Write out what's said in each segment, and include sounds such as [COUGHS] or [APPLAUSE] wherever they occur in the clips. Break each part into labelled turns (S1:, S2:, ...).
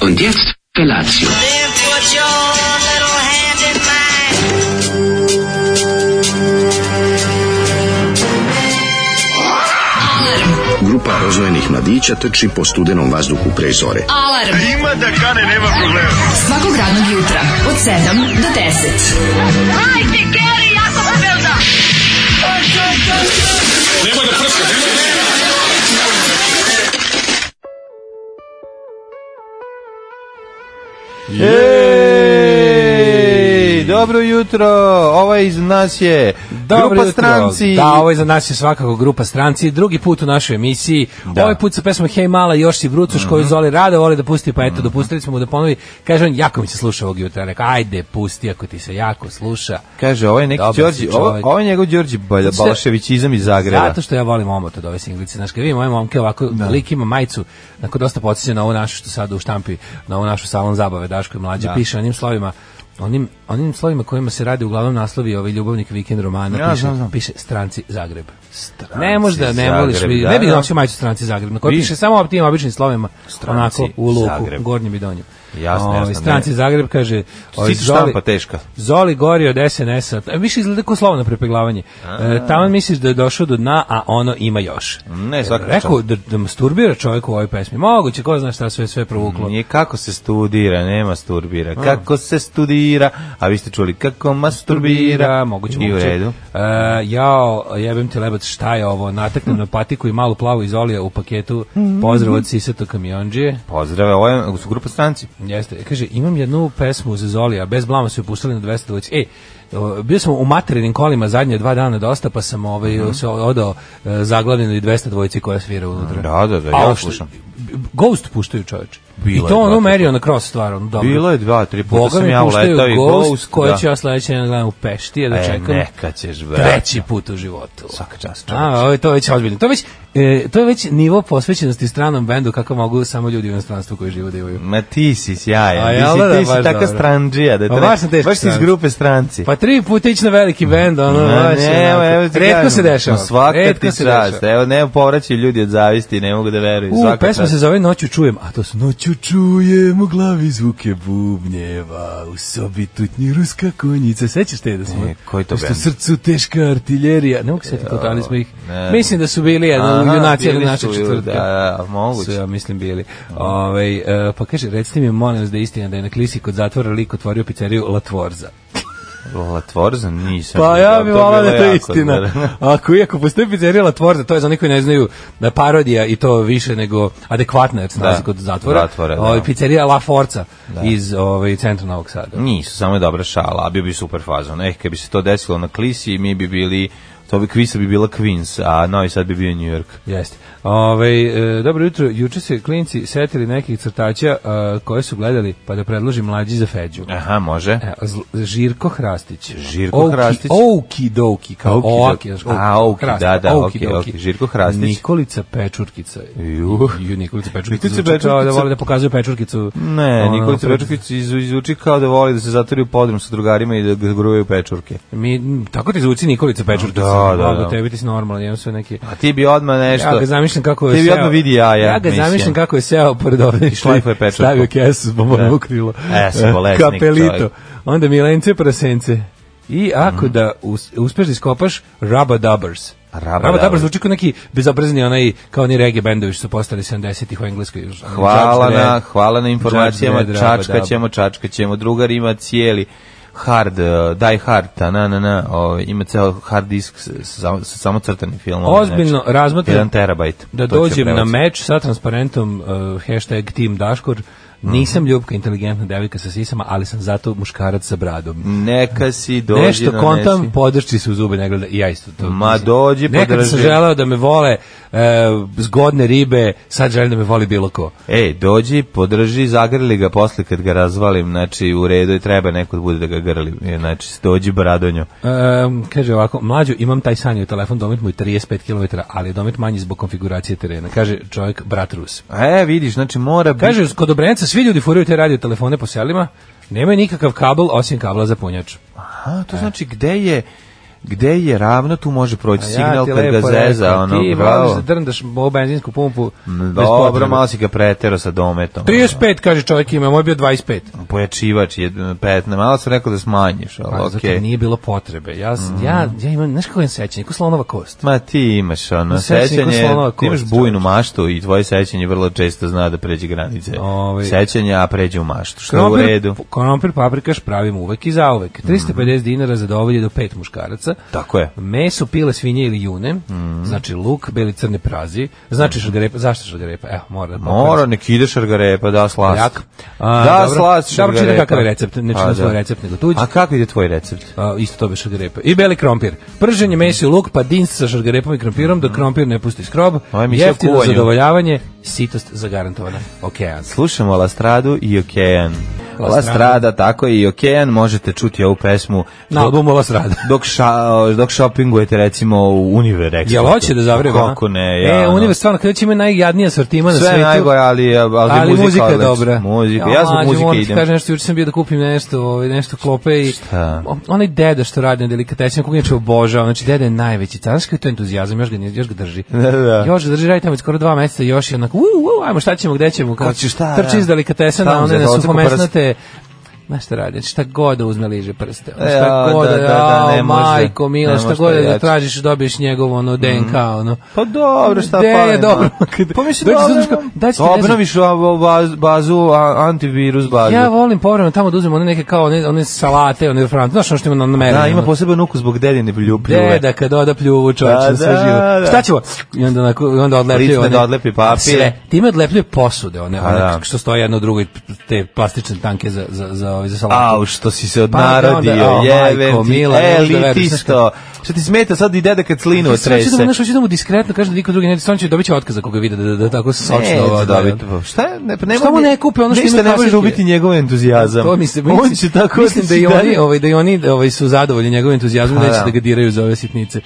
S1: Und jetzt Felatio.
S2: Then put your little hand in mine.
S3: Grupa rozvojenih mladića trči po studenom vazduhu pre zore.
S4: Alarm. Ima da kane, nema problema. Svakog radnog jutra, od 7 do 10.
S5: Ej, dobro jutro, ovaj iz nas je
S6: Dobro
S5: grupa
S6: jutro.
S5: stranci.
S6: Da, ovo je za nas je svakako grupa stranci. Drugi put u našoj emisiji.
S5: Da. Mhm.
S6: Ovaj put sa pesmom Hej mala, još si brucuš koju Zoli rado voli da pusti, pa eto, dopustili smo mu da ponovi. Kaže on, jako mi se sluša ovog jutra. Rekao, ajde, pusti ako ti se jako sluša.
S5: Kaže, ovo je neki
S6: Dobar si
S5: Đorđe, ovo,
S6: čovjek.
S5: ovo je njegov Đorđe Bal-
S6: Zato što-
S5: Balaševićizam iz Zagreba.
S6: Zato što ja volim omot od ove singlice. Znaš, kad vidim ove momke ovako, lik ima majicu, onako dosta podsjeća na ovu našu što sad u štampi, na ovu našu salon zabave, Daško je mlađe, piše onim slovima, onim, onim slovima kojima se radi uglavnom naslovi ovaj ljubavnik vikend romana,
S5: Ja,
S6: piše,
S5: znam, znam.
S6: piše Stranci Zagreb. ne možda, ne
S5: Zagreb,
S6: voliš, vi-
S5: da,
S6: ne bih
S5: da.
S6: nosio majicu Stranci Zagreb, na kojoj
S5: Vi-
S6: piše samo tim običnim slovima,
S5: Stranci
S6: onako u luku,
S5: Zagreb.
S6: gornjem i donjem.
S5: Jasno,
S6: Ovaj,
S5: jasno,
S6: Stranci
S5: ne.
S6: Zagreb kaže... ovaj,
S5: Sitna
S6: Zoli-
S5: štampa teška.
S6: Zoli gori od SNS-a. E, Više izgleda kao slovno prepeglavanje. E, taman misliš da je došao do dna, a ono ima još.
S5: Mm, Ne, svaka
S6: Rekao da, da masturbira čovjek u ovoj pesmi. Moguće, ko zna šta sve sve provuklo.
S5: Nije kako se studira, ne masturbira. Kako se studira, a vi ste čuli kako masturbira.
S6: moguće,
S5: I u
S6: moguće.
S5: redu.
S6: E, jao, jebem ti lebac, šta je ovo? Nataknem na patiku i malu plavu izolija u paketu.
S5: Mhm.
S6: Pozdrav od Sisato kamionđije.
S5: Pozdrave, ovo je, su grupa stranci.
S6: Jeste, E, kaže, imam jednu pesmu za Zolija, bez blama su ju puštali na 200 ulici. E, o, bio sam u materinim kolima zadnje dva dana dosta, pa sam ovaj,
S5: Mhm.
S6: se odao e, zaglavljeno i 200 dvojici koja svira unutra.
S5: Da, da, da,
S6: A,
S5: ja
S6: što-
S5: slušam.
S6: Ghost puštaju čoveče.
S5: Bilo
S6: I
S5: je
S6: to
S5: dva,
S6: ono
S5: tri
S6: merio na cross stvar, ono dobro.
S5: Bilo je dva, tri puta
S6: Boga
S5: sam
S6: mi
S5: ja
S6: puštaju
S5: uletao i
S6: Ghost,
S5: Ghost,
S6: koji
S5: da.
S6: ću ja sledeće da gledam u Pešti, da
S5: E,
S6: čekam
S5: neka ćeš, brać.
S6: treći put u životu.
S5: Svaka čast, čoveče.
S6: A, ovo je to već ozbiljno. To je već, e, to je već nivo posvećenosti stranom bendu kako mogu samo ljudi u inostranstvu koji žive da imaju.
S5: Ma ti si sjajan,
S6: A
S5: ti
S6: jel
S5: si,
S6: da,
S5: ti
S6: da,
S5: si
S6: baš
S5: taka
S6: dobro.
S5: stranđija. Da te
S6: Pa
S5: ne-
S6: baš sam teški
S5: baš si iz
S6: stranac.
S5: grupe stranci.
S6: Pa tri puta ići na veliki bend, ono,
S5: Ma
S6: znači,
S5: ne,
S6: onako,
S5: evo ti
S6: retko
S5: kažem,
S6: se dešava.
S5: ma Svaka
S6: retko
S5: ti
S6: se
S5: čast.
S6: dešava.
S5: Evo, ne povraćaju ljudi od zavisti, ne mogu da veruju.
S6: U,
S5: svaka
S6: pesma
S5: čast.
S6: se zove Noću čujem, a to su Noću čujem u glavi zvuke bubnjeva, u sobi tutnji ruska konjica. Sećaš te da smo?
S5: E, koji to
S6: što
S5: bend?
S6: srcu teška artiljerija. Ne mogu se setiti, ali smo ih.
S5: ne.
S6: Mislim da su bili jedna
S5: Aha,
S6: junaci
S5: bili
S6: ili naša
S5: su,
S6: četvrtka.
S5: da, da, moguće.
S6: Su, ja mislim bili. Ovaj, e, pa kaže, recite mi, molim vas da je istina da je na klisi kod zatvora lik otvorio pizzeriju Latvorza.
S5: Latvorza nisam.
S6: Pa ja bih
S5: To
S6: volao da
S5: bilo
S6: je to
S5: jako
S6: istina.
S5: dobro.
S6: [LAUGHS] Ako iako postoji pizzerija Latvorza, to je za one koji ne znaju da je parodija i to više nego adekvatna jer se nalazi
S5: Da,
S6: kod zatvora.
S5: zatvora, da.
S6: Ovaj, pizzerija La Forza iz ovaj, centra Novog Sada.
S5: [LAUGHS] Nisu, samo je dobra šala, a bio bi super fazon. Eh, kad bi se to desilo na Klisi, mi bi bili, to bi Kvisa bi bila Queens, a Novi Sad bi bio New York.
S6: Jeste. Ovaj, e, dobro jutro, juče se klinci setili nekih crtaća e, koje su gledali pa da predloži mlađi za feđu.
S5: Aha, može.
S6: E, zl- Žirko Hrastić.
S5: Žirko
S6: Ouki-
S5: Hrastić.
S6: Ouki doki, kao
S5: Ouki doki.
S6: oaki. znaš, ouki.
S5: A, ouki,
S6: Hrastić,
S5: da, da,
S6: ouki
S5: ok,
S6: doki.
S5: ok. Žirko Hrastić.
S6: Nikolica Pečurkica.
S5: Ju.
S6: Ju, Nikolica Pečurkica.
S5: Nikolica
S6: Nikolica Pečurkica. Da
S5: Pečurkica.
S6: vole da pokazuje Pečurkicu.
S5: Ne,
S6: Ono,
S5: Nikolica
S6: pred-
S5: Pečurkić izu- izvuči kao da voli da se zatvori u podrum sa drugarima i da ga gruvaju pečurke.
S6: Mi, m, tako ti zvuči Nikolica Pečurkica.
S5: Da, da,
S6: Blago
S5: da.
S6: tebi ti si normalan, imam sve neki...
S5: A ti bi odmah nešto...
S6: Ja ga zamišljam kako je
S5: E Ti bi odmah vidi jaja,
S6: Ja ga
S5: mislim.
S6: zamišljam kako je seo pored ove i
S5: šlajfao
S6: [LAUGHS]
S5: je pečurku.
S6: Stavio kesu pa s
S5: Da.
S6: bombonovo krilo.
S5: E, si
S6: [LAUGHS]
S5: bolesnik,
S6: Kapelito.
S5: čovjek. Mm.
S6: Onda Milence Prasence. I ako da us, uspeš da iskopaš Rubba Dubbers.
S5: Rubba
S6: Rubba Dubbers
S5: Dubbers.
S6: zvuči kao neki bezobrazni onaj, kao oni reggae bendovi što su postali 70-ih u Engleskoj. ono,
S5: Hvala
S6: Judge
S5: na,
S6: Dredd.
S5: hvala na informacijama,
S6: Judge Dredd, Rubba
S5: čačka ćemo, čačka ćemo, drugar ima cijeli hard, eh, die hard, ta na na na, o, ima ceo hard disk sa, sa, sa samo crtanim filmom.
S6: Ozbiljno razmatram
S5: 1 znači, terabajt.
S6: da
S5: To će
S6: dođem na
S5: prevac.
S6: meč sa transparentom uh, hashtag Team Daškor.
S5: Mhm.
S6: Nisam ljubka, inteligentna devika sa sisama, ali sam zato muškarac sa bradom.
S5: Neka si dođi
S6: Nešto
S5: donesi.
S6: kontam, podršči se u zube, ne gleda, i ja isto to.
S5: Ma dođi,
S6: Nekad sam
S5: podrži.
S6: želeo da me vole e, zgodne ribe, sad želim da me voli bilo ko.
S5: E, dođi, podrži, zagrli ga posle kad ga razvalim, znači u redu je treba neko da bude da ga grli, e, znači dođi bradonjo.
S6: E, kaže ovako, mlađu, imam taj sanj u telefon, domet mu je 35 km, ali je domet manji zbog konfiguracije terena. Kaže čovjek, brat Rus.
S5: E, vidiš, znači mora biti...
S6: Kaže, kod Obrenica svi ljudi furaju te radio telefone po selima, nemaju nikakav kabel osim kabla za punjač.
S5: A, to znači gde je Gde je ravno, tu može proći signal
S6: ti
S5: kad ga
S6: lepo
S5: zeza,
S6: rekao,
S5: ono,
S6: ti voliš
S5: bravo.
S6: da drndaš ovu benzinsku pumpu. bez
S5: Dobro,
S6: potrebe.
S5: malo si ga pretero sa dometom. ono,
S6: 35, kaže čovjek ima, moj je bio 25.
S5: Pojačivač je 15, malo sam rekao da smanjiš, ali
S6: Pa,
S5: okej.
S6: Zato nije bilo potrebe. Ja, s-
S5: Mhm.
S6: ja, ja imam, znaš kako je sećanje, ko slonova kost.
S5: Ma ti imaš ono,
S6: Sećanje ko
S5: sećanje,
S6: slonova
S5: ti imaš
S6: kost,
S5: bujnu maštu i tvoje sećanje vrlo često zna da pređe granice
S6: Ovaj.
S5: sećanja, a pređe u maštu, što je u redu. Mhm.
S6: Konompir paprikaš pravim uvek i zauvek. 350 dinara zadovolje do pet muškaraca.
S5: Tako je.
S6: Meso, pile, svinje ili june,
S5: Mhm.
S6: znači luk, beli crni prazi, znači šargarepa, zašto šargarepa? Evo, mora da pokrenem.
S5: Mora, nek ide šargarepa, da slast.
S6: Poljak. A,
S5: Da
S6: dobro.
S5: slast
S6: Dobro,
S5: šargarepa.
S6: čitam kakav je recept, ne čitam
S5: Pa,
S6: svoj
S5: da.
S6: recept, nego tuđi.
S5: A kako ide tvoj recept?
S6: A, isto to bi šargarepa. I beli krompir. Prženje
S5: Mhm.
S6: mesa i luk, pa dinst sa šargarepom i krompirom, dok krompir ne pusti skrob.
S5: Ovo je mišlja o
S6: Jeftino
S5: kuvanju.
S6: zadovoljavanje, sitost zagarantovana. Okean.
S5: Slušamo Lastradu i Okean.
S6: La
S5: Lastrada, tako je, i Okean, možete čuti ovu pesmu
S6: Na albumu Ova srada.
S5: dok, ša, dok shoppingujete recimo u Univer Expo.
S6: Jel hoće da zavreba?
S5: Kako ne, ja.
S6: E,
S5: ono.
S6: univerz stvarno, kada će imaju najjadnija sortima na
S5: sve
S6: svetu.
S5: najgore, ali, ali,
S6: ali muzika, je
S5: odlična.
S6: dobra.
S5: Muzika, ja zbog
S6: mlađe, moram
S5: muzike
S6: ti
S5: idem.
S6: Kažem nešto, juče sam bio da kupim nešto, ovaj nešto klope i
S5: Šta?
S6: O- onaj deda što radi na delikatesinama, koga inače obožavam, znači deda je najveći car, znači to je entuzijazam, još ga nije- još ga drži.
S5: [LAUGHS] Da, da.
S6: Još ga drži, radi tamo već skoro dva meseca, još je onako, u, u, ajmo šta ćemo, gde ćemo, kao
S5: Hoće šta,
S6: trči
S5: da.
S6: iz delikatesana,
S5: Tamo
S6: one
S5: za
S6: na
S5: dolce
S6: suhomesnate, Znaš šta radi, znači, šta god da uzme liže prste, ono,
S5: E, a,
S6: šta god
S5: da,
S6: da,
S5: da, da, ne
S6: jao,
S5: može.
S6: majko,
S5: Ne
S6: mila, šta
S5: može Mhm.
S6: god
S5: to
S6: da
S5: jače.
S6: tražiš, dobiješ njegov ono, DNK, ono.
S5: Pa dobro, šta
S6: Gde je
S5: fali,
S6: dobro? [LAUGHS]
S5: no.
S6: Kad-
S5: Pa mislim
S6: dođe
S5: dobro, Pa
S6: Zuzaška, daj ću ti, ne znam-
S5: Obnoviš ovu bazu, bazu a, antivirus bazu.
S6: Ja volim povremeno tamo da uzmem one neke kao one, one salate, one frante, znaš ono što ima na na meri.
S5: da, ima
S6: ono.
S5: poseban ukus zbog dedine pljupljive.
S6: Deda kad oda pljuvu čovječe
S5: Da,
S6: na sve
S5: da,
S6: živo.
S5: da.
S6: Šta ćemo? I onda, onako, i onda odlepljuje
S5: Pritne
S6: one.
S5: da odlepi papir.
S6: Sve. Time odlepljuje posude, one,
S5: Pa
S6: one
S5: da.
S6: što stoje jedno drugo i te plastične tanke za, za, za, ovaj, za, za salatu.
S5: Au, što si se
S6: Pa da,
S5: odnarodio,
S6: onda, au,
S5: jevem
S6: majko,
S5: ti,
S6: mila, ne možeš da veruješ,
S5: elitisto. Šta ti smeta sad i deda kad slinu
S6: Sve hoću da mu,
S5: otrese?
S6: znaš, hoću da mu diskretno kaže da niko drugi ne, stvarno će dobit će otkaz ako ga vide da, da, da tako
S5: Neće
S6: sočno ovo
S5: dobiti. Šta? je? Ne, pa nema,
S6: Šta mu ne kupe ono što
S5: ništa
S6: imaju
S5: ne možeš
S6: klasike?
S5: ubiti njegov entuzijazam.
S6: To mislim,
S5: On će tako
S6: mislim da i
S5: otići
S6: oni,
S5: dalje.
S6: ovaj, da i oni ovaj, su zadovoljni njegovim entuzijazmom,
S5: Pa
S6: neće
S5: da.
S6: da ga diraju za ove sitnice.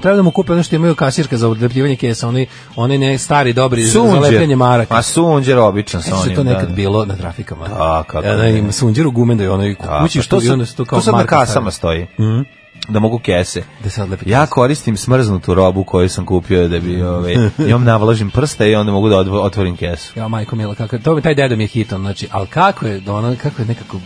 S6: Treba da mu kupe ono što imaju kasirka za odlepljivanje kesa, oni, oni ne stari dobri za lepljenje maraka.
S5: A sunđer običan sa
S6: Sećaš se
S5: onim.
S6: to nekad
S5: da.
S6: bilo na trafikama.
S5: Da, kako
S6: Ja, da,
S5: ne.
S6: ima sunđer u gumen da je ono i
S5: Da,
S6: kući
S5: pa
S6: što i
S5: sad-
S6: onda se to kao
S5: sad na
S6: marka Mhm.
S5: kasama
S6: stavi.
S5: stoji. Da mogu kese.
S6: Da se odlepi
S5: Ja koristim smrznutu robu koju sam kupio da bi
S6: [LAUGHS]
S5: ovaj njom navlažim prste i onda mogu da odvo- otvorim kesu.
S6: Ja majko mila kako to taj deda mi je hitan, znači, al kako je ono kako je nekako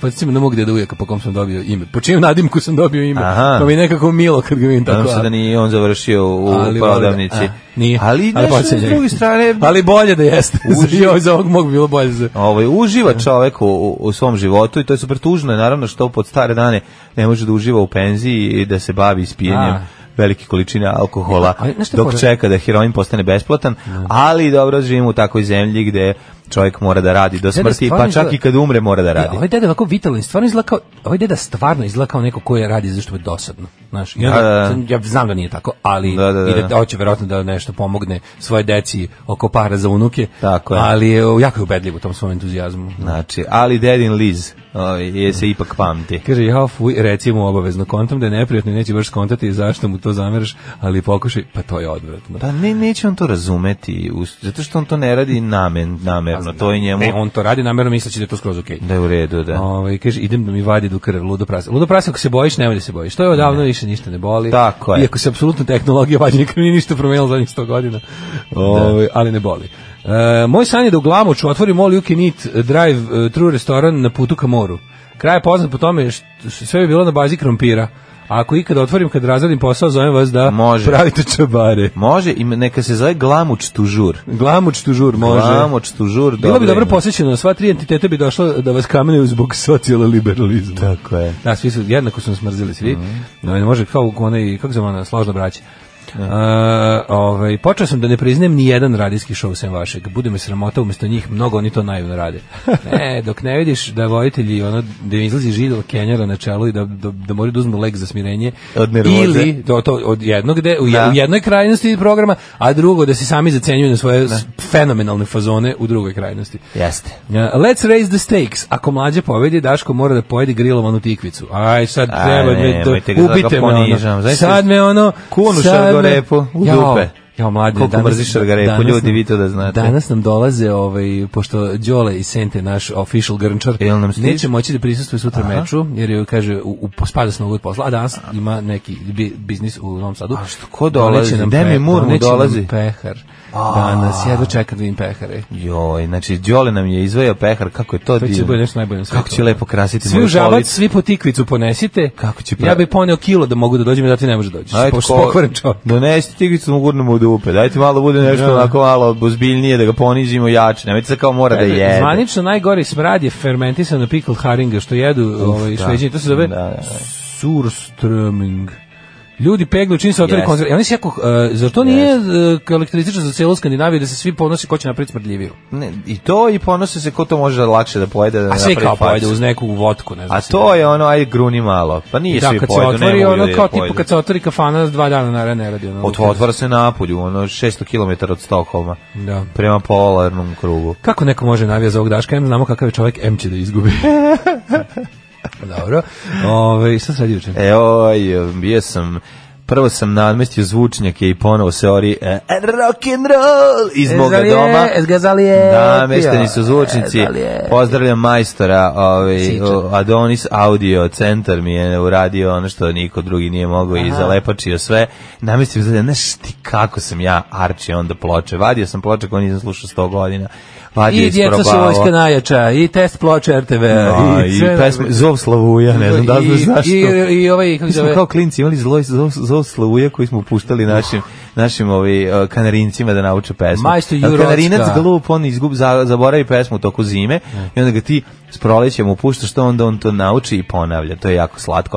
S6: Podsjećam na mog deda ujaka po kom sam dobio ime. Po čijem nadimku sam dobio ime.
S5: Aha.
S6: Pa mi je nekako milo kad ga vidim tako.
S5: Nadam se da nije on završio u
S6: ali
S5: prodavnici.
S6: a, nije.
S5: Ali, ali
S6: podsjeća
S5: s
S6: ga.
S5: druge strane,
S6: [LAUGHS] ali bolje da jeste.
S5: Uži-
S6: Uži... [LAUGHS] za ovog mog bi bilo bolje za...
S5: ovaj, uživa čovek u, u, u svom životu i to je super tužno, je, naravno što pod stare dane ne može da uživa u penziji i da se bavi ispijenjem
S6: Da.
S5: velike količine alkohola
S6: Ali, E, znaš šta je
S5: dok
S6: fora?
S5: čeka da heroin postane besplatan, ali dobro živimo u takvoj zemlji gde čovjek mora da radi do smrti,
S6: stvarno
S5: pa čak
S6: izgleda-
S5: i kad umre mora da radi.
S6: Ovaj deda je ovako vitalan, stvarno izgleda kao, ovaj deda stvarno izgleda kao neko ko je radi zašto je dosadno, znaš. Ja,
S5: Da, da,
S6: ja znam da nije tako, ali
S5: Da,
S6: da,
S5: da,
S6: da,
S5: da.
S6: I da hoće verovatno da nešto pomogne svoje deci oko para za unuke.
S5: Tako je.
S6: Ali je o, jako je ubedljiv u tom svom entuzijazmu.
S5: Znači, ali dedin Liz ovaj, je se ipak pamti.
S6: Kaže, ja fuj, reci mu obavezno, kontam da je neprijatno i neće baš skontati zašto mu to zameraš, ali pokušaj, pa to je odvratno.
S5: Pa ne, neće on to razumeti, us- zato što on to ne radi namen, namerno, to je njemu
S6: Ne, E, on to radi namerno misleći da je to skroz okej.
S5: da je u redu, da.
S6: Ovaj kaže idem da mi vadi do krv ludo prase. Ludo prase ako se bojiš, nemoj da se bojiš. To je odavno više ništa ne boli.
S5: Tako je.
S6: Iako se apsolutno tehnologija vađenja krvi nije ništa promenila zadnjih 100 godina. Ovaj ali ne boli. E, moj san je da u Glamoču otvorim All You Can Eat Drive e, True restoran na putu ka moru. Kraj je poznat po tome što sve bi bilo na bazi krompira. A ako ikad otvorim kad razradim posao, zovem vas da
S5: Može.
S6: pravite čabare.
S5: Može, i neka se zove glamuč tužur.
S6: Glamoč tužur može.
S5: Glamuč tužur,
S6: Bilo bi dobro
S5: ime.
S6: posjećeno, sva tri entiteta bi došla da vas kamenuju zbog socijala liberalizma.
S5: Tako je.
S6: Ovaj, Da, svi su, jednako su nas mrzili svi.
S5: Mhm.
S6: No, ne može kao u onaj, kako se zove ona, složno braće. A, ovaj, počeo sam da ne priznajem ni jedan radijski šov sem vašeg. Bude me sramota, umjesto njih mnogo oni to
S5: [LAUGHS]
S6: naivno rade. Ne, dok ne vidiš da voditelji, ono, da im izlazi žid od kenjara na čelu i da, da, da moraju da uzmu lek za smirenje.
S5: Od nervoze.
S6: Ili, to, to, od jednog, de, u, je-
S5: Da.
S6: u jednoj krajnosti programa, a drugo da se sami zacenjuju na svoje s- fenomenalne fazone u drugoj krajnosti.
S5: E, Jeste.
S6: Uh, Let's raise the stakes. Ako mlađe povedi, Daško mora da pojedi grilovanu tikvicu. Aj, sad
S5: A,
S6: treba
S5: nemojte ga,
S6: me, da,
S5: sad ga
S6: ubite me ono.
S5: ponižavam. Znaš
S6: Sad
S5: šta-
S6: me ono...
S5: Kunu
S6: sad me-
S5: šargorepu u
S6: Jao,
S5: dupe.
S6: Ja mladi,
S5: Koliko mrziš Šargarepu, ljudi, vi to da znate.
S6: Danas nam dolaze ovaj pošto Đole i Sente naš official grnčar.
S5: Jel nam stiže?
S6: neće moći da prisustvuje sutra meču jer je kaže u, u spada se nogu od posla, a danas ima neki bi, biznis u Novom Sadu.
S5: A što, ko dolazi? Demi Moore
S6: pe-
S5: mu
S6: doneće nam
S5: dolazi.
S6: pehar. Danas jedva čekam da vidim pehare.
S5: Joj, znači Đole nam je izvojao pehar, kako je to,
S6: To će
S5: divno.
S6: biti nešto najbolje na svetu.
S5: Kako će lepo krasiti
S6: Svi
S5: moju
S6: u žabac,
S5: policu.
S6: svi po tikvicu ponesite.
S5: Kako će
S6: Ja
S5: pravi-
S6: bih poneo kilo da mogu da dođem, da ti ne može doći.
S5: Ajde,
S6: Pošto
S5: ko-
S6: pokvaren čovjek.
S5: Donesite tigricu mu gurnemo u dupe. Dajte malo bude nešto
S6: Da.
S5: onako malo ozbiljnije da ga ponizimo jače. Nemojte se kao mora [LAUGHS] da
S6: Kaže,
S5: jede.
S6: Zvanično najgori smrad je fermentisano pickled haringa što jedu ovaj
S5: da.
S6: Šveđani, to se zove
S5: Da, da, da.
S6: surströmming. Ljudi peglu čini se otvori
S5: Jeste.
S6: koncert. I oni se jako, e, zar to nije uh, karakteristično za celu Skandinaviju da se svi ponosi ko će napraviti smrdljiviju?
S5: Ne, I to i ponose se ko to može lakše da pojede. Da ne
S6: A sve
S5: napravi
S6: kao
S5: facu.
S6: pojede uz neku vodku, ne znam.
S5: A to je ono, ajde gruni malo. Pa nije
S6: da,
S5: svi
S6: kad se
S5: pojedu, ne
S6: otvori,
S5: mogu
S6: ono
S5: ljudi da
S6: kao tipu
S5: pojedu.
S6: kad se otvori kafana dva dana naravno ne radi. Ono,
S5: Ot- Otvara se napolju, ono 600 km od Stokholma.
S6: Da.
S5: Prema polarnom krugu.
S6: Kako neko može navija za ovog Daška M, znamo kakav je čovjek M će da
S5: [LAUGHS]
S6: izgubi. Pa Dobro. Ove, šta sad juče?
S5: E, oj, bio sam prvo sam namestio zvučnjake i ponovo se ori e, rock and roll
S6: E,
S5: iz moga doma.
S6: Ezgazalije.
S5: Namešteni su
S6: E,
S5: zvučnici. Pozdravljam majstora, ovaj
S6: Sića.
S5: o, Adonis Audio centar mi je uradio ono što niko drugi nije mogao i zalepačio sve. Namestio sam, znaš ti kako sam ja arčio onda ploče. Vadio sam ploče koje nisam slušao 100 godina. Vadio
S6: I djeca su
S5: isprobavao.
S6: vojska najjača, i test ploče RTV,
S5: A,
S6: E, i,
S5: i
S6: sve
S5: pesme
S6: najbolje.
S5: Zov Slavuja, ne znam da li
S6: I-
S5: znaš
S6: i,
S5: to.
S6: i, i ovaj, kako
S5: Mi
S6: se
S5: smo
S6: zove,
S5: kao klinci imali zlo, zlo, zlo slavuja koji smo puštali našim, našim ovi, uh, kanarincima da nauče pesmu.
S6: Majstor
S5: Ali
S6: Jurocka.
S5: Kanarinac glup, on izgub, za, zaboravi pesmu u toku zime i onda ga ti s prolećem upuštaš to, onda on to nauči i ponavlja. To je jako slatko.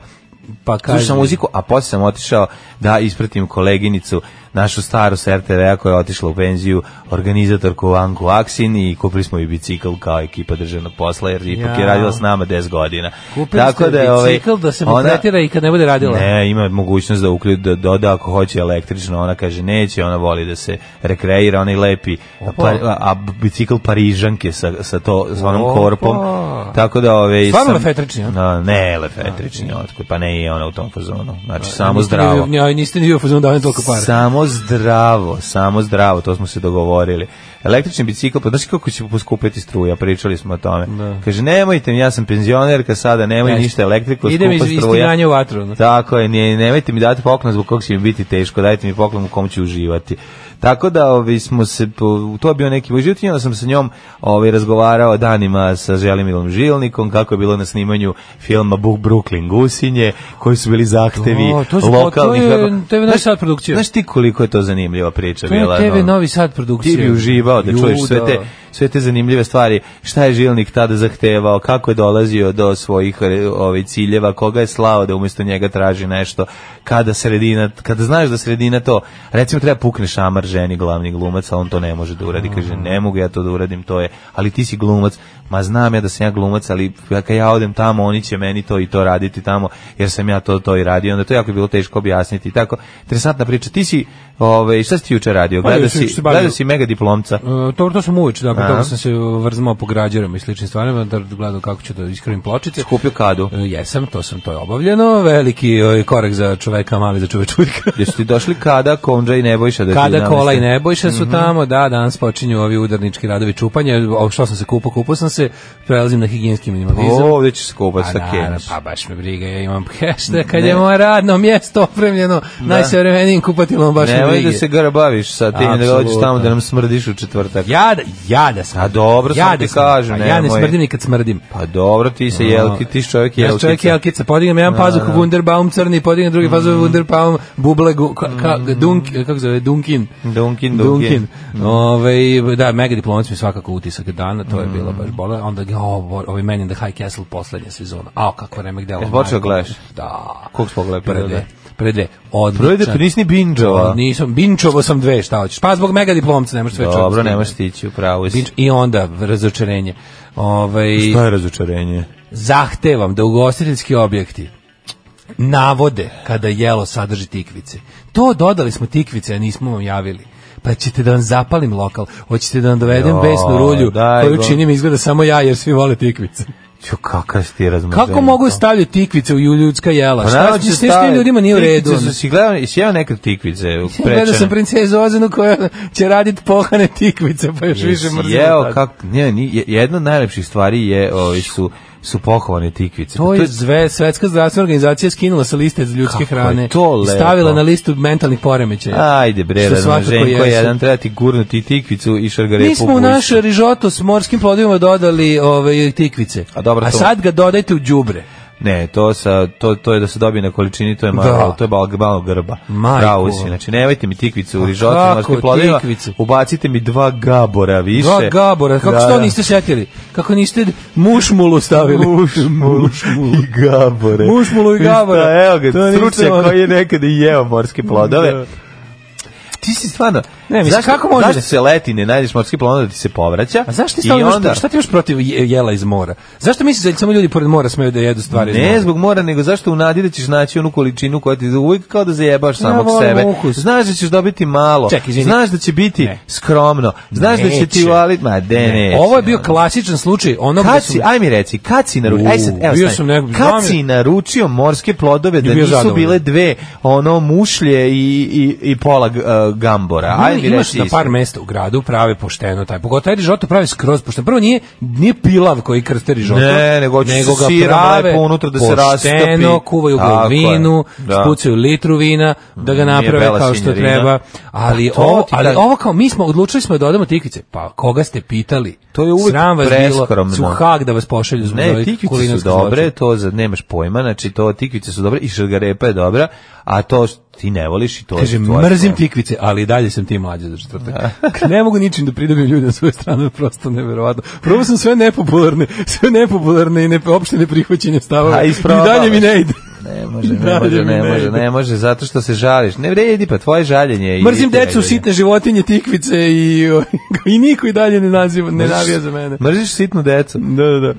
S6: pa
S5: Slušao sam
S6: kaže,
S5: muziku, a posle sam otišao da ispratim koleginicu, našu staru s RTV-a koja je otišla u penziju, organizatorku Anku Aksin i kupili smo i bicikl kao ekipa državnog posla, jer ipak je
S6: Jao.
S5: radila s nama 10 godina.
S6: kupili ste
S5: je, ovaj,
S6: bicikl da se mu
S5: ona-
S6: tretira i kad ne bude radila.
S5: ne, ima mogućnost da uključi da doda ako hoće električno, ona kaže neće, ona voli da se rekreira, ona i lepi pa, a, a bicikl Parižanke sa, sa to sa onom
S6: Opa.
S5: korpom. Tako da ove
S6: Stvarno lefetrični, a?
S5: Na, ne, lefetrični, otkud, pa ne i ona u tom fazonu. Znači samo
S6: Niste ni
S5: zdravo.
S6: vi- Ne, niste ni bio fuzon da vam je toliko para.
S5: Samo zdravo, samo zdravo, to smo se dogovorili. Električni bicikl, pa znaš kako će poskupiti struja, pričali smo o tome. Kaže, nemojte mi, ja sam penzionerka sada, nemoj
S6: Jeste.
S5: ništa elektriku,
S6: Idem iz
S5: skupa struja.
S6: istiranja u vatru. ono.
S5: Tako je, nije, nemojte mi dati poklon zbog kog će mi biti teško, dajte mi poklon u kom ću uživati. Tako da ovi smo se, po- to je bio neki moj život i onda sam sa njom ovaj, razgovarao danima sa Želimilom Žilnikom, kako je bilo na snimanju filma Book Brooklyn Gusinje, koji su bili zahtevi
S6: O, to su-
S5: lokalnih...
S6: to je
S5: kako-
S6: TV Novi
S5: Znaš-
S6: Sad produkcija.
S5: Znaš ti koliko je to zanimljiva priča
S6: To
S5: bila? ono?
S6: je TV
S5: no?
S6: Novi Sad produkcija.
S5: ti bi uživao da
S6: Ju,
S5: čuješ sve
S6: da.
S5: te, sve te zanimljive stvari, šta je Žilnik tada zahtevao, kako je dolazio do svojih e, ovaj, ciljeva, koga je slao da umjesto njega traži nešto, kada sredina, kada znaš da sredina to, recimo treba pukne šamar ženi glavni glumac, a on to ne može da uradi, kaže ne mogu ja to da uradim, to je, ali ti si glumac, ma znam ja da sam ja glumac, ali kad ja odem tamo, oni će meni to i to raditi tamo, jer sam ja to to i radio, onda to je jako bilo teško objasniti, i tako, interesantna priča, ti si, ovaj, šta si ti juče radio,
S6: Pa,
S5: gledao
S6: juče-
S5: si,
S6: juče se bavio-
S5: gledao si mega diplomca,
S6: E, to, to sam uveč, da,
S5: Aha.
S6: pre toga sam se vrzmao po građarama i sličnim stvarima, da gledao kako ću da iskrim pločice.
S5: kupio kadu.
S6: E, Jesam, to sam, to je obavljeno, veliki e, korak za čoveka, mali za
S5: [LAUGHS]
S6: čovečuljka.
S5: Jesu ti došli kada, Konđa i Nebojša? Da Mhm. ti
S6: Kada
S5: nameste?
S6: kola i nebojša su tamo, da, danas počinju ovi udarnički radovi čupanja, o, što sam se kupao, kupao sam se, prelazim na higijenski minimalizam.
S5: O, ovdje će se kupat
S6: A
S5: sa
S6: naravno,
S5: Keniš.
S6: pa baš me briga, ja imam hashtag, kad je moje radno mjesto opremljeno najsavremenijim kupatilom, baš me
S5: Nemoj
S6: briga.
S5: da se grbaviš sa tim, da dođeš
S6: Apsolutno.
S5: tamo da nam smrdiš u četvrtak.
S6: Ja da, ja da sam.
S5: A dobro sam ti
S6: smrdim.
S5: kažem,
S6: Pa ja ne
S5: nemoj.
S6: smrdim ni kad smrdim.
S5: Pa dobro, ti se jelki, ti si čovjek
S6: Ja
S5: jelkica.
S6: sam čovjek jelkica, podignem jedan pazuk Wunderbaum crni, podignem drugi pazuk
S5: Mm.
S6: Wunderbaum buble, gu- ka, ka, dunk, kako zove, Dunkin.
S5: Dunkin, Mm. Dunkin.
S6: Dunkin. Ovaj da, mega diplomac mi svakako utisak dana, to je bilo
S5: Mm.
S6: baš bole. Onda ga, o, bo- ovaj Men in the High Castle poslednja sezona. A, kako vreme gde ovo.
S5: Jesi počeo
S6: majko?
S5: gledaš?
S6: Da.
S5: Koliko smo gledali?
S6: Pre
S5: Da, da.
S6: dve. Pre dve. Odličan. Pa
S5: Prvo ide, tu pa nisi ni binđova.
S6: Nisam, binčovo sam dve, šta hoćeš. Pa zbog mega diplomca nemaš sve
S5: Dobro, nemaš stići, upravo si.
S6: Binč- I onda razočarenje. Ovaj,
S5: Šta je razočarenje?
S6: zahtevam da ugostiteljski objekti navode kada jelo sadrži tikvice. To dodali smo tikvice, a nismo vam javili. Pa ćete da vam zapalim lokal, hoćete da vam dovedem
S5: Joj,
S6: besnu rulju
S5: daj
S6: koju
S5: go.
S6: činim izgleda samo ja jer svi vole tikvice.
S5: Ću, kakav si ti Pa razmažen.
S6: Kako mogu stavljati tikvice u ljudska
S5: Pa
S6: jela? Šta će s tim ljudima nije u redu? ono?
S5: Tikvice su si gledao, jesi jeo nekad tikvice u
S6: Gledao sam
S5: prečane?
S6: princezu Ozanu koja će raditi pohane tikvice, pa još više
S5: Jesi
S6: mrzim.
S5: jeo
S6: tad.
S5: kako, ne, ni- jedna od najlepših stvari je, ovi su, su pohovane tikvice. Pa
S6: To je zve, svetska zdravstvena organizacija skinula sa liste
S5: Kako
S6: ljudske
S5: je
S6: hrane
S5: to
S6: i stavila
S5: lepo.
S6: na listu mentalnih poremećaja.
S5: Ajde bre,
S6: Što svakako
S5: razmaženko
S6: jesu.
S5: jedan, treba ti gurnuti tikvicu i šargarepu.
S6: Mi smo u
S5: guštu.
S6: naš rižoto s morskim plodovima dodali ove tikvice.
S5: A dobro, to-
S6: sad ga dodajte u đubre.
S5: Ne, to, sa, to, to je da se dobije na količini, to je malo,
S6: Da.
S5: to je malo, malo grba.
S6: Majko. Pa
S5: Pravo si, znači nemojte mi tikvicu u rižotu,
S6: kako
S5: morske plodeva,
S6: tikvice?
S5: ubacite mi dva gabora više.
S6: Dva gabora, kako
S5: Da,
S6: što
S5: da.
S6: niste setili? Kako niste mušmulu stavili? [LAUGHS]
S5: Mušmulu i gabore.
S6: Mušmulu i gabore.
S5: Šta, evo ga,
S6: To nisam ono.
S5: stručnjak koji je nekada i jeo morske plodove. Ti si stvarno...
S6: Ne, mislim,
S5: zašto,
S6: kako može
S5: Zašto
S6: da-
S5: se leti, ne najdeš morski plodove da ti se povraća?
S6: A zašto
S5: I
S6: ti stalno imaš-
S5: onda-
S6: šta ti još protiv je- jela iz mora? Zašto misliš da samo ljudi pored mora smeju da jedu stvari iz
S5: Ne
S6: mora?
S5: zbog mora, nego zašto u nadi da ćeš naći onu količinu koja ti uvijek kao da zajebaš samog
S6: volim
S5: sebe.
S6: ukus.
S5: Znaš da ćeš dobiti malo.
S6: Ček, izvini.
S5: znaš da će biti
S6: Ne.
S5: skromno. Znaš da će ti
S6: Neće.
S5: valiti, ma de, neće,
S6: Ovo je bio
S5: ono.
S6: klasičan slučaj onog gde
S5: Kad
S6: su...
S5: si, aj mi reci, kad si naručio, aj sad,
S6: U,
S5: evo
S6: bio
S5: stani.
S6: sam nekog- znam
S5: kad
S6: je-
S5: si naručio morske plodove da
S6: bio
S5: nisu
S6: zadovoljan.
S5: bile dve, ono, mušlje i, i, i pola uh, gambora, aj mi
S6: imaš
S5: reci.
S6: na par
S5: isto.
S6: mesta u gradu prave pošteno taj. Pogotovo taj rižoto pravi skroz pošteno. Prvo nije nije pilav koji krste rižoto.
S5: Ne, nego hoće sa
S6: ga
S5: sirom
S6: prave
S5: lepo unutra da se
S6: Pošteno
S5: rastopi.
S6: kuvaju ga u
S5: Tako je,
S6: vinu,
S5: da.
S6: spucaju litru vina da ga
S5: Nije
S6: naprave
S5: bela
S6: kao što
S5: signorina.
S6: treba. Ali
S5: Pa to
S6: ovo,
S5: ti
S6: ali
S5: kažem.
S6: ovo kao mi smo odlučili smo da dodamo tikvice. Pa koga ste pitali?
S5: To je uvek
S6: Sram vas bilo.
S5: preskromno.
S6: Suhag da vas pošalju zbog
S5: Ne,
S6: ovih
S5: tikvice su
S6: kulinarskih
S5: dobre,
S6: zločina.
S5: to za, nemaš pojma, znači to tikvice su dobre i šargarepa je dobra, a to š- ti ne voliš i to
S6: Kaže,
S5: je tvoja
S6: mrzim
S5: stvar.
S6: tikvice, ali i dalje sam ti mlađe za četvrtak. [LAUGHS] ne mogu ničim da pridobijem ljude na svoju stranu, prosto neverovatno. Probao sam sve nepopularne, sve nepopularne i ne, opšte neprihvaćenje stavova.
S5: A,
S6: I
S5: isprobavaš.
S6: dalje mi ne ide.
S5: Ne može, ne
S6: Dalje
S5: može,
S6: mi
S5: ne
S6: ne
S5: može,
S6: ide.
S5: ne može, zato što se žališ. Ne vredi, pa tvoje žaljenje. je i
S6: Mrzim
S5: ti ne
S6: decu,
S5: vredi.
S6: sitne životinje, tikvice i, [LAUGHS] i niko i dalje ne naziva, ne
S5: Mrziš-
S6: navija za mene.
S5: Mrziš sitnu decu.
S6: Da, da, da.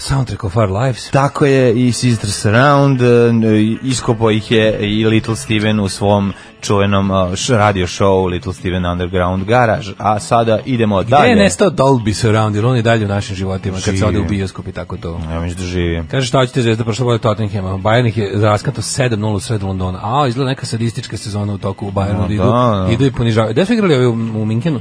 S6: Soundtrack of our lives.
S5: Tako je i Sister Surround, e, iskopao ih je i Little Steven u svom čuvenom e, š- radio show Little Steven Underground Garage. A sada idemo
S6: Gde
S5: dalje.
S6: je nestao Dolby Surround, jer on je dalje u našim životima, kad se
S5: Živi.
S6: ode u bioskop i tako to.
S5: Ja mislim da živi.
S6: Kaže šta hoćete zvezda prošle godine Tottenhema. Bayern ih je raskanto 7:0 u sred Londona. A izgleda neka sadistička sezona u toku u Bayernu.
S5: No,
S6: da idu,
S5: da, da.
S6: idu i ponižavaju. Gde su igrali ovi u, u Minhenu?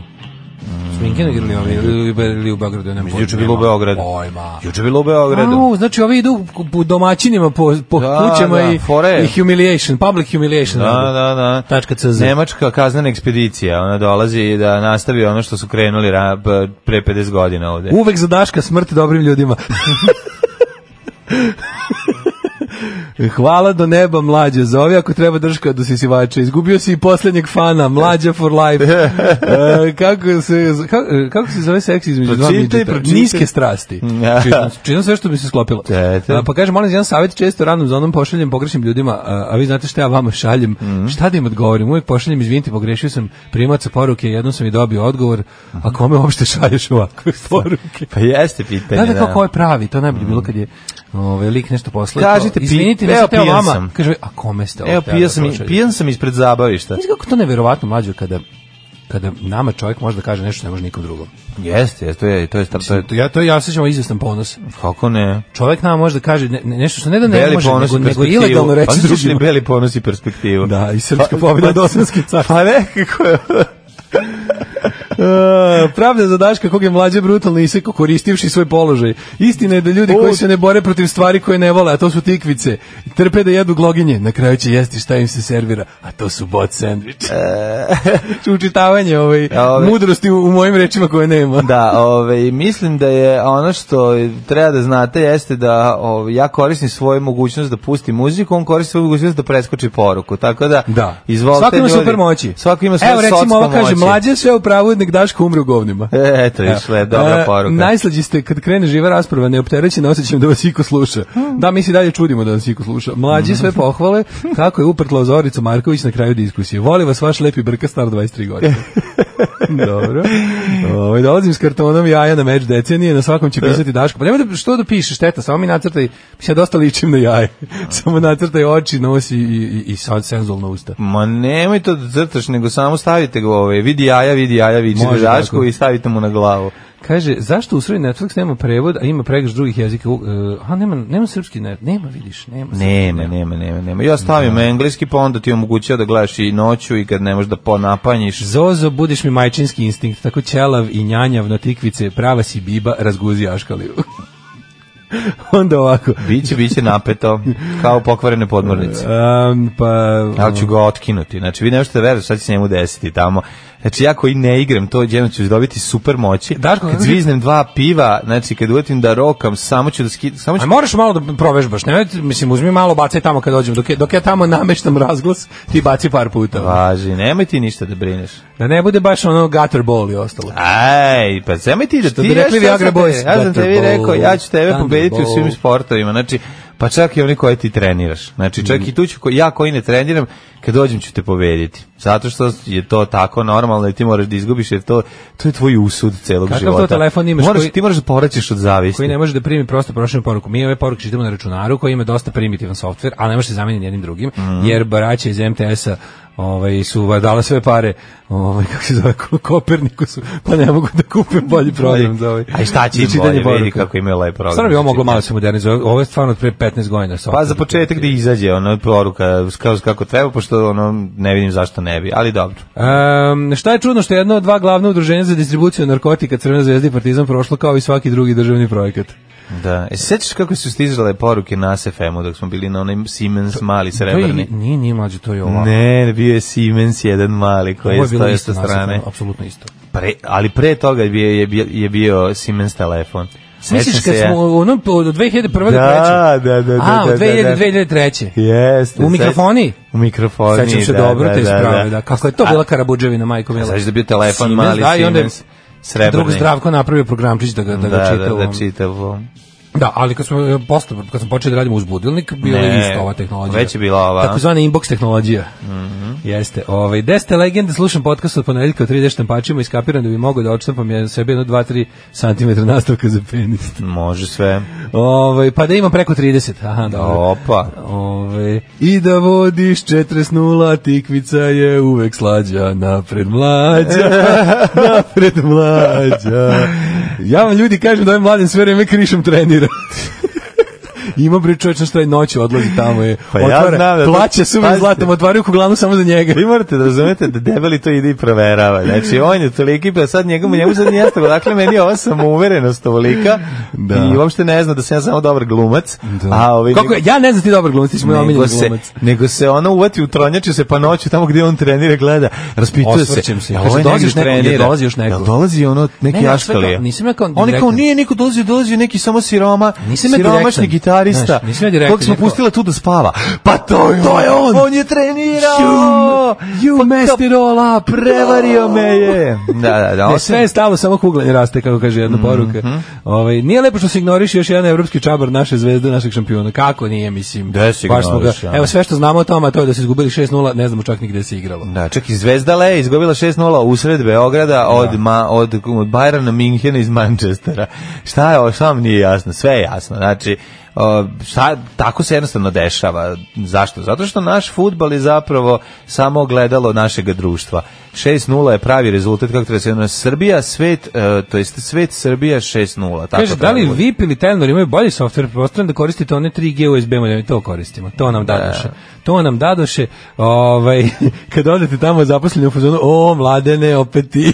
S6: S Minhenu igrali ovi ili, ili, ili u Beogradu, ne
S5: Juče bilo u Beogradu.
S6: Pojma.
S5: Juče je bilo u Beogradu.
S6: Au, znači ovi idu po domaćinima po, po
S5: Da,
S6: kućama
S5: da,
S6: i,
S5: fora je.
S6: i humiliation, public humiliation.
S5: Da, da, da.
S6: Tačka CZ.
S5: Nemačka kaznena ekspedicija, ona dolazi da nastavi ono što su krenuli ra- b- pre 50 godina ovde. [LAUGHS]
S6: Uvek za Daška smrt dobrim ljudima. Hvala do neba mlađe, zove ako treba drška do sisivača. Izgubio si i poslednjeg fana, mlađa for
S5: [LAUGHS]
S6: life. E, kako, se, kako, kako se zove seks između dva
S5: Pročitaj,
S6: midžeta?
S5: pročitaj.
S6: Niske strasti. znači,
S5: Da.
S6: Čitam, čitam sve što mi se sklopilo.
S5: Te, te.
S6: A, Pa kaže, molim, vas, jedan savjet često ranom zonom pošaljem pogrešnim ljudima, a, a vi znate šta ja vama šaljem,
S5: Mhm.
S6: šta da im odgovorim? Uvijek pošaljem, izvinite, pogrešio sam primaca poruke, jednom sam i dobio odgovor, a kome uopšte
S5: [LAUGHS]
S6: šalješ ovakve poruke?
S5: Pa jeste pitanje,
S6: Da,
S5: da. Mhm.
S6: da, kao ko je pravi, to najbolje bilo kad je ovaj lik nešto poslao.
S5: Kažite,
S6: to, izvinite,
S5: pi-
S6: nisam
S5: evo,
S6: teo
S5: pijan
S6: vama.
S5: sam.
S6: Kaže, a kome ste ovo?
S5: Evo,
S6: hteli
S5: pijan
S6: da
S5: sam, i-
S6: pošaljete?
S5: pijan sam ispred zabavišta.
S6: Mislim kako to neverovatno mlađe kada kada nama čovjek može da kaže nešto što ne može nikom drugom.
S5: Jeste, jeste, to je, to je, star- to je,
S6: To ja to ja sećam izvestan ponos.
S5: kako ne?
S6: Čovjek nama može da kaže ne, ne- nešto što ne da ne
S5: Beli
S6: može,
S5: ponos
S6: nego,
S5: i
S6: nego
S5: perspektivu.
S6: ilegalno
S5: Pa
S6: reći
S5: znaš li
S6: drugima.
S5: Beli ponos i perspektivu.
S6: Da, i srpska pobjeda od Osmanske carstva.
S5: Pa nekako je.
S6: [LAUGHS] E, pravda za Daška kog je mlađe brutalno isekao koristivši svoj položaj. Istina je da ljudi koji se ne bore protiv stvari koje ne vole, a to su tikvice, trpe da jedu gloginje, na kraju će jesti šta im se servira, a to su bot sandvič.
S5: E.
S6: [LAUGHS] Učitavanje ovaj,
S5: Ove-
S6: mudrosti u, u mojim rečima koje nema.
S5: Da, ovaj mislim da je ono što treba da znate jeste da ovaj ja koristim svoju mogućnost da pustim muziku, on koristi svoju mogućnost da preskoči poruku. Tako da,
S6: Da.
S5: izvolite.
S6: Svako ima
S5: ljudi.
S6: super moći.
S5: Svako ima svoje
S6: Evo recimo
S5: socsko
S6: ova kaže,
S5: moći.
S6: mlađe sve u pravu, nek Daško umre u govnima.
S5: E, Eto, išla je dobra
S6: E,
S5: poruka.
S6: Najslađi ste kad krene živa rasprava, neopterećena osjećam da vas iko sluša. Da, mi se i dalje čudimo da vas iko sluša. Mlađi sve
S5: [LAUGHS]
S6: pohvale kako je uprtla Zoricu Marković na kraju diskusije. Voli vas vaš lepi brka star 23
S5: [LAUGHS]
S6: godine. Dobro. Ovaj dolazim s kartonom jaja na meč decenije, na svakom će pisati Daško. Pa nemoj da što da pišeš, šteta, samo mi nacrtaj. mislim, Ja dosta ličim na jaje. samo nacrtaj oči, nos i i, i, i sad senzualna usta.
S5: Ma nemoj to da crtaš, nego samo stavite ga ovaj, vidi jaja, vidi jaja, vidi
S6: Može
S5: Daško
S6: tako.
S5: i stavite mu na glavu.
S6: Kaže, zašto u Srbiji Netflix nema prevod, a ima pregrš drugih jezika? Uh, a, nema, nema srpski, ne, nema, vidiš, nema. srpski,
S5: Nema, nema, nema, nema. Ja stavim engleski, pa onda ti omogućava da gledaš i noću i kad ne možeš da ponapanjiš.
S6: Zozo, budiš mi majčinski instinkt, tako ćelav i njanjav na tikvice, prava si biba, razguzi aškaliju. [LAUGHS] Onda ovako.
S5: Biće, biće napeto, kao pokvarene podmornice.
S6: Um, pa,
S5: ali ću ga otkinuti. Znači, vi ne možete verati šta će se njemu desiti tamo. Znači, ja koji ne igram to, jedno ću dobiti super moći.
S6: Daško,
S5: kad
S6: kako-
S5: zviznem dva piva, znači, kad uvetim da rokam, samo ću da skidam, samo ću...
S6: A moraš malo da provežbaš, ne, mislim, uzmi malo, bacaj tamo kad dođem, dok, je, dok ja tamo nameštam razglas, ti baci par puta.
S5: Važi, nemoj ti ništa da brineš.
S6: Da ne bude baš ono gutter ball i ostalo.
S5: Aj, pa nemoj ti da
S6: Što
S5: ti
S6: bi
S5: ja
S6: rekli
S5: šta
S6: Viagra
S5: sam te-
S6: Boys,
S5: Ja sam
S6: Gutter
S5: tebi
S6: Ball,
S5: rekao, ja ću tebe
S6: Thunder
S5: pobediti u svim
S6: Ball.
S5: sportovima. Znači, pa čak i oni koji ti treniraš. Znači, čak i tu ću, ko- ja koji ne treniram, kad dođem ću te pobediti. Zato što je to tako normalno i ti moraš da izgubiš, jer to, to je tvoj usud celog
S6: Kakav to
S5: života.
S6: telefon imaš
S5: moraš,
S6: koji-
S5: Ti moraš da poraćeš od zavisti.
S6: koji ne može da primi prosto prošljenu poruku. Mi ove poruke čitamo na računaru koji ima dosta primitivan softver, ali ne može se zameniti jednim drugim,
S5: Mhm.
S6: jer baraće iz MTS-a ovaj, su dala sve pare ovaj, [LAUGHS] kako se zove, Ko- Koperniku su, pa ne mogu da kupe bolji program za ovaj.
S5: A
S6: [LAUGHS]
S5: šta će
S6: za
S5: im
S6: čitanje
S5: bolje, vidi
S6: poruka.
S5: kako imaju lep program.
S6: Stvarno bi ovo moglo
S5: Znači,
S6: malo se modernizuje. Ovo je stvarno od pre 15 godina. softver.
S5: Pa za početak da izađe ono poruka kao kako treba, pošto ono ne vidim zašto ne bi, ali dobro.
S6: Ehm, šta je čudno što je jedno od dva glavna udruženja za distribuciju narkotika Crvena zvezda i Partizan prošlo kao i svaki drugi državni projekat.
S5: Da. E, se sećaš kako su stizale poruke na SFM-u dok smo bili na onim Siemens mali
S6: To je,
S5: srebrni?
S6: nije, nije mlađe, to je ovako.
S5: Ne, bio je Siemens jedan mali koji
S6: Ovo
S5: je
S6: je bilo
S5: stoje
S6: isto
S5: sa
S6: nasledno,
S5: strane.
S6: Apsolutno isto.
S5: Pre, ali pre toga je bio, je bio, je bio Siemens telefon.
S6: Misliš
S5: Sećam
S6: kad
S5: se ja.
S6: smo u onom od 2001. do 2003.
S5: Da, da, da, da,
S6: A,
S5: da, da,
S6: od 2000
S5: da.
S6: 2003.
S5: Jeste.
S6: U
S5: se-
S6: mikrofoni?
S5: U mikrofoni,
S6: Sećam se
S5: da,
S6: dobro
S5: da,
S6: te
S5: da,
S6: isprave, da. Kako je to
S5: A-
S6: bila Karabudževina,
S5: A
S6: majko mila.
S5: Znaš da je bio telefon
S6: Siemens,
S5: mali
S6: da, i onda je
S5: Siemens srebrni.
S6: Drug Zdravko napravio programčić da ga, da
S5: da,
S6: ga
S5: da,
S6: čita. u
S5: da,
S6: ovom-
S5: čita u ovom.
S6: Da, ali kad smo e, posle kad smo počeli da radimo uz budilnik, bila je
S5: Ne,
S6: isto ova tehnologija.
S5: već je bila Mhm. ova.
S6: Takozvana inbox tehnologija. Jeste. Ovaj Deste legende slušam podcast od ponedeljka o 3D štampačima i skapiram da bi mogao da odštampam ja sebi jedno 2-3 cm nastavka za penis.
S5: Može sve.
S6: Ovaj pa da ima preko 30. Aha, dobro.
S5: Opa. Ovaj.
S6: Ove, I da vodiš 40 nula, tikvica je uvek slađa, napred
S5: [LAUGHS]
S6: mlađa, napred mlađa. Ja vam ljudi kažem da ovaj mladen sve vreme krišom trenira.
S5: [LAUGHS]
S6: Ima bre čovječ na šta je noću odlazi tamo je.
S5: Pa ja znam da to-
S6: plaća suvim
S5: pazite.
S6: zlatom, otvaraju kuglavnu samo za njega.
S5: Vi morate da razumete da debeli to ide i proverava. Znači, on je toliki, pa sad njegov, njemu sad nije jasno, dakle, meni je ova samouverenost ovolika
S6: Da.
S5: i uopšte ne zna da sam ja samo dobar glumac.
S6: Da.
S5: A ovaj,
S6: Kako,
S5: nego-
S6: ja ne znam ti dobar glumac, ti smo moj
S5: nego
S6: omiljeni
S5: se,
S6: glumac.
S5: nego se ona uvati u tronjaču se pa noću tamo gdje on trenira gleda, raspituje se.
S6: Osvrćem se.
S5: jel
S6: Kaže,
S5: ovaj
S6: dolazi
S5: negdje
S6: još neko, jel
S5: trenira?
S6: dolazi još neko?
S5: Jel dolazi ono neki
S6: Ne, ne, sve
S5: aškalija?
S6: kao- nisam ja kao
S5: Oni kao
S6: direktno.
S5: nije niko dolazi, dolazi neki samo siroma,
S6: Nisam ja
S5: siromašni
S6: direktan.
S5: gitarista.
S6: Znaš, nisam ja direktno
S5: Kog smo
S6: rekao.
S5: pustila tu da spava. Pa to je, to je on. On je trenirao.
S6: You messed it all up.
S5: Prevario me je. Da, E, da, Mhm. da.
S6: Ne,
S5: on
S6: sve je stalo, samo kuglanje raste, kako kaže jedna poruka. Ovaj, nije lepo što se ignoriš još jedan evropski čabar naše zvezde, našeg šampiona. Kako nije, mislim.
S5: Da se
S6: Baš smo
S5: ignoriš, ja.
S6: Evo sve što znamo o tome, a to je da se izgubili 6-0, ne znamo čak ni gde se igralo.
S5: Da, čak i Zvezda Le je izgubila 6-0 usred Beograda od, ma, od, od Bajrana Minhena iz Manchestera. Šta je ovo, šta vam nije jasno? Sve je jasno. Znači, o, šta, tako se jednostavno dešava. Zašto? Zato što naš futbal je zapravo samo gledalo našeg društva. 6-0 je pravi rezultat kako treba se ono, Srbija, svet, e, to jest svet Srbija 6-0. Tako
S6: Kaže, da
S5: treba
S6: li
S5: bude.
S6: VIP ili Telnor imaju bolji softver? Pretpostavljam da koristite one 3G USB modem, to koristimo. To nam dadoše. To nam dadoše. Ovaj, [LAUGHS] kad odete tamo zaposleni u fazonu, o, mladene, opet ti.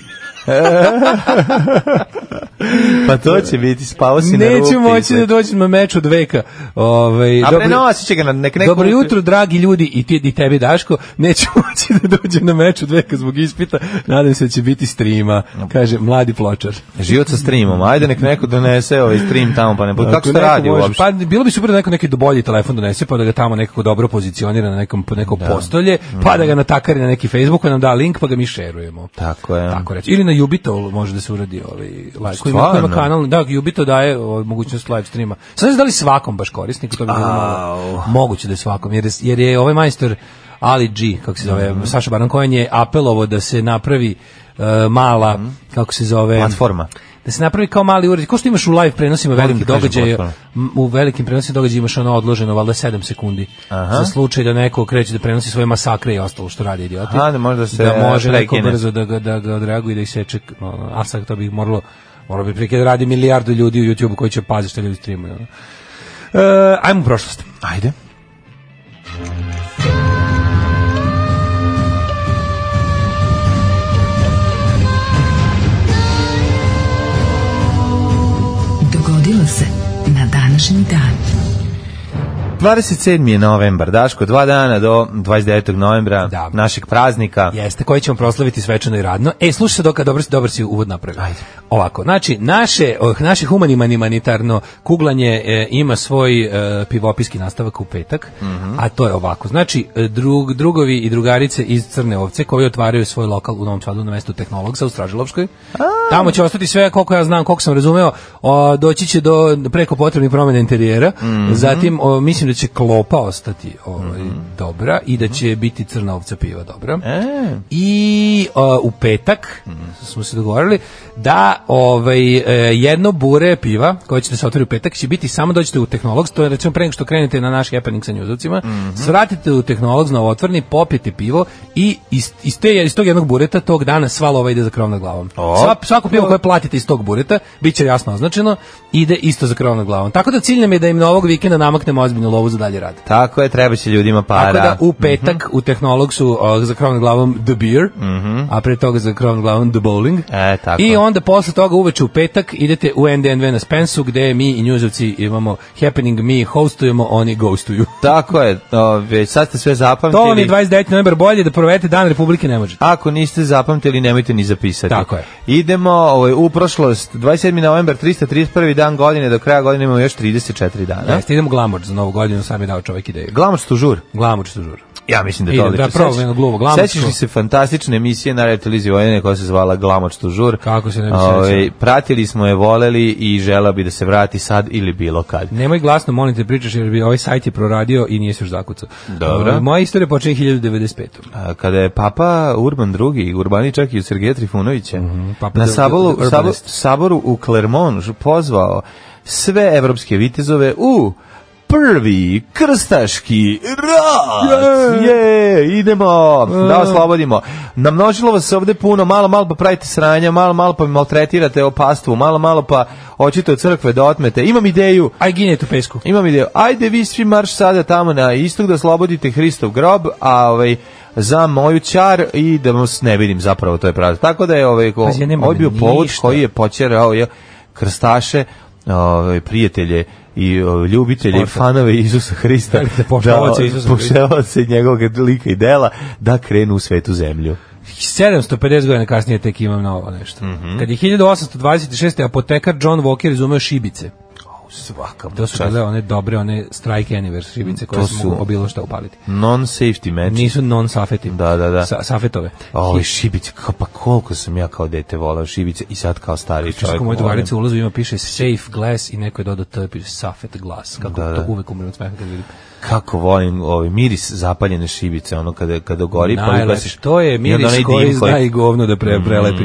S5: Pa to će biti, spavo [LAUGHS] si na rupi.
S6: Neću moći da dođem na meč od veka. Ovaj,
S5: A
S6: dobro-
S5: prenosit će ga na nek, neku...
S6: Dobro jutro, dragi ljudi, i ti i tebi, Daško. Neću [LAUGHS] moći da dođem na meč od veka zbog ispita. Nadam se da će biti streama, kaže mladi pločar.
S5: Život sa streamom. Ajde nek neko donese ovaj stream tamo pa ne bude. Kako
S6: Ako
S5: se to
S6: neko
S5: radi
S6: može-
S5: uopšte?
S6: Pa bilo bi super da neko neki do bolji telefon donese pa da ga tamo nekako dobro pozicionira na nekom po neko postolje, pa da ga natakari na neki Facebook, nam da link pa ga mi šerujemo.
S5: Mm. Tako je.
S6: Tako reći. Ili na Jubito može da se uradi ovaj live. Koji ima,
S5: Stvarno?
S6: koji ima kanal, da, Jubito daje ovaj, mogućnost live streama. Sad ne znam da li svakom baš korisniku, to bi bilo malo moguće da je svakom, jer je, jer je ovaj majstor Ali G, kako se zove,
S5: Mhm.
S6: Saša Baron Cohen je apelovo da se napravi e, mala, kako se zove,
S5: Mhm. Platforma.
S6: da se napravi kao mali uređaj. Ko što imaš u live prenosima velikih
S5: ti kažem
S6: događaja,
S5: potpuno.
S6: m, u velikim prenosima događaja imaš ono odloženo valjda 7 sekundi. Za slučaj da neko kreće da prenosi svoje masakre i ostalo što radi idioti.
S5: Aha, da može da se,
S6: da može
S5: e,
S6: neko
S5: prekine.
S6: brzo da ga da ga odreaguje da ih seče, ono, a sad to bi moralo moralo bi prekid radi milijardu ljudi u YouTubeu koji će paziti šta ljudi streamuju. ono. E, ajmo u prošlost.
S5: Ajde.
S4: Dogodilo se na današnji dan.
S5: 27. je novembar, Daško, dva dana do 29. novembra
S6: Da.
S5: našeg praznika.
S6: Jeste, koji ćemo proslaviti svečano i radno. E, slušaj se doka, dobro, si- dobar si uvod napravio. Ovako, znači, naše, oh, naše humaniman- humanitarno kuglanje e, ima svoj e, pivopiski nastavak u petak, a to je ovako. Znači, e, drug, drugovi i drugarice iz Crne ovce koji otvaraju svoj lokal u Novom Sadu na mestu tehnologsa u Stražilovskoj. Tamo će ostati sve, koliko ja znam, koliko sam razumeo, o, doći će do preko potrebnih promjena interijera. Zatim, o, mislim da će klopa ostati ovaj, dobra i da će biti Crna ovca piva dobra.
S5: E,
S6: I uh, u petak smo se dogovorili da ovaj e, jedno bure piva koje ćete se otvori u petak će biti samo dođete u Tehnologs, to je recimo pre nego što krenete na naš happening sa njuzovcima, svratite u Tehnologs novootvorni, popijete pivo i iz, iz, te, iz tog jednog bureta tog dana sva lova ide za krov nad glavom.
S5: O.
S6: Sva, svako pivo koje platite iz tog bureta bit će jasno označeno, ide isto za krov nad glavom. Tako da cilj nam je da im na ovog vikenda namaknemo ozbiljnu lovu za dalje rad.
S5: tako je, treba će ljudima para. Mhm.
S6: Tako da u petak u Tehnologsu uh, za krovnom glavom The Beer, a pre toga za krovnom glavom The Bowling.
S5: Mhm. E, tako.
S6: I onda posle toga uveče u petak idete u NDNV na Spensu gde mi i njuzovci imamo happening, mi hostujemo, oni ghostuju.
S5: Tako je, ove, sad ste sve zapamtili.
S6: [LAUGHS] To vam je 29. novembar bolje da provedete Dan Republike ne možete.
S5: Ako niste zapamtili, nemojte ni zapisati.
S6: Tako je.
S5: Idemo ovaj, u prošlost. 27. novembar, 331. dan godine, do kraja godine imamo još 34 dana.
S6: Jeste, idemo glamoč za novu godinu, sam je dao čovjek ideju.
S5: Glamoč tu žur.
S6: Glamoč su žur.
S5: Ja mislim da je
S6: Idem,
S5: to odlično.
S6: da, probam jedno gluvo glamočko.
S5: Sećaš li se fantastične emisije na televiziji Vojvodine koja se zvala Glamoč tužur?
S6: Kako se ne bi
S5: Ovaj,
S6: sećao.
S5: Pratili smo je, voleli i žela bi da se vrati sad ili bilo kad.
S6: Nemoj glasno, molim te, pričaš jer bi ovaj sajt je proradio i nije se još zakucao.
S5: Dobro.
S6: Uh, Moja istorija počinje 1095.
S5: A, Kada je papa Urban II, urbaničak i od Sergeja Trifunovića,
S6: Mhm, papa
S5: na
S6: the- the-
S5: saboru,
S6: the
S5: sabo,
S6: urbanist.
S5: saboru u Clermont pozvao sve evropske vitezove u prvi krstaški rat. Je, idemo,
S6: E.
S5: da oslobodimo. Namnožilo vas se ovde puno, malo, malo pa pravite sranja, malo, malo pa maltretirate opastvu, malo, malo pa očite od crkve da otmete. Imam ideju,
S6: Aj, ginjete u pesku.
S5: imam ideju. Ajde vi svi marš sada tamo na istog da slobodite Hristov grob, a ovaj za moju čar i da vas ne vidim zapravo to je pravda. Tako da je ovaj ko
S6: Pazi, ja nemam
S5: ovaj bio povod
S6: ništa.
S5: koji je počerao je krstaše, ovaj prijatelje i ovaj, ljubitelje i
S6: Ortak.
S5: fanove Isusa Hrista,
S6: Velite poštovaoce Isusa Hrista.
S5: poštovaoce njegovog lika i dela da krenu u svetu zemlju.
S6: 750 godina kasnije tek
S5: Mhm.
S6: imam novo nešto. Kad je 1826. apotekar John Walker izumeo šibice.
S5: Svaka mu
S6: To su
S5: čast.
S6: bile one dobre, one strike anniversary šibice koje
S5: Mm, To
S6: su
S5: su-
S6: mogu bilo šta upaliti.
S5: Non safety match.
S6: Nisu non safetim.
S5: Da, da, da.
S6: Sa, safetove.
S5: Oj, šibice, ka- pa koliko sam ja kao dete volao šibice i sad kao stari čovjek.
S6: Čovjek moja
S5: volim.
S6: drugarica u ulazu ima piše safe glass i neko je dodao T, piše safet glass. Kako
S5: Da, da.
S6: to uvek umrem od smeha kad vidim.
S5: Kako volim ovaj miris zapaljene šibice, ono kada kada gori pa
S6: Najlepše.
S5: ubaciš.
S6: To je
S5: i onda onaj Mhm.
S6: miris
S5: dim
S6: koji zna i govno da pre, prelepi.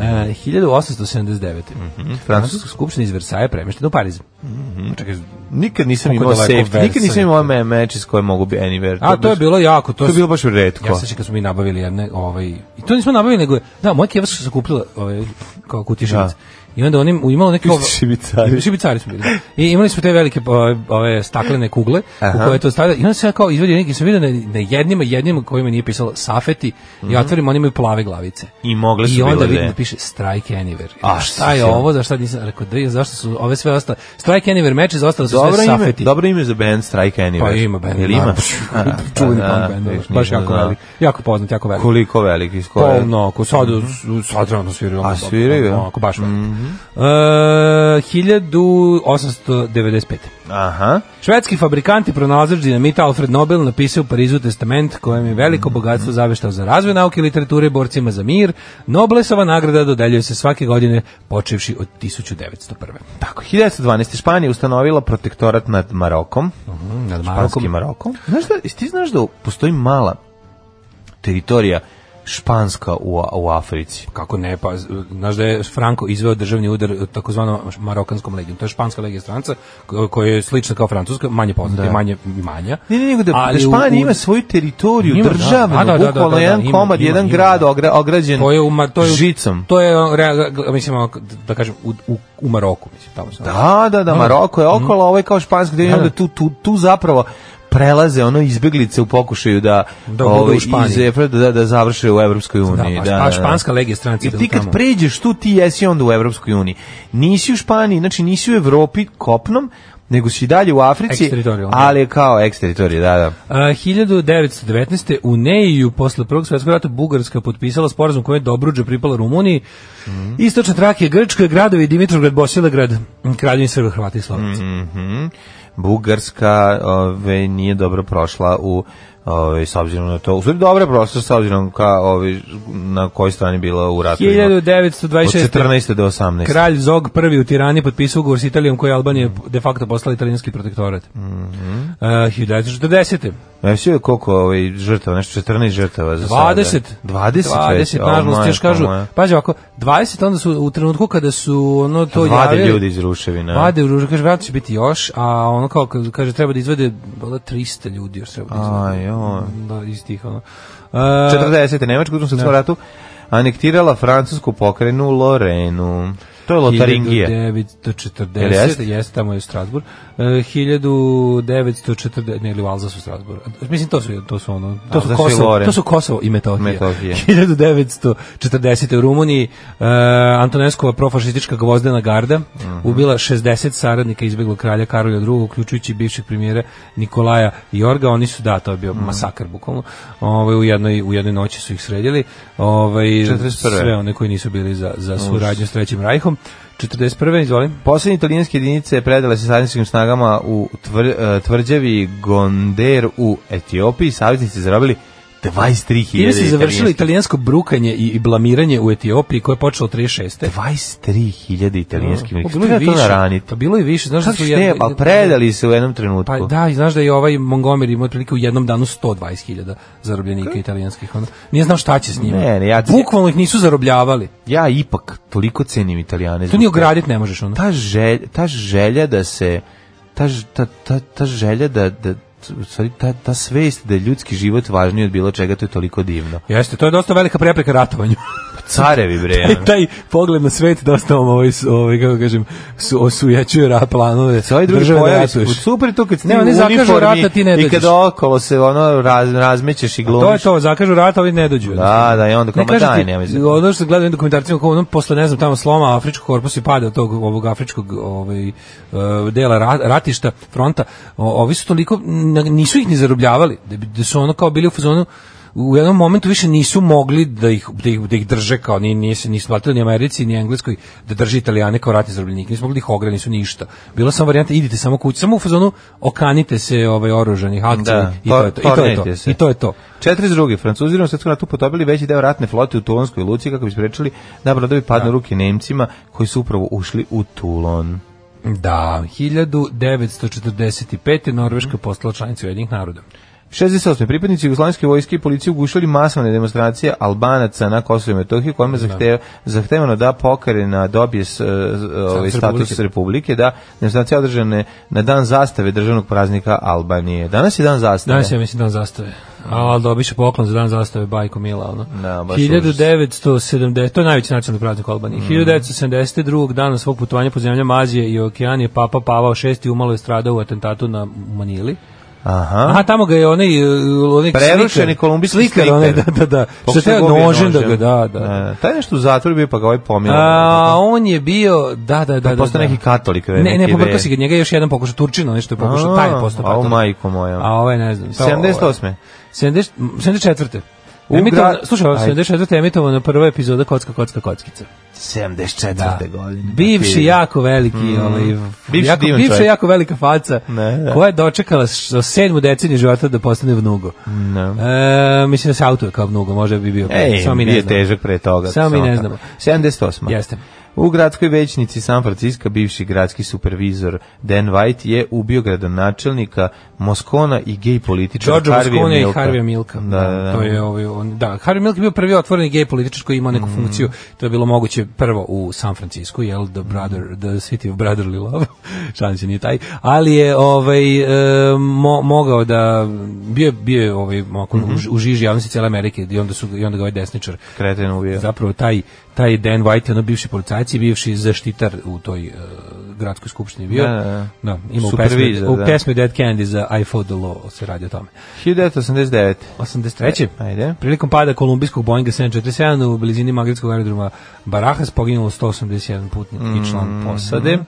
S6: E, 1879.
S5: Mhm.
S6: Francuska skupština iz Versaja premještena u Pariz.
S5: Mhm.
S6: Čekaj,
S5: Nikad nisam
S6: Koliko
S5: imao
S6: daleko
S5: safety, nikad nisam
S6: versaj.
S5: imao me meč iz koje mogu bi anywhere.
S6: A to je
S5: baš-
S6: bilo jako, to,
S5: To je bilo baš retko.
S6: Ja se sećam kad smo mi nabavili jedne, ovaj, i to nismo nabavili, nego je, da, moja keva su kupila ovaj, kao kutije šibica. I onda oni imalo neke...
S5: Vi ste šibicari.
S6: Šibicari smo bili. I imali smo te velike ove, ove staklene kugle
S5: Aha.
S6: u koje to stavlja. I onda se ja kao izvadio neki, sam vidio na, na jednima, jednima kojima nije pisalo safeti. I ja otvorim, oni imaju plave glavice.
S5: I mogle Mhm. su
S6: I onda
S5: bile
S6: vidim
S5: da je.
S6: da piše Strike Anywhere.
S5: A,
S6: šta je
S5: sjajno.
S6: ovo, za šta nisam rekao, da je, zašto su ove sve ostale. Strike Anywhere meče, za ostale su
S5: Dobro
S6: sve
S5: ime,
S6: safeti.
S5: dobro ime za band Strike Anywhere.
S6: Pa ima bend.
S5: Jel ima?
S6: Da,
S5: A,
S6: [LAUGHS] Čuveni
S5: da,
S6: punk bend,
S5: vidiš,
S6: da, baš
S5: nisam
S6: jako
S5: znao.
S6: velik. Jako poznat, jako velik.
S5: Koliko velik iz
S6: Pa
S5: koje?
S6: onako, sad, sad trenutno Mhm. sviraju. ono onako,
S5: A, sviraju, ja?
S6: Onako, baš velik. E, 1895.
S5: Aha.
S6: Švedski fabrikant i pronalazač dinamita Alfred Nobel napisao u Parizu testament kojem je veliko bogatstvo zaveštao za razvoj nauke i literature borcima za mir. Noblesova nagrada dodeljuje se svake godine počevši od 1901.
S5: Tako, 1912. Španija ustanovila protektorat nad Marokom.
S6: Nad
S5: Španskim Marokom. Znaš da, jesi ti znaš da postoji mala teritorija španska u, u Africi?
S6: kako ne, pa z- znaš da je Franco izveo državni udar takozvanom marokanskom legijom, to je španska legija stranca ko- koja je slična kao francuska, manje poznata, i manje i manja.
S5: Ne, ne, nego da, da
S6: u-
S5: Španija
S6: u-
S5: ima svoju teritoriju,
S6: Ima, da,
S5: državnu,
S6: da, da, da, da,
S5: bukvalno
S6: da,
S5: jedan
S6: ima,
S5: komad,
S6: ima,
S5: jedan
S6: ima,
S5: grad
S6: da.
S5: ogra- ograđen
S6: to je u, ma- to je, u-
S5: žicom.
S6: To je, rea- g- mislim, ovako, da kažem, u, u, u Maroku, mislim, tamo se nalazi.
S5: Da, da, da, Maroko je okolo, ovo je kao španski, da,
S6: Mm. Da.
S5: da. tu, tu, tu zapravo prelaze ono izbeglice u pokušaju da,
S6: Da budu u
S5: ovaj,
S6: Španiji.
S5: iz Efra- da, da završe u Evropskoj uniji.
S6: pa, pa španska legija stranci
S5: Jer
S6: idu
S5: ti kad
S6: tamo.
S5: pređeš tu, ti jesi onda u Evropskoj uniji. Nisi u Španiji, znači nisi u Evropi kopnom, nego si dalje u Africi,
S6: Eksteritorijalno.
S5: ali je kao eksteritorij, da, da.
S6: A, 1919. u Neiju posle Prvog svjetskog rata Bugarska potpisala sporazum kojem je Dobruđa pripala Rumuniji.
S5: Mhm.
S6: Istočna Trakija, Grčka, gradovi Dimitrovgrad, Bosilegrad, Kraljevin Srba, Hrvati i Slovenci.
S5: Mhm. Bugarska ove, nije dobro prošla u ove, s obzirom na to. U stvari dobro je prošla s obzirom ka, ove, na kojoj strani je bila u ratu.
S6: 1926.
S5: Od 14. do 18.
S6: Kralj Zog prvi u Tirani potpisao ugovor s Italijom koji je Albanija de facto postala italijanski protektorat. Mm -hmm. uh, 1940.
S5: Znači Mhm. je koliko ovaj, žrtava, nešto 14 žrtava za sada.
S6: 20.
S5: 20,
S6: 20,
S5: već, o,
S6: nažalost,
S5: majko
S6: još kažu,
S5: moja.
S6: pazi ovako, 20 onda su u trenutku kada su ono to
S5: Vade
S6: javili,
S5: ljudi iz ruševina.
S6: Vade u ružu, kaže, vratno će biti još, a ono kao, ka- kaže, treba da izvede, bila 300 ljudi još treba da izvede.
S5: Aj, joj.
S6: Da, iz tih, ono. Uh,
S5: 40. Nemačka u drugom svjetskom ratu anektirala francusku pokrajinu Lorenu. To je Lotaringija.
S6: 1940,
S5: Jel jeste?
S6: jeste tamo je u Strasbur. E, 1940, ne, ili u Alzasu u Strasbur. Mislim, to su, to su ono...
S5: To su- to su i
S6: Kosovo,
S5: Loren.
S6: to su Kosovo i Metohija. [LAUGHS]
S5: Metohija.
S6: 1940. u Rumuniji e, Antoneskova profašistička gvozdena garda
S5: Mhm.
S6: ubila 60 saradnika izbjeglog kralja Karolja II, uključujući bivšeg premijera Nikolaja Jorga. Oni su, da, to je bio
S5: Mhm.
S6: masakar, bukvalno. Ovaj, u, jednoj, u jednoj noći su ih sredili. Ovaj,
S5: 41..
S6: Sve one koji nisu bili za, za suradnju s Trećim rajhom. 41. izvolim.
S5: Poslednje italijanske jedinice predale se savezničkim snagama u tvr, eh, tvrđavi Gonder u Etiopiji. Saveznici zarobili 23.000
S6: Time se završilo
S5: italijanskih-
S6: italijansko brukanje i, i blamiranje u Etiopiji koje je počelo 36.
S5: 23.000 italijanskih
S6: Pa
S5: vojnika.
S6: bilo je
S5: Treba to
S6: više.
S5: naraniti.
S6: Pa bilo je više, znaš da
S5: Kako
S6: su
S5: što je, pa predali se u jednom trenutku.
S6: Pa da, i znaš da je ovaj Montgomery imao otprilike u jednom danu 120.000 zarobljenika italijanskih. Ono. Nije znao šta će s njima.
S5: Ne, ne, ja ti-
S6: Bukvalno ih nisu zarobljavali.
S5: Ja ipak toliko cenim italijane.
S6: To
S5: zbog
S6: ni
S5: toga.
S6: ogradit ne možeš. Ono.
S5: ta želja, ta želja da se ta, ž- ta, ta, ta želja da, da u stvari, ta, ta svest da je ljudski život važniji od bilo čega, to je toliko divno.
S6: Jeste, to je dosta velika prepreka ratovanju.
S5: Carevi bre.
S6: [LAUGHS]
S5: ono.
S6: taj pogled na svet dosta vam ovaj, s- ovaj kako kažem, su, osujećuje ra planove.
S5: Sve ovi drugi
S6: države da
S5: pojavi su-
S6: ratuješ.
S5: super je to kad ste
S6: Ne,
S5: u
S6: oni zakažu
S5: uniformi
S6: rata, ti ne
S5: i
S6: dođeš.
S5: kada okolo se ono raz, razmećeš i
S6: To je
S5: glumiš.
S6: to, zakažu rat, ovi ne dođu.
S5: Da, da, i onda kao,
S6: Ne
S5: ma
S6: kažu
S5: daj,
S6: ti,
S5: nemoj se.
S6: ono što gledam u dokumentarcima, kao ono, posle, ne znam, tamo sloma afričkog korpusa i pada od tog ovog afričkog ovaj, e, dela ra- ratišta, fronta, o- ovi su toliko, n- nisu ih ni zarobljavali, da, bi- da su ono kao bili u fazonu, u jednom momentu više nisu mogli da ih, da ih, da ih drže kao ni nije se ni isplatilo ni Americi ni Engleskoj da drži Italijane kao ratni zarobljenike. Nisu mogli da ih ogre, nisu ništa. Bila samo varijanta idite samo kući, samo u fazonu okanite se ovaj oružanih akcija
S5: Da,
S6: i to je to. I to je
S5: tornirajte
S6: to.
S5: se.
S6: I to je to.
S5: 42. Francuzi u svetskom ratu potopili veći deo ratne flote u Tulonskoj luci kako bi sprečili da brodovi padnu u ruke Nemcima koji su upravo ušli u Tulon.
S6: Da, 1945. Norveška
S5: Mhm.
S6: postala članica Ujedinjenih naroda.
S5: 68. Pripadnici Jugoslavijske vojske i policije ugušili masovne demonstracije Albanaca na Kosovo i Metohiji kojima je zahte, zahtevano da pokarena dobije s, e, e, ovaj, status
S6: Republike.
S5: Republike, da demonstracije održane na dan zastave državnog praznika Albanije. Danas je dan zastave.
S6: Danas ja mislim dan zastave. A, ali dobiše poklon za dan zastave bajko Mila, ono.
S5: Da, baš Mhm.
S6: 1970, to je najveći nacionalni praznik u Albaniji. 1972. dana svog putovanja po zemljama Azije i Okeanije, Papa Pavao VI umalo je stradao u atentatu na Manili.
S5: Aha.
S6: Aha, tamo ga je onaj, e, onaj
S5: Prerušeni
S6: slikar-
S5: kolumbijski
S6: slikar.
S5: slikar.
S6: Onaj, da, da, da. Što
S5: Pokušao
S6: je
S5: ga ubije
S6: nožem da ga, da, da.
S5: E, taj je nešto u zatvoru bio pa ga ovaj pomilo.
S6: A, on je bio, da, da, da. da,
S5: postao
S6: da.
S5: Pa neki katolik.
S6: Ne, ne,
S5: neki
S6: pobrkao
S5: ve-
S6: si ga, njega je još jedan pokušao Turčino, nešto je pokušao, taj je postao
S5: A, au,
S6: katolik.
S5: majko moja.
S6: A ovaj ne znam. to- ovaj,
S5: 78.
S6: 70, 74.
S5: U
S6: Emitovana,
S5: gra-
S6: slušaj, ovo,
S5: Ajde. Znači-
S6: 74. je emitovana prva epizoda Kocka, Kocka, Kockica.
S5: 74. godine.
S6: Bivši jako veliki, ovaj,
S5: Mm. Bivši
S6: jako,
S5: divan
S6: bivša
S5: čovjek.
S6: jako velika faca,
S5: Ne, da.
S6: koja je dočekala s- sedmu deceniju života da postane vnugo. E, mislim da se autuje kao vnugo, možda bi bio.
S5: Ej,
S6: E, samo mi ne
S5: bio
S6: znamo.
S5: težak pre toga.
S6: Samo mi ne
S5: tako.
S6: znamo.
S5: 78.
S6: Jeste.
S5: U gradskoj većnici San Francisco bivši gradski supervizor Dan White je ubio gradonačelnika Moskona i gej političara
S6: Giorgio
S5: Harvey
S6: Moscone i
S5: Milka.
S6: Harvey Milka.
S5: Da, da, da.
S6: To je ovaj on da, Harvey Milk je bio prvi otvoreni gej političar koji je imao neku
S5: Mm.
S6: funkciju. To je bilo moguće prvo u San Francisku, jel the
S5: Mm.
S6: brother the city of brotherly love. [LAUGHS] Šalim se nije taj, ali je ovaj e, mo, mogao da bio je- bio je ovaj mako
S5: Mhm.
S6: u, u žiži javnosti cijele Amerike i onda su i onda ga ovaj desničar
S5: Kreten ubio.
S6: zapravo taj taj Dan White, ono bivši policajac i bivši zaštitar u toj e, gradskoj skupštini bio.
S5: Da, da, da.
S6: ima u pesmi,
S5: Supervizor,
S6: u
S5: da.
S6: pesmi Dead Candy za I Fought the Law se radi o tome.
S5: 1989.
S6: 83.
S5: Ajde.
S6: Prilikom pada kolumbijskog Boeinga 747 u blizini magritskog aerodroma Barajas poginulo 181 putnik i
S5: Mm-hmm.
S6: član posade.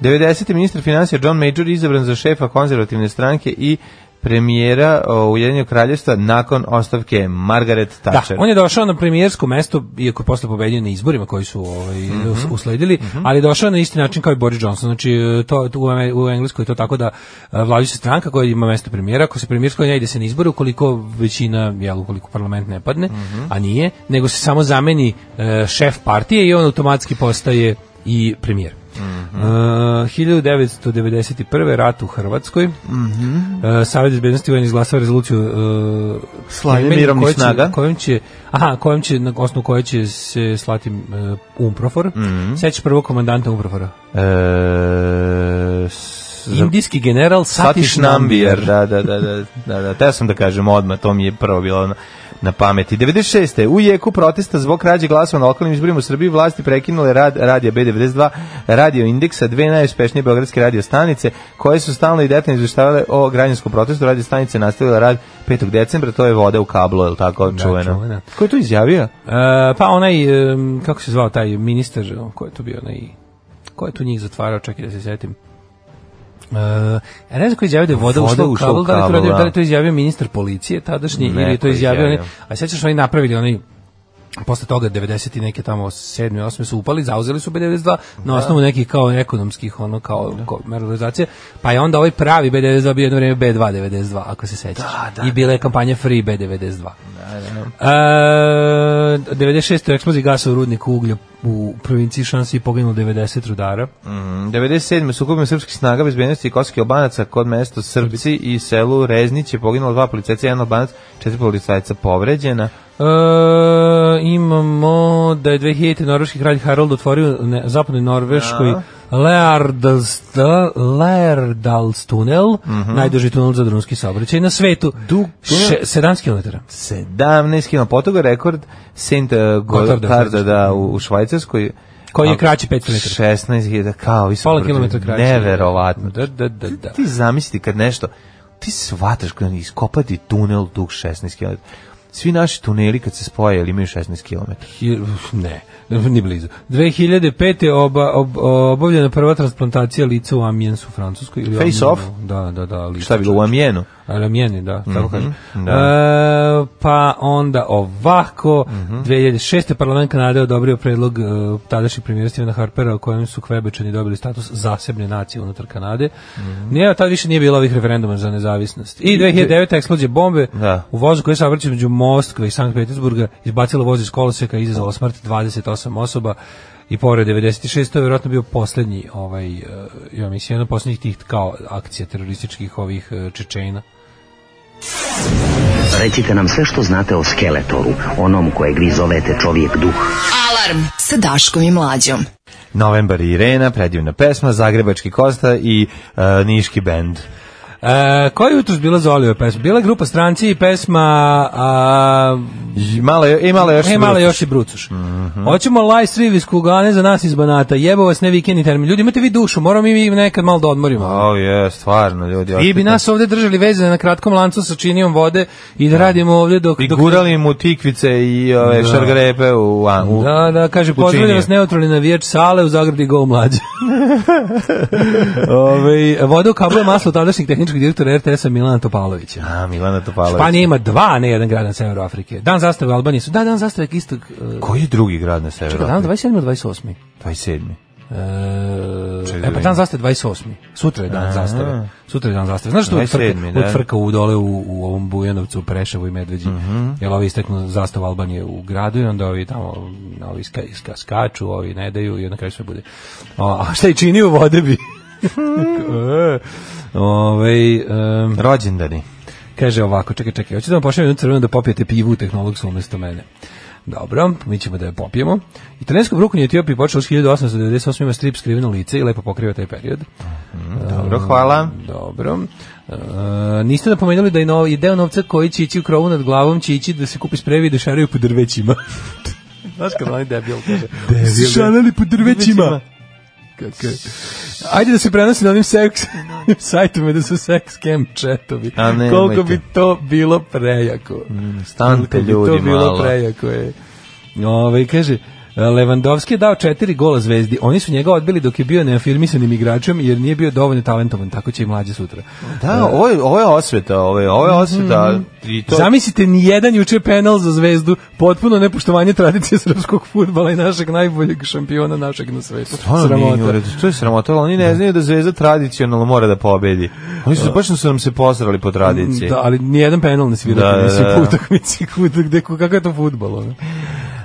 S5: Sade. 90. ministar financija John Major izabran za šefa konzervativne stranke i premijera o, Ujedinjenog kraljevstva nakon ostavke Margaret
S6: Da,
S5: Thatcher.
S6: on je došao na premijersko mesto, iako je posle pobedio na izborima koji su ovaj, us- usledili, ali je došao na isti način kao i Boris Johnson. Znači, e, to, to u, Ame- u Engleskoj je to tako da e, vladajuća stranka koja ima mesto premijera, ako se premijersko ne ide se na izbore, ukoliko većina, jel, ukoliko parlament ne padne, a nije, nego se samo zameni e, šef partije i on automatski postaje i premijer. E, 1991. rat u Hrvatskoj. E, Savjet bezbednosti UN izglasao rezoluciju uh,
S5: Slanje mirovnih snaga.
S6: kojom će, aha, kojom će, na osnovu koje će se slati e, Umprofor.
S5: Mhm.
S6: Sećaš prvog komandanta Umprofora?
S5: E, s- za-
S6: Indijski general Satish
S5: Satiš Nambijer.
S6: Nambiar.
S5: Da, da, da, da, da, da. Teo sam da kažem odmah, to mi je prvo bilo na, na pameti. 96. U jeku protesta zbog krađe glasova na lokalnim izborima u Srbiji vlasti prekinule rad radija B92, radio indeksa, dve najuspešnije beogradske radio stanice, koje su stalno i detaljno izveštavale o građanskom protestu. Radio stanice nastavila rad 5. decembra, to je voda u kablu, je li tako, čuvena?
S6: čuvena.
S5: Ko je to izjavio?
S6: E, pa onaj, e, kako se zvao taj ministar, ko je tu bio onaj, ko je tu njih zatvarao, čekaj da se setim. Uh, ja ne znam ko je izjavio da je voda,
S5: Voda
S6: ušla u
S5: ušla u
S6: kabel, da li, je to
S5: kabel,
S6: radio-
S5: da.
S6: da li je to izjavio ministar policije tadašnji ili je
S5: Neko
S6: to
S5: je
S6: pa izjavio,
S5: izjavio.
S6: onaj, a sećaš oni napravili onaj posle toga 90 i neke tamo 7. 8. su upali, zauzeli su B92 na osnovu nekih kao ekonomskih ono kao ko, merilizacija, pa je onda ovaj pravi B92 bio jedno vrijeme B292 ako se sećaš. I bila je kampanja Free B92. Da, da. E, 96. u eksploziji gasa u rudniku uglja u provinciji Šansi poginulo 90 rudara.
S5: Mm, 97. sukobima srpskih snaga bezbednosti i kosovskih albanaca kod mesto Srbci i selu Reznić je poginulo dva policajca, jedan albanac, četiri policajca povređena.
S6: E, imamo da je 2000. norveški kralj Harald otvorio ne, zapadnoj Norveškoj Leardalst, Leardals tunel, najduži tunel za drumski saobraćaj na svetu. Dug,
S5: Mhm. tunel?
S6: 17 km.
S5: 17 km potoga rekord Saint eh,
S6: Gotarda,
S5: Gotarda da, u, u Švajcarskoj.
S6: Koji je
S5: A,
S6: kraći 500 metara.
S5: 16 je da kao i
S6: Pola kilometra kraće.
S5: Neverovatno.
S6: Da, da, da, da.
S5: Ti zamisli kad nešto ti shvataš kad iskopati tunel dug 16 km. svi naši tuneli kad se spoje ili imaju 16 km.
S6: Hi- Ne, ni blizu. 2005. Oba, ob, obavljena prva transplantacija lica u Amiens u Francuskoj. Ili
S5: Face
S6: Amiens,
S5: off?
S6: Da, da, da. Lica,
S5: Šta je bilo u Amijenu?
S6: Ali Amijeni, da, tako kaže.
S5: da.
S6: E, pa onda ovako, 2006. parlament Kanade odobrio predlog e, tadašnjeg premijera Stevena Harpera o kojem su Kvebečani dobili status zasebne nacije unutar Kanade. Nije, tad više nije bilo ovih referenduma za nezavisnost. I 2009. eksplozija bombe
S5: Da.
S6: u vozu koji se saobraćao među Moskve i Sankt Petersburga izbacilo voz iz koloseka i izazvalo smrt 28 osoba i pored 96 to je vjerojatno bio poslednji ovaj e, ja mislim jedna od poslednjih tih kao akcija terorističkih ovih e, Čečena.
S7: Recite nam sve što znate o Skeletoru, onom kojeg vi zovete čovjek duh.
S4: Alarm sa Daškom i Mlađom.
S5: Novembar i Irena, predivna pesma, Zagrebački Kosta i e, Niški bend.
S6: E, koja je jutros bila za Olive pesma? Bila je grupa Stranci i pesma a,
S5: I Malo, je- i malo je još...
S6: e, mala
S5: smrti.
S6: još i Brucuš. Hoćemo live stream iz Kugane za nas iz Banata. Jebo vas ne vikendni termin. Ljudi, imate vi dušu, moramo mi nekad malo da odmorimo.
S5: O, je, stvarno, ljudi.
S6: Vi bi
S5: otkupite.
S6: nas ovde držali vezane na kratkom lancu sa činijom vode i da radimo ovde dok...
S5: I
S6: dok-
S5: gurali mu tikvice i ove
S6: Da.
S5: šargarepe u, a, u
S6: Da, da, kaže,
S5: u
S6: pozdravljam
S5: činije.
S6: vas neutralni navijač sale u Zagradi Go
S5: [LAUGHS]
S6: mlađe. Ove, voda u kablu je maslo tadašnjeg tehničkog direktora RTS-a Milana Topalovića.
S5: A, Milana Topalović.
S6: Španija ima dva, a ne jedan grad na severu Afrike. Dan zastave u Albaniji su. Da, dan zastave istog... Uh,
S5: Koji je drugi grad na severu?
S6: čekaj, dan 27. ili 28.
S5: 27. Čekaj da
S6: E, e, pa
S5: vidim.
S6: dan zastave 28. Sutra je dan zastave. Sutra je dan zastave. Znaš što uvijek frka,
S5: 27., da.
S6: uvek frka u dole u, u ovom Bujanovcu, u Preševu i Medveđi. Jel ovi isteknu zastav Albanije u gradu i onda ovi tamo ovi ska, ska, skaču, ovi ne daju i onda kraju sve bude. O, a šta i čini u vode bi? [LAUGHS] E, Ovaj em,
S5: Rođendani.
S6: Kaže ovako, čekaj, čekaj, hoćete da vam pošaljem jednu crvenu da popijete pivu u tehnologsu umesto mene. Dobro, mi ćemo da je popijemo. Italijansko brukunje u Etiopiji počelo s 1898. ima strip skriveno lice i lepo pokriva taj period.
S5: Dobro, hvala.
S6: Dobro. E, niste napomenuli da je nov, i deo novca koji će ići u krovu nad glavom će ići da se kupi sprevi i da šaraju po drvećima. [LAUGHS] Znaš kad onaj debil kaže? Debil. Šarali po drvećima. Kako je? Ajde da se prenosi na onim seks [LAUGHS] sajtovima da su seks cam chatovi.
S5: A nemojte.
S6: Koliko bi to bilo prejako.
S5: Stante
S6: Koliko bi
S5: ljudi
S6: to bilo
S5: malo.
S6: prejako je. Ove, kaže, Levandovski je dao četiri gola zvezdi. Oni su njega odbili dok je bio neafirmisanim igračem jer nije bio dovoljno talentovan. Tako će i mlađe sutra.
S5: Da, ovo je, ovo je osveta, ovo je, ovo je
S6: Mhm.
S5: osveta. I to,
S6: Zamislite ni jedan juče penal za zvezdu, potpuno nepoštovanje tradicije srpskog fudbala i našeg najboljeg šampiona našeg na svetu.
S5: Stvarno nije u
S6: Sramota.
S5: redu, Pa, to je sramota, ali oni ne znaju da Zvezda tradicionalno mora da pobedi. Oni su, baš su nam se posrali po tradiciji.
S6: Da, ali ni jedan penal ne svira
S5: Da,
S6: da,
S5: da,
S6: nisi
S5: da.
S6: po [LAUGHS] utakmici kuda gde kakav je to fudbal ono.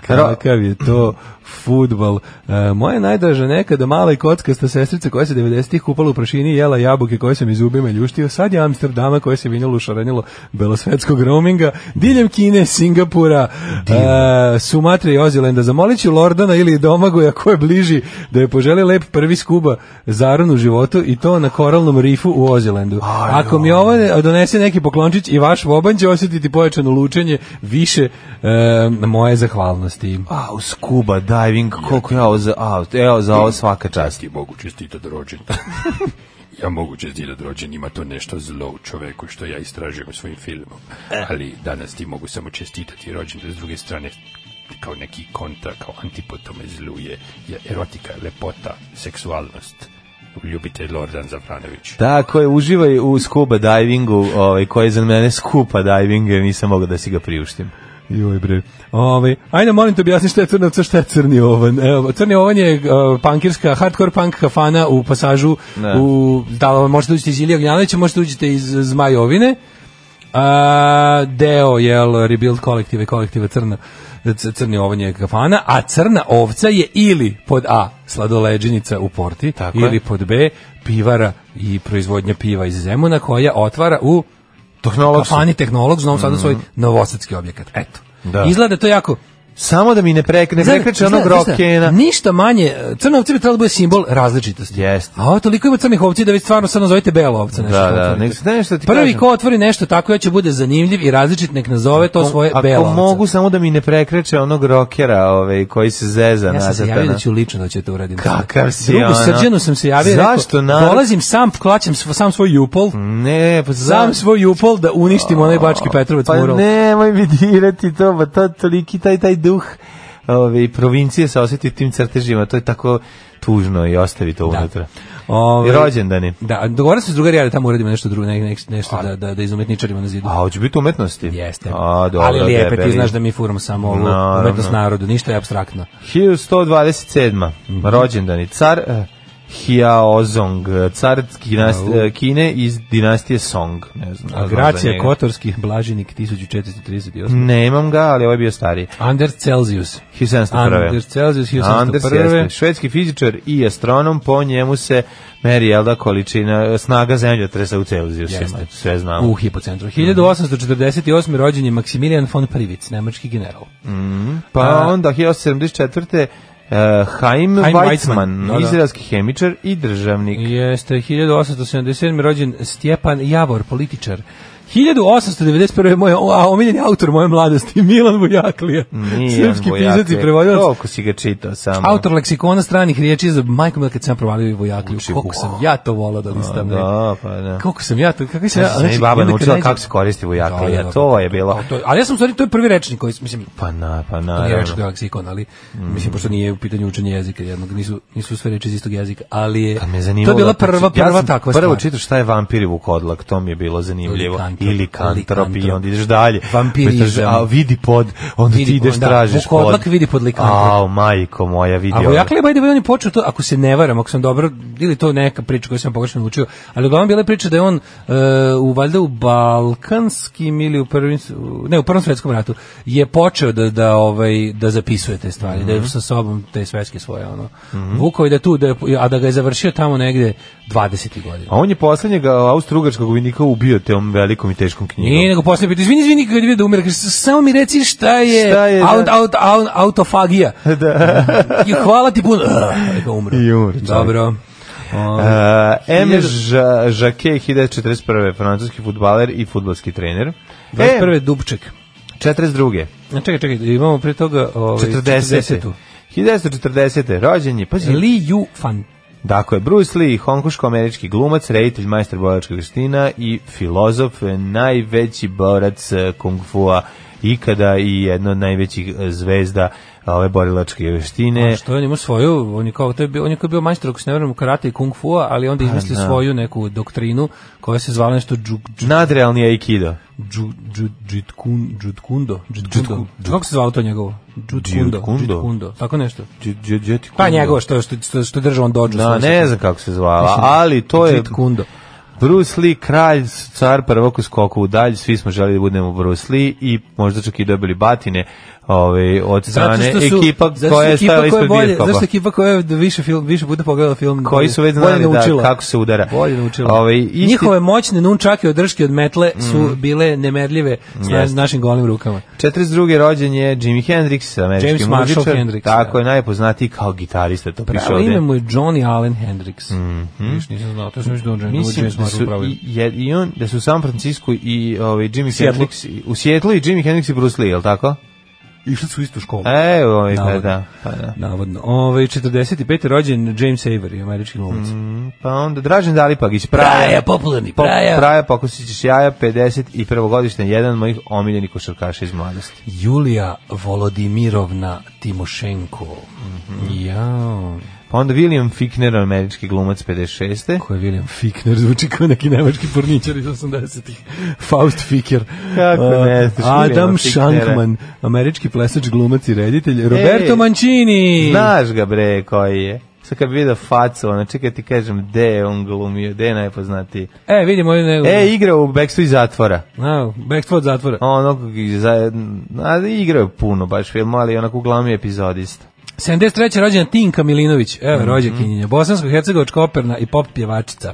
S6: Kakav je to fudbal. E, moja najdraža nekada mala i kockasta sestrica koja se 90-ih kupala u prašini i jela jabuke koje sam iz ubima ljuštio, sad je Amsterdama koje se vinjalo u šarenilo belosvetskog roaminga, diljem Kine, Singapura, e, Sumatra i Ozilenda. Zamolit ću Lordana ili Domagoja ko je bliži da je poželi lep prvi skuba zaron u životu i to na koralnom rifu u Ozilendu. Ako mi ovo ne- donese neki poklončić i vaš voban će osjetiti pojačano lučenje više e, moje zahvalnosti.
S5: A, u scuba diving, koliko ja ovo za, a, evo za ovo svaka čast.
S8: ti mogu čestitati rođen. ja mogu čestitati rođen, ima to nešto zlo u čoveku što ja istražujem u svojim filmom. Ali danas ti mogu samo čestitati rođen, s druge strane kao neki kontra, kao antipod tome zlu je, je erotika, lepota, seksualnost. Ljubite Lordan Zafranović.
S5: Tako je, uživaj u scuba divingu, ovaj, koji je za mene skupa diving, jer nisam mogao da si ga priuštim.
S6: Joj bre. Ovaj, ajde molim te objasni šta je crnavca, šta je crni ovan. Evo, crni ovan je uh, pankirska, hardcore punk kafana u pasažu.
S5: Ne.
S6: U, da, možete uđete iz Ilija Gnjanovića, možete uđete iz Zmajovine. A, deo je Rebuild kolektive, kolektiva crna C- crni ovan je kafana, a crna ovca je ili pod A sladoleđenica u Porti,
S5: Tako je.
S6: ili pod B pivara i proizvodnja piva iz Zemuna koja otvara u
S5: Tehnolog sam.
S6: kafani tehnolog, znam sada svoj novosadski objekat. Eto.
S5: Mhm. Da.
S6: Izgleda to jako
S5: Samo da mi ne, prek, ne
S6: Znaš-
S5: prekreče
S6: znaš-
S5: onog
S6: znaš šta,
S5: rokena.
S6: Ništa manje, crna ovca bi trebala da bude simbol različitosti.
S5: Jeste.
S6: A ovo toliko ima crnih ovci da vi stvarno sad nazovete bela ovca nešto.
S5: Da,
S6: što
S5: da,
S6: otvorite.
S5: nek se- ne, što ti
S6: Prvi
S5: kažem.
S6: ko otvori nešto tako ja će bude zanimljiv i različit nek nazove to svoje
S5: Ako
S6: bela ovca.
S5: mogu samo da mi ne prekreče onog rokera ovaj, koji se zeza
S6: Ja sam se
S5: nazad,
S6: javio
S5: ono.
S6: da ću lično da će to uradim.
S5: Kakav si,
S6: Drugu
S5: ono.
S6: srđanu sam se javio.
S5: Zašto,
S6: rekao,
S5: narod?
S6: Dolazim sam, klaćam svo- sam svoj jupol.
S5: Ne, pa
S6: Sam svoj jupol da uništim onaj Bački Petrovac
S5: pa
S6: mural.
S5: nemoj mi dirati to, pa to toliki taj, taj duh ove, provincije se osjeti u tim crtežima, to je tako tužno i ostavi to unutra.
S6: Ovaj,
S5: I rođendani.
S6: Da, dogovorili smo s drugarima da tamo uradimo nešto drugo, ne- ne- nešto da, da, da iz umetničarima na zidu.
S5: A, hoće biti umetnosti?
S6: Jeste.
S5: A, dobro,
S6: Ali lijepe, ti
S5: debeli.
S6: znaš da mi furamo samo ovu
S5: Naravno.
S6: umetnost narodu, ništa je abstraktno.
S5: 1127.
S6: Mhm.
S5: Rođendani. Car eh, Hiaozong, eh, car kinast, eh, Kine iz dinastije Song. Ne Pa znam, ne znam za
S6: Gracija
S5: njega.
S6: Kotorskih, Blaženik 1438.
S5: Nemam ga, ali ovaj je bio stariji.
S6: Anders Celsius.
S5: 1701.
S6: Anders Celsius, 1701.
S5: Anders jeste švedski fizičar i astronom, po njemu se meri jel da količina snaga zemljotresa u Celzijusima.
S6: Jeste.
S5: Sve znamo.
S6: U hipocentru. 1848. rođen je Maksimilijan von Privic, nemački general.
S5: pa
S6: a-
S5: onda 1874. Uh, Haim,
S6: eh, Haim
S5: Weizmann,
S6: Weizmann, da, da.
S5: izraelski hemičar i državnik.
S6: Jeste, 1877. rođen Stjepan Javor, političar. 1891. moj a, omiljeni autor moje mladosti, [LAUGHS] Milan Vujaklija.
S5: Nije
S6: Srpski
S5: on
S6: pisac i
S5: Vojake.
S6: prevodilac.
S5: Koliko si ga čitao samo.
S6: Autor leksikona stranih riječi za majkom mila kad sam ja provalio i Vojakliju.
S5: pa. Uči
S6: Koliko
S5: Vujaku.
S6: sam ja to volao da listam. ne?
S5: Da, pa da.
S6: Koliko sam ja to, kako
S5: Znaš
S6: sam ja... znači,
S5: da sam i baba naučila kako se koristi Vujaklija, to je bilo.
S6: A, to, ali ja sam u stvari, to je prvi rečnik koji, mislim,
S5: Pa na, pa
S6: to nije reč
S5: naravno.
S6: da je leksikon, ali
S5: Mm.
S6: mislim pošto nije u pitanju učenje jezika jednog, nisu nisu sve reči iz istog jezika, ali je
S5: Kad Pa me zanimalo
S6: to je bila
S5: da-
S6: prva
S5: Znači, ja
S6: prva
S5: sam
S6: takva
S5: Prvo
S6: stvar.
S5: čitaš šta je vampir i vukodlak, to mi je bilo zanimljivo.
S6: Likantrop.
S5: Ili kantrop i
S6: Likantrop.
S5: onda ideš dalje.
S6: Vampirizam.
S5: Pa ideš, A vidi pod, onda
S6: Vidi
S5: ti ideš
S6: pod, da.
S5: tražiš pod.
S6: Vukodlak vidi pod likantrop.
S5: Au, majko moja, vidi.
S6: A
S5: ovo.
S6: Vojakle by the way, on je počeo to, ako se ne varam, ako sam dobro, ili to neka priča koju sam pogrešno učio, ali uglavnom bila je priča da je on e, u valjda u balkanskim ili u prvim, ne, u prvom svetskom ratu je počeo da, da, ovaj, da zapisuje te stvari, da je sa sobom te svetske svoje, ono, vukao i da tu, da je, a da ga je završio tamo negdje 20. godina.
S5: A on je poslednjeg austro-ugarskog vojnika ubio teom velikom i teškom knjigom.
S6: Nije, nego posle pitao, izvini, izvini, kad je vidio da umire, kaže, samo mi reci šta je,
S5: Šta je, da.
S6: aut, aut, aut,
S5: [LAUGHS]
S6: autofagija. Da. I hvala ti puno. [LAUGHS] I umre.
S5: I umre, čovjek.
S6: Dobro. Um, O,
S5: Uh, M. Ža- Jacquet, 1941. francuski futbaler i futbalski trener.
S6: 21.
S5: E,
S6: Dubček.
S5: 42.
S6: A, Čekaj, čekaj, imamo pre toga ovaj,
S5: 40. 1940. rođen je, pazi,
S6: Li Yu Fan.
S5: Dakle, Bruce Lee, hongkoško-američki glumac, reditelj, majster bojačkog veština i filozof, eh, najveći borac eh, kung fua ikada i jedna od najvećih eh, zvezda eh, ove borilačke veštine.
S6: A Ono Što je on imao svoju, on je kao, to je bio, on je kao bio majstor, ako se ne vrem, karate i kung fu ali
S5: Pa
S6: onda je izmislio svoju neku doktrinu koja se zvala nešto džuk, džuk,
S5: Nadrealni aikido.
S6: Džu- džu- Džitkun, Džitkundo, Džitkundo. Kako se zvao to njegovo? Džitkundo,
S5: Džitkundo?
S6: Džitkundo, tako nešto.
S5: Dž- dž- dž-
S6: Pa njegovo što, što, što, što drža on dođu.
S5: Da, ne znam kako se zvala, ali to je
S6: Džitkundo.
S5: Bruce Lee, kralj, car prvog u skoku u dalj, svi smo želi da budemo Bruce Lee i možda čak i dobili batine ove, od strane ekipa
S6: zato što
S5: koja je
S6: ekipa
S5: stajala
S6: koja
S5: ispred
S6: bolje-
S5: bioskopa.
S6: Zato što ekipa koja je više, film, više puta pogledala film.
S5: koji su već
S6: bolje
S5: znali da,
S6: naučila.
S5: kako se udara.
S6: Bolje naučila.
S5: Ovaj, isti- Mm.
S6: Njihove moćne nunčake od drške od metle su bile nemerljive s na-
S5: Jeste.
S6: našim golim rukama.
S5: 42. rođen je Jimi Hendrix, američki
S6: James Marshall
S5: muzičar.
S6: Hendrix,
S5: Tako
S6: da.
S5: je, najpoznatiji kao gitarista, to piše
S6: Pravo ime
S5: ovde. Mhm.
S6: mu je Johnny Allen Hendrix. Viš, nisam znao, to sam već dođe.
S5: Mislim da su i, je- i on, da su u San Francisco i ovaj, Jimi
S6: Seattle.
S5: Hendrix, i- u Sjetlu i Jimi Hendrix i Bruce Lee, je li tako?
S6: Išli su u istu školu.
S5: E, ovaj, pa
S6: Navodno.
S5: da, pa da.
S6: Navodno. Ove, 45. rođen James Avery, američki glumac.
S5: Pa onda Dražen Dalipagić,
S6: Praja,
S5: Praja,
S6: popularni,
S5: Po-
S6: praja.
S5: Praja Pakusićić Jaja, 51. godište, jedan od mojih omiljenih košarkaša iz mladosti.
S6: Julija Volodimirovna Timošenko.
S5: Mhm.
S6: Jao.
S5: Pa onda William Fickner, američki glumac 56.
S6: Ko je William Fickner, zvuči kao neki nemački porničar iz 80-ih. [LAUGHS] Faust Ficker.
S5: Kako ne
S6: Uh,
S5: znaš Williama
S6: Adam
S5: Ficknera?
S6: Shankman, američki plesač, glumac i reditelj. Roberto Mancini.
S5: Znaš ga bre koji je. Sad kad bi vidio facu, ono, čekaj ti kažem, gde je on glumio, gde je najpoznatiji.
S6: E, vidimo ovdje nego.
S5: E, igrao u Backstreet zatvora.
S6: A, Backstreet zatvora.
S5: Onog, za, a, igrao je puno baš film, ali onako glavni epizodista.
S6: 73. rođena Tinka Milinović, evo
S5: Mhm.
S6: mm -hmm. rođakinjenja, bosansko-hercegovačka operna i pop pjevačica,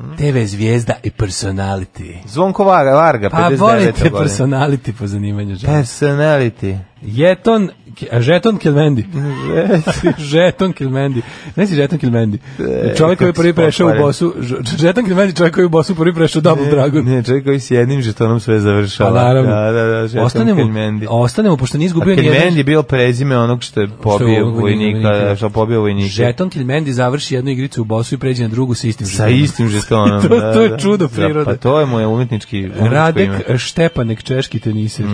S5: Mhm.
S6: TV zvijezda i personality.
S5: Zvonko Varga, Varga
S6: Pa
S5: 59.
S6: volite
S5: godine.
S6: personality po zanimanju žena.
S5: Personality.
S6: Jeton Ki- a Žeton Kilmendi. [LAUGHS] žeton Kilmendi. Znaš si Žeton Kilmendi? Čovjek koji je
S5: E, kako
S6: prvi
S5: se
S6: prešao u
S5: pokvaren.
S6: bosu, Ž- Žeton Kilmendi čovjek koji je u bosu prvi prešao u Double Dragon.
S5: Ne, čovjek koji s jednim žetonom sve
S6: Pa
S5: završava.
S6: naravno.
S5: Da, da, da, žeton
S6: ostanemo,
S5: Kelmendi.
S6: ostanemo, pošto nije
S5: A
S6: izgubio ni
S5: Kelmendi
S6: jedan
S5: je bilo prezime onog što je pobio
S6: ovog
S5: vojnika,
S6: vojnika, da.
S5: da, što je pobio vojnika.
S6: Žeton Kilmendi završi jednu igricu u bosu i pređe na drugu sa istim
S5: Sa
S6: žetonom.
S5: istim žetonom.
S6: [LAUGHS] To- to
S5: da,
S6: je
S5: da.
S6: čudo
S5: Da,
S6: prirode.
S5: Pa to je mu je umetnički, umetničko ime.
S6: Radek Štepanek, češki teniser.
S5: Pa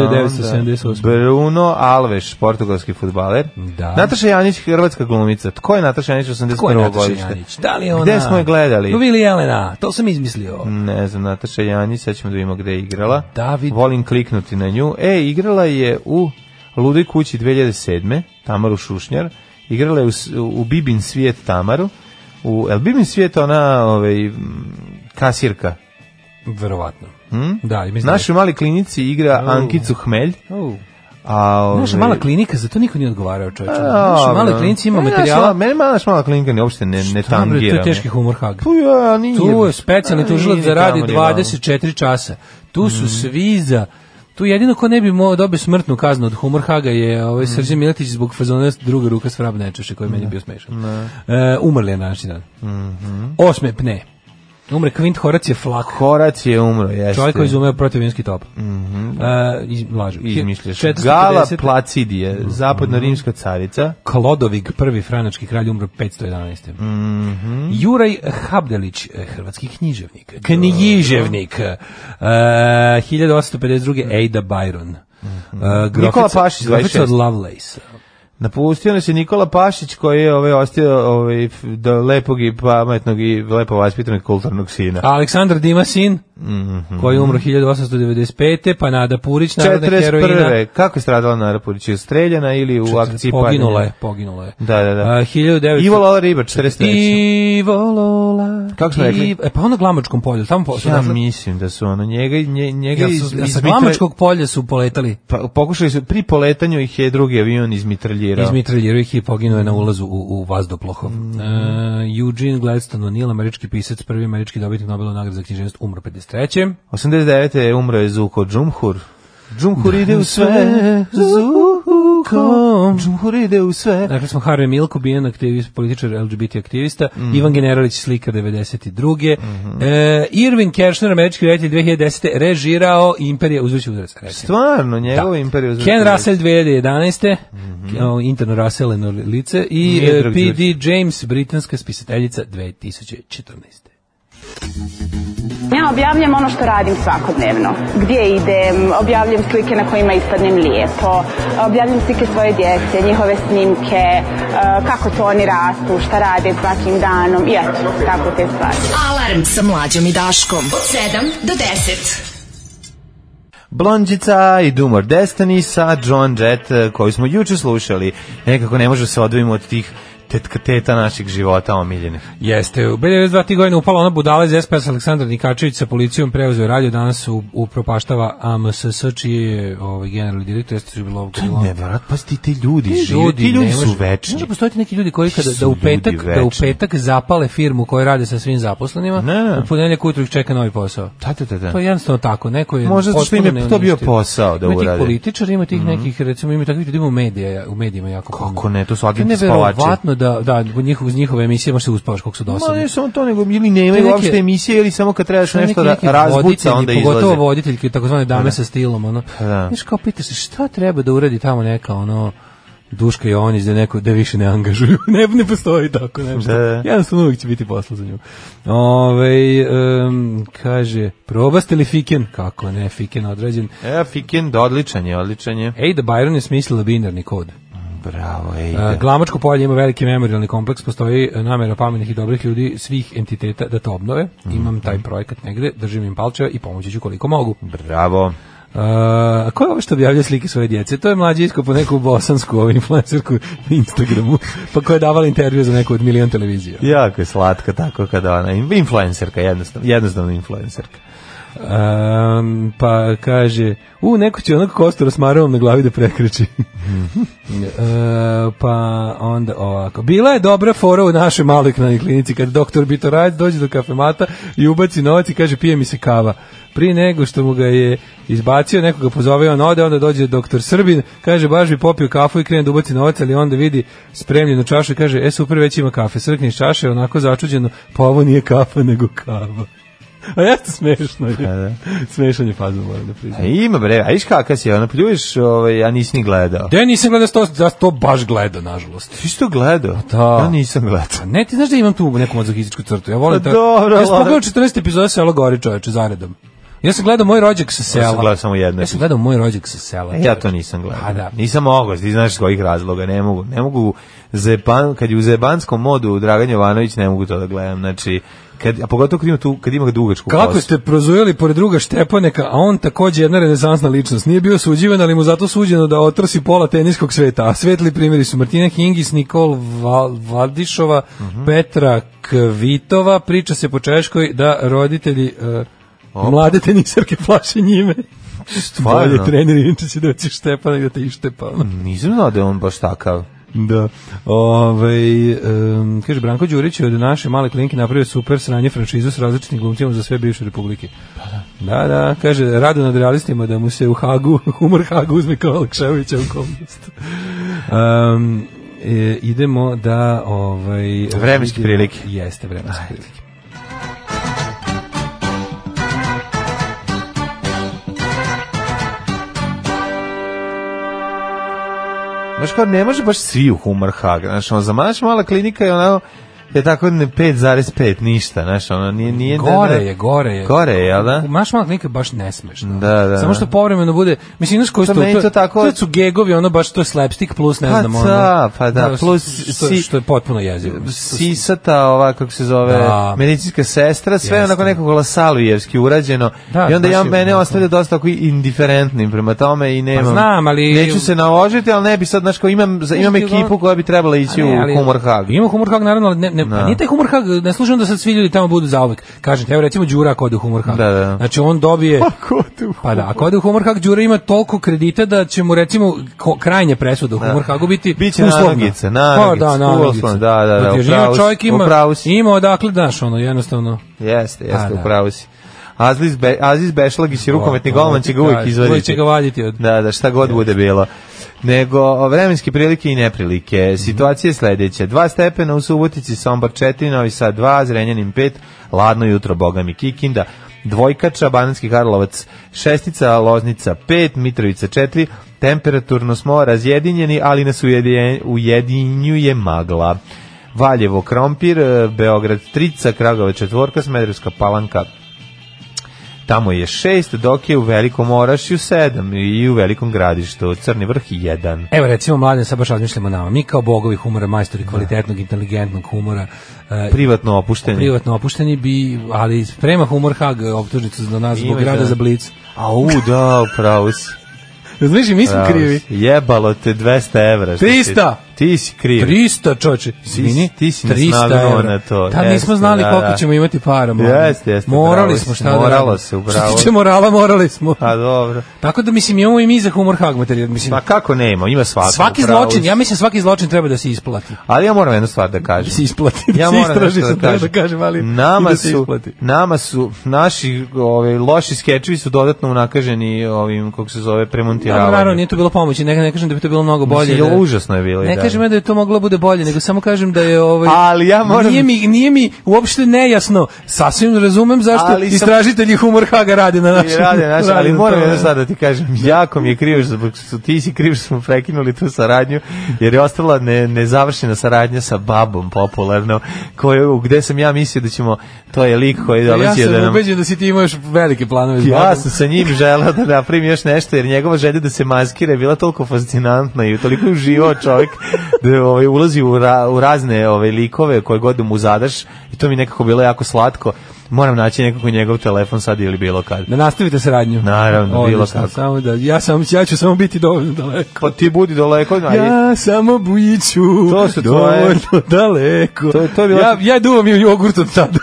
S5: onda
S6: 1978.
S5: Bruno Alves, portugalski futbaler.
S6: Da.
S5: Nataša Janić, hrvatska glumica. Tko je Nataša Janić 81.
S6: Ko je Nataša
S5: godište?
S6: Janić? Da li je ona?
S5: Gde smo je gledali? Mm.
S6: No, Vili Jelena, to sam izmislio.
S5: Ne znam, Nataša Janić, sad ćemo da vidimo gde je igrala.
S6: David-
S5: Volim kliknuti na nju. E, igrala je u Ludoj kući 2007. Tamaru Šušnjar. Igrala je u, s- u Bibin svijet Tamaru. U, el Bibin svijet ona ovaj, m, kasirka.
S6: Verovatno.
S5: Mm?
S6: Da, i mi znaš.
S5: Našoj mali klinici igra Ankicu Hmelj. A, ovaj,
S6: Naša mala klinika, za to niko nije odgovarao čovječe. Naša
S5: Dobro.
S6: mala klinica ima
S5: E, naša mala-
S6: materijala.
S5: Mene mala, naša mala klinika ne uopšte ne, ne
S6: Tamo je,
S5: tangira.
S6: To je
S5: me.
S6: teški humor Hag.
S5: Tu ja, Pa nije.
S6: Tu je specijalni
S5: A,
S6: tužilac
S5: nije
S6: da radi
S5: tamo ni Mhm. malo.
S6: 24 časa. Tu su svi za Tu jedino ko ne bi mogao dobiti smrtnu kaznu od Humorhaga je ovaj
S5: Mhm.
S6: Srđan Miletić zbog fazona druga ruka svrab nečeše koji je meni bio smešan. E, umrli je na današnji dan.
S5: Mhm.
S6: Osme pne. Umre Kvint Horacije Flak.
S5: Horac je umro, jeste. Mhm.
S6: Čovjek koji je izumeo protivinski top. E, iz, lažu.
S5: izmišljaš.
S6: 450.
S5: Gala Placidije,
S6: Mhm.
S5: zapadno-rimska carica.
S6: Klodovig, prvi franački kralj, umro 511.
S5: Mhm.
S6: Juraj Habdelić, eh, hrvatski književnik. Književnik. E, 1852. Ada Byron. E, grofica-
S5: Mhm. Nikola Pašić,
S6: grofica od
S5: 26.
S6: Lovelace.
S5: Napustio nas je Nikola Pašić koji je ovaj, ostio ovaj, f- do lepog i pametnog i lepo vaspitanog i kulturnog sina.
S6: Aleksandar Dima sin,
S5: Mhm.
S6: koji je umro 1895. Pa Nada Purić, narodna heroina.
S5: 41. Kako je stradala Nara Purić? Je streljana ili u akciji paljenja?
S6: Poginula je, poginula je.
S5: Da, da, da.
S6: E, 1900
S5: Ivo Lola Ribar, 43.
S6: Ivo Lola.
S5: Kako smo rekli?
S6: Iv- E, pa ono glamačkom polju, tamo po, su
S5: Ja
S6: našli-
S5: mislim da su ono njega, nje, njega
S6: Ja
S5: iz-
S6: su, ja
S5: iz
S6: sa
S5: Mitre-
S6: glamačkog polja su poletali.
S5: Pa, pokušali su, pri poletanju ih je drugi avion izmitraljirao.
S6: Izmitraljirao ih i poginuo je na ulazu u, u vazdoplohov. E, Eugene Gladstone O'Neill, američki pisac, prvi američki dobitnik Nobelove nagrade za književnost, umro 53.
S5: 89. je umro je Zuko Džumhur. Džumhur ide u sve, Zuko, Džumhur ide u sve.
S6: Dakle smo Harve Milko, bijen aktivist, političar, LGBT aktivista, Ivan Generalić, slika 92. E, Irvin Kershner, američki reditelj 2010. režirao Imperije uzvrći udarac. recimo.
S5: Stvarno, njegova imperija uzvrata.
S6: Ken Russell 2011. o, interno Russellino lice i
S5: Mhm. Nije
S6: e,
S5: drug
S6: P.D. James, britanska spisateljica 2014.
S9: Ja objavljam ono što radim svakodnevno. Gdje idem, objavljam slike na kojima ispadnem lijepo, objavljam slike svoje djece, njihove snimke, eh, kako to oni rastu, šta rade svakim danom i eto, tako te stvari.
S4: Alarm sa mlađom i Daškom. Od 7 do 10.
S5: Blondjica i Doom or Destiny sa John Jett eh, koju smo juče slušali. Nekako ne možemo se odvojimo od tih tetka teta naših života omiljenih.
S6: Jeste, u 92. ti godine upala ona budala iz SPS Aleksandar Nikačević sa policijom preuzeo radio, danas u, upropaštava AMSS, čiji je ovaj, generalni direktor, jeste su bilo
S5: Nevjerojatno, pa ti ti ljudi, žive, ti ljudi su večni.
S6: Možda postojati neki ljudi koji kada
S5: Su
S6: da u
S5: ljudi
S6: petak, da u
S5: večni.
S6: petak zapale firmu koju rade sa svim zaposlenima,
S5: Ne, ne.
S6: u ponedeljak ujutru ih čeka novi posao.
S5: pa- Da, da, da, da.
S6: To je jednostavno tako, neko je
S5: Možda zato što im je
S6: potpuno
S5: to bio
S6: neuništivo.
S5: posao da
S6: Ima
S5: urade. Mhm.
S6: tih političara, ima tih nekih, recimo ima takvih ljudi u medija, u medijima jako puno.
S5: Kako Pa ne, to su agenti
S6: Neverovatno da da u njihov iz njihove emisije možeš se uspavaš kako su
S5: Ma
S6: dosadni.
S5: ne samo to, nego ili nemaju
S6: To je neke-
S5: uopšte emisije ili samo kad trebaš
S6: Neki-
S5: nešto da
S6: neki voditelji,
S5: razbuca, onda izlaze.
S6: Pogotovo voditeljke takozvane dame sa stilom, ono.
S5: Da.
S6: Znaš, kao pitaš se šta treba da uradi tamo neka ono Duška Jovanić da neko da više ne angažuju. [LAUGHS] ne, ne postoji tako nešto.
S5: Da.
S6: Jednostavno uvijek će biti posla za nju. Ove, kaže, probaste li Fiken? Kako ne, Fiken odrađen.
S5: E, Fikend, odličan je, odličan je.
S6: Ada Byron je smislila binarni kod.
S5: Bravo, ej.
S6: E, Glamačko polje ima veliki memorialni kompleks, postoji e, namera pametnih i dobrih ljudi svih entiteta da to obnove. Imam taj projekat negde, držim im palčeve i pomoći ću koliko mogu.
S5: Bravo.
S6: A, a ko je ovo što objavlja slike svoje djece? To je mlađe iskopo neku bosansku ovu influencerku na Instagramu, [LAUGHS] pa koja je davala intervju za neku od milion televizija.
S5: Jako je slatka tako kada ona, influencerka, jednostavno, jednostavno influencerka.
S6: Um, pa kaže, u, neko će onako kostura s maramom na glavi da prekreći. [LAUGHS] E, pa onda ovako. Bila je dobra fora u našoj maloj knani klinici kad doktor Bitorajc dođe do kafemata i ubaci novac i kaže pije mi se kava. Prije nego što mu ga je izbacio, nekoga pozove, on ode, onda dođe doktor Srbin, kaže baš bi popio kafu i krene da ubaci novac, ali onda vidi spremljenu čašu i kaže, e super, već ima kafe. Srkne iz čaše, onako začuđeno, pa ovo nije kafa, nego kava. A jeste smešno je.
S5: da.
S6: Smešan je fazon, moram da priznam.
S5: A ima bre, a viš kakav si, ono pljuješ, ovaj, a nisi ni gledao.
S6: Da ja nisam gledao sto, da to baš gledao, nažalost.
S5: Ti si to gledao?
S6: da.
S5: Ja nisam gledao.
S6: Pa ne, ti znaš da imam tu neku mazohističku crtu. Ja volim
S5: Pa dobro,
S6: Ja sam
S5: ali-
S6: pogledao 14 epizoda Selo Gori, čoveče, zaredom. Ja sam gledao Moj rođak sa sela.
S5: Ja sam gledao samo jednu
S6: Ja sam gledao Moj rođak sa sela.
S5: Pa Ja to nisam gledao.
S6: A, E, pa da.
S5: Nisam mogao, ti znaš iz kojih razloga, ne mogu. Ne mogu, zeban, kad je u zebanskom modu Dragan Jovanović, ne mogu to da gledam. Znači, kad, a pogotovo kad ima, tu, kad ima dugačku
S6: Kako
S5: kosu.
S6: ste prozujeli pored druga Štepaneka, a on takođe jedna renesansna ličnost. Nije bio suđivan, ali mu zato suđeno da otrsi pola teniskog sveta. A svetli primjeri su Martina Hingis, Nikol Val Valdišova, Petra Kvitova. Priča se po Češkoj da roditelji e, mlade tenisarke plaše njime.
S5: Stvarno?
S6: Bolje trener, inače će doći Štepanek da te ištepa. ono.
S5: Nisam znao da je on baš takav.
S6: Da. Ovaj em, kaže Branko Đurić je od naše male klinike napravio super sranje franšizu s različitim glumcima za sve bivše republike.
S5: Pa
S6: Da, da, kaže rado nad realistima da mu se u Hagu, [LAUGHS] humor Hagu uzme kao Alekševića u komnost. Em, e, idemo da ovaj
S5: Vremenske
S6: vidimo-
S5: prilike.
S6: Jeste vremenske prilike.
S5: Znaš kao, ne može baš svi u humor hag. Znaš, ono, za maš mala klinika je ono, je tako ne, 5,5 ništa, znaš, ono, nije, nije da-
S6: Gore
S5: da-
S6: je, gore je.
S5: Gore je, jel da?
S6: Maš mala klinika je baš nesmešna.
S5: Da, da,
S6: Samo što
S5: da.
S6: povremeno bude, mislim, znaš koji
S5: To
S6: su to,
S5: meni
S6: to,
S5: to tako-
S6: to su gegovi, ono baš to je slapstick plus, ne
S5: Pa
S6: znam,
S5: da,
S6: ono.
S5: pa da, plus
S6: što,
S5: si-
S6: što je potpuno jezivo.
S5: sisata, ova, kako se zove,
S6: Da.
S5: medicinska sestra, sve
S6: Jeste.
S5: onako nekako lasalujevski urađeno.
S6: Da,
S5: I onda ja,
S6: znaš,
S5: mene
S6: onako. Pa
S5: ostavlja dosta tako indiferentnim prema tome i nemam.
S6: znam, ali-
S5: Neću se naložiti, ali ne bi sad, znaš, kao imam, za- imam
S6: Znaš ti,
S5: ekipu
S6: ono-
S5: koja bi trebala ići
S6: A ne, ali-
S5: u Humor Hag.
S6: Ima humor hag, naravno, ali ne, ne,
S5: Da.
S6: nije taj humor hag, ne služim da sad svi ljudi tamo budu zauvek. Kažem, ti, evo recimo Đura ako ode u humor hag.
S5: Da, da.
S6: Znači on dobije... Pa da, ako ode u humor hag, Đura ima toliko kredita da će mu recimo ko, krajnje presuda u humor hagu biti
S5: Biće nanogice, nanogice,
S6: Pa da, nanogice.
S5: uslovno, da, da, da,
S6: Znači,
S5: u pravu
S6: ima
S5: si,
S6: čovjek
S5: u
S6: ima,
S5: pravu si.
S6: ima odakle, daš, ono, jednostavno...
S5: Jeste,
S6: A,
S5: jeste,
S6: Pa da.
S5: upravo si. Aziz, Be, Aziz Bešlagić i Znači, rukometni
S6: O, ovo
S5: golman će
S6: ti
S5: ga uvijek
S6: kažem,
S5: izvaditi.
S6: uvijek će ga vaditi od-
S5: Da, da, šta god bude bilo. Nego o, vremenske prilike i neprilike. Situacija je sledeća. Dva stepena u Subotici, Sombor 4, Novi Sad 2, Zrenjanin 5, ladno jutro, Boga mi Kikinda, Dvojkača, Bananski Karlovac 6, Loznica 5, Mitrovica 4, Temperaturno smo razjedinjeni, ali nas ujedinje- ujedinjuje magla. Valjevo Krompir, e, Beograd Trica, Kragova Četvorka, Smederevska Palanka Tamo je šest, dok je u Velikom Orašju sedam i u Velikom gradištu. Crni vrh jedan.
S6: Evo recimo, mladen, sad baš razmišljamo o nama. Mi kao bogovi humora, majstori kvalitetnog, inteligentnog humora, e,
S5: Privatno opušteni.
S6: privatno opušteni bi, ali prema humor hag optužnicu za nas zbog
S5: Ima,
S6: rada
S5: da.
S6: za blic.
S5: Au, da, pravo
S6: [LAUGHS]
S5: si.
S6: Znaš, i mi smo
S5: pravo
S6: krivi.
S5: si. Jebalo te 200 evra. što
S6: 300.
S5: si- Ti si kriv.
S6: 300 čoče, izvini,
S5: ti si nas
S6: 300
S5: nagnuo
S6: evra.
S5: na to.
S6: Tad
S5: Jeste,
S6: nismo znali
S5: da,
S6: koliko
S5: da.
S6: ćemo imati para. mladen.
S5: Jeste, jeste,
S6: Morali
S5: bravo
S6: smo
S5: si,
S6: šta da
S5: moralo
S6: radimo.
S5: se, bravo. Pa-
S6: Što se tiče morala, morali smo.
S5: A dobro.
S6: Tako da, mislim, imamo i mi za humor hag materijal. Mislim,
S5: Ma kako ne ima, ima svako.
S6: svaki
S5: pravo
S6: zločin,
S5: pa- si.
S6: ja mislim svaki zločin treba da se isplati.
S5: Ali ja moram jednu stvar da
S6: Da
S5: kažem.
S6: se isplati, da
S5: ja
S6: se
S5: moram
S6: istraži
S5: nešto
S6: sad,
S5: da kažem.
S6: da kažem, ali i
S5: nama
S6: da se
S5: su,
S6: isplati.
S5: nama su naši ovaj, loši skečevi su dodatno unakaženi ovim, kako se zove,
S6: Dobro,
S5: premontiravanjem.
S6: naravno, nije to bilo pomoći, ne, ne kažem da bi to bilo mnogo bolje.
S5: Mislim,
S6: da-
S5: užasno je bilo i
S6: Ne
S5: dalje.
S6: kažem ja da je to moglo da bude bolje, nego samo kažem da je ovaj
S5: Ali ja moram-
S6: Nije mi nije mi uopšte nejasno. Sasvim razumem zašto
S5: Ali sam-
S6: istražitelji humor Haga rade na
S5: I
S6: našem.
S5: rade naš, Znači, ali
S6: na
S5: moram
S6: tome.
S5: jedno sad da ti kažem, jako mi je krivo što zbog su ti si kriv što smo prekinuli tu saradnju, jer je ostala ne, nezavršena saradnja sa babom popularno, koju, gde sam ja mislio da ćemo, to je lik koji
S6: Ja
S5: dolazi
S6: sam
S5: da nam...
S6: ubeđen da si ti imaš velike planove. s
S5: Ja
S6: Bogom.
S5: sam sa njim želeo da napravim još nešto, jer njegova želja da se maskira je bila toliko fascinantna i toliko je uživao čovjek da je, ovaj, ulazi u, ra, u razne ovaj, likove koje god mu zadaš i to mi je nekako bilo jako slatko. Moram naći nekako njegov telefon sad ili bilo kad.
S6: Da nastavite saradnju.
S5: Naravno, bilo
S6: Odlično,
S5: kako.
S6: Samo da, ja, sam, ja ću samo biti dovoljno daleko.
S5: Pa ti budi daleko, ajde.
S6: Ja samo bujiću
S5: To su tvoje-
S6: dovoljno daleko.
S5: To je- to je bila-
S6: ja, ja duvam i jogurt od tada.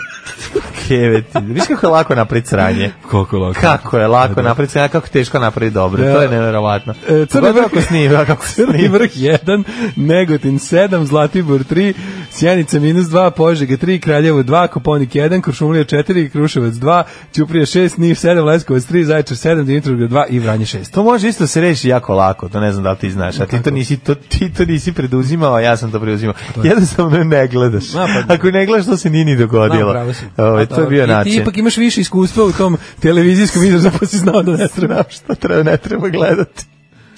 S5: keveti. Viš kako je lako napraviti sranje?
S6: Koliko je lako.
S5: Kako je lako napraviti sranje, a kako teško napraviti dobro.
S6: Da.
S5: To je neverovatno.
S6: E, Crni
S5: Pogotovo
S6: vrh
S5: ako snima, kako
S6: [LAUGHS] Crni
S5: snima.
S6: vrh 1, Negotin 7, Zlatibor 3, Sjenica minus 2, Požega 3, Kraljevo 2, Koponik 1, Kuršumlija 4, Kruševac 2, Ćuprija 6, Niš 7, Leskovac 3, Zaječar 7, Dimitrovgrad 2 i Vranje 6.
S5: To može isto se reši jako lako, to ne znam da li ti znaš, a ti to nisi, to, ti to nisi preduzimao, a ja sam to preduzimao. Jednostavno ne gledaš.
S6: Pa Ma, pa-
S5: Ako ne gledaš, to se nije ni
S6: Da,
S5: dogodilo.
S6: pravo si. Pa
S5: Ovaj, to je bio
S6: I
S5: način.
S6: Ti ipak [LAUGHS] imaš više iskustva u tom televizijskom izrazu, pa si znao da ne treba.
S5: Znam šta treba, ne treba gledati.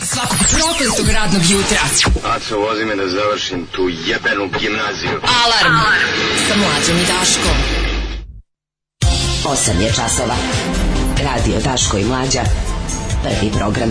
S4: Svakog prokletog radnog jutra.
S3: Aco, vozi me da završim tu jebenu gimnaziju.
S4: Alarm, Alarm. sa mlađom i Daškom.
S10: 8 je časova. Radio Daško i Mlađa. Prvi program.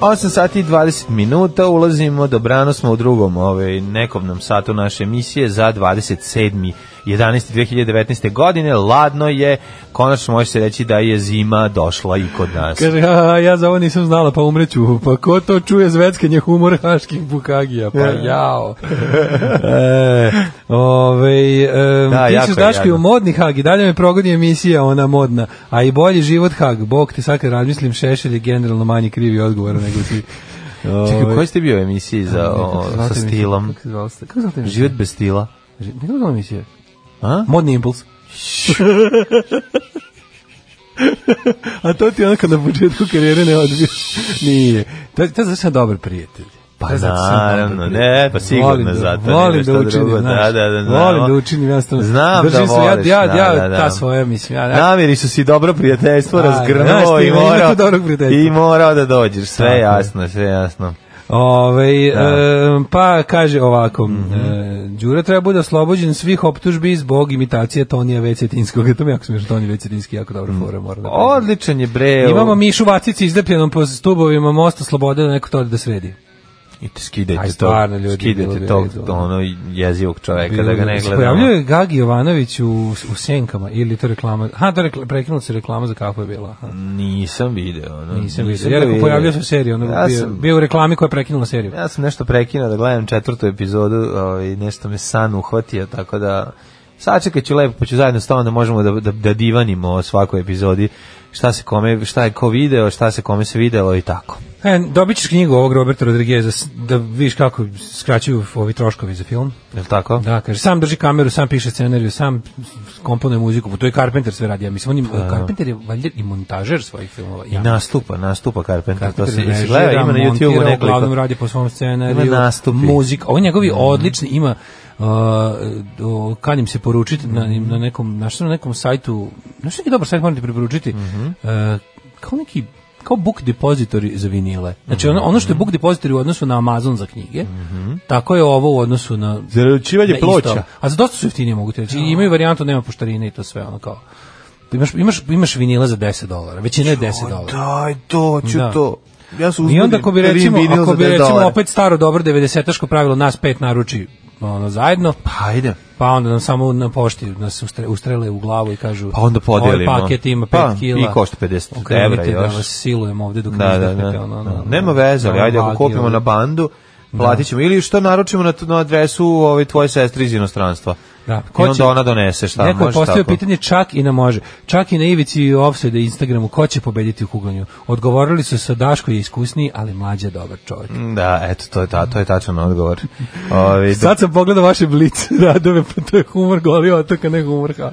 S5: 8 sati i 20 minuta, ulazimo, dobrano smo u drugom ovaj, nekovnom satu naše emisije za 27. 11. 2019. godine, ladno je, konačno može se reći da je zima došla i kod nas.
S6: Kaže, a, ja za ovo nisam znala, pa umreću. Pa ko to čuje zveckanje humor haških bukagija? Pa
S5: [LAUGHS]
S6: jao. E, ove, e,
S5: Da,
S6: ti
S5: jako
S6: ćeš
S5: je
S6: daški
S5: jadno.
S6: u modni hag i dalje me progodi emisija, ona modna. A i bolji život hag. Bog ti sad kad razmislim, Šešelj je generalno manji krivi odgovor nego ti.
S5: Čekaj,
S6: Ove,
S5: koji ste bio u emisiji za, o,
S6: Ovaj- kako se zvala
S5: sa
S6: ta emisija?
S5: stilom?
S6: Kako se zvala sta- kako se zvala ta emisija?
S5: Život bez stila.
S6: Ži- Kako se zvala emisija?
S5: A?
S6: Modni impuls. [LAUGHS] A to ti je ono kad na početku karijere ne odbiješ. Nije. To, to je zato što sam dobar prijatelj. To
S5: Pa
S6: je zato što sam dobar
S5: naravno,
S6: prijatelj.
S5: ne, pa
S6: Volim
S5: sigurno
S6: da-
S5: zato. nema
S6: Volim
S5: šta
S6: da učinim,
S5: drugo,
S6: znaš.
S5: da, da, da,
S6: volim
S5: znamo.
S6: da učinim, jednostavno.
S5: Znam
S6: Držim
S5: da
S6: se, ja-
S5: voliš,
S6: ja, ja,
S5: da, da, da.
S6: ta svoja, mislim, ja, ja,
S5: Namiri su si dobro prijateljstvo
S6: Da, znaš
S5: razgrnuo
S6: ti,
S5: i
S6: ima- ima
S5: morao,
S6: tu dobrog prijateljstva.
S5: i morao da dođeš, sve
S6: Tako je.
S5: jasno, sve jasno.
S6: Ove, e, pa kaže ovako, mm
S5: Mhm.
S6: Đura treba bude oslobođen svih optužbi zbog imitacije Tonija Vecetinskog. [LAUGHS] To mi je jako smiješno, Tonija Vecetinski, je jako dobra
S5: Mhm.
S6: fora, moram da priznam.
S5: Odličan je bre.
S6: Imamo Mišu Vacici izlepljenom po stubovima Mosta Slobode da neko to ode da sredi.
S5: I te skidajte
S6: Aj,
S5: to.
S6: stvarno, ljudi, bilo bi
S5: skidajte tog
S6: redu, ono.
S5: ono jezivog čoveka da E, ga ne
S6: Se
S5: gledamo.
S6: Pojavljuje Gagi Jovanović u, u Senkama ili to reklama. Ha, to rekla, prekinula se reklama za kafu je bila. Aha.
S5: Nisam video. Ono,
S6: Nisam
S5: ga
S6: vidio. Ja rekao, pojavljuje se u seriji, ono,
S5: ja
S6: bio,
S5: sam,
S6: bio u reklami koja je prekinula seriju.
S5: ja sam nešto prekinuo da gledam četvrtu epizodu, ovaj, nešto me san uhvatio, tako da sačekat ću lepo, pa ću zajedno s tobom da možemo da, da, da divanimo o svakoj epizodi šta se kome, šta je ko video, šta se kome se videlo i tako.
S6: E, dobit ćeš knjigu ovog Roberta Rodrigueza s- da vidiš kako skraćuju ovi troškovi za film.
S5: Je li tako?
S6: Da, kaže, sam drži kameru, sam piše scenariju, sam komponuje muziku, Pa to je Carpenter sve radi, ja mislim, on
S5: Pa,
S6: je, Carpenter je valjda i montažer svojih filmova.
S5: I
S6: ja.
S5: nastupa, nastupa Carpenter, to
S6: Carpenter
S5: se jesi
S6: režira,
S5: gledao, ima na YouTube
S6: montira,
S5: nekoliko.
S6: Uglavnom radi po svom scenariju.
S5: Ima nastupi. Mm.
S6: Muzik, ovo njegovi odlični ima Uh, o, kanjem se poručiti na, na nekom, na što na nekom sajtu na što neki dobar sajt moram ti preporučiti
S5: Mhm.
S6: E, kao neki kao book depozitori za vinile znači ono, ono
S5: Mhm.
S6: što je book depozitori u odnosu na Amazon za knjige tako je ovo u odnosu na
S5: Zaručivanje
S6: na isto. A za dosta su jeftinije mogu ti reći. I imaju varijantu da nema poštarine i to sve ono kao. Imaš, imaš, imaš vinila za 10 dolara, većina je 10 dolara.
S5: Daj, to ću
S6: Da.
S5: to. Ja sam
S6: I
S5: uzbuđen,
S6: onda ako bi
S5: vidim
S6: recimo,
S5: vinil
S6: ako
S5: za
S6: bi
S5: 10
S6: recimo
S5: dolara.
S6: opet staro dobro 90-taško pravilo nas pet naruči ono zajedno,
S5: Pa Ajde.
S6: pa onda nam samo na pošti nas ustre, ustrele u glavu i kažu
S5: Pa onda podelimo.
S6: ovaj paket ima 5
S5: Pa,
S6: kila.
S5: i košta 50
S6: Okrenite
S5: evra još.
S6: da vas silujemo ovde dok ne
S5: Da, da,
S6: izdahnete,
S5: da.
S6: ono, ono,
S5: Nema veze, ali
S6: ono,
S5: ajde ako
S6: vagi,
S5: kupimo
S6: ono.
S5: na bandu, platit ćemo. Ili što naručimo na, na adresu ovaj, tvoje sestre iz inostranstva.
S6: Da.
S5: I
S6: Ko
S5: onda
S6: će-
S5: ona donese šta
S6: Neko je
S5: može
S6: postavio
S5: tako.
S6: pitanje čak i na može. Čak i na ivici offside Instagramu ko će pobediti u kuglanju. Odgovorili su sa Daško je iskusniji, ali mlađe je dobar čovjek.
S5: Da, eto, to je, ta, to je tačan
S6: [LAUGHS]
S5: odgovor. Ovi,
S6: Sad sam pogledao vaše blic [LAUGHS] radove, pa to je humor goli otoka, ne humor
S5: [LAUGHS]
S6: hag.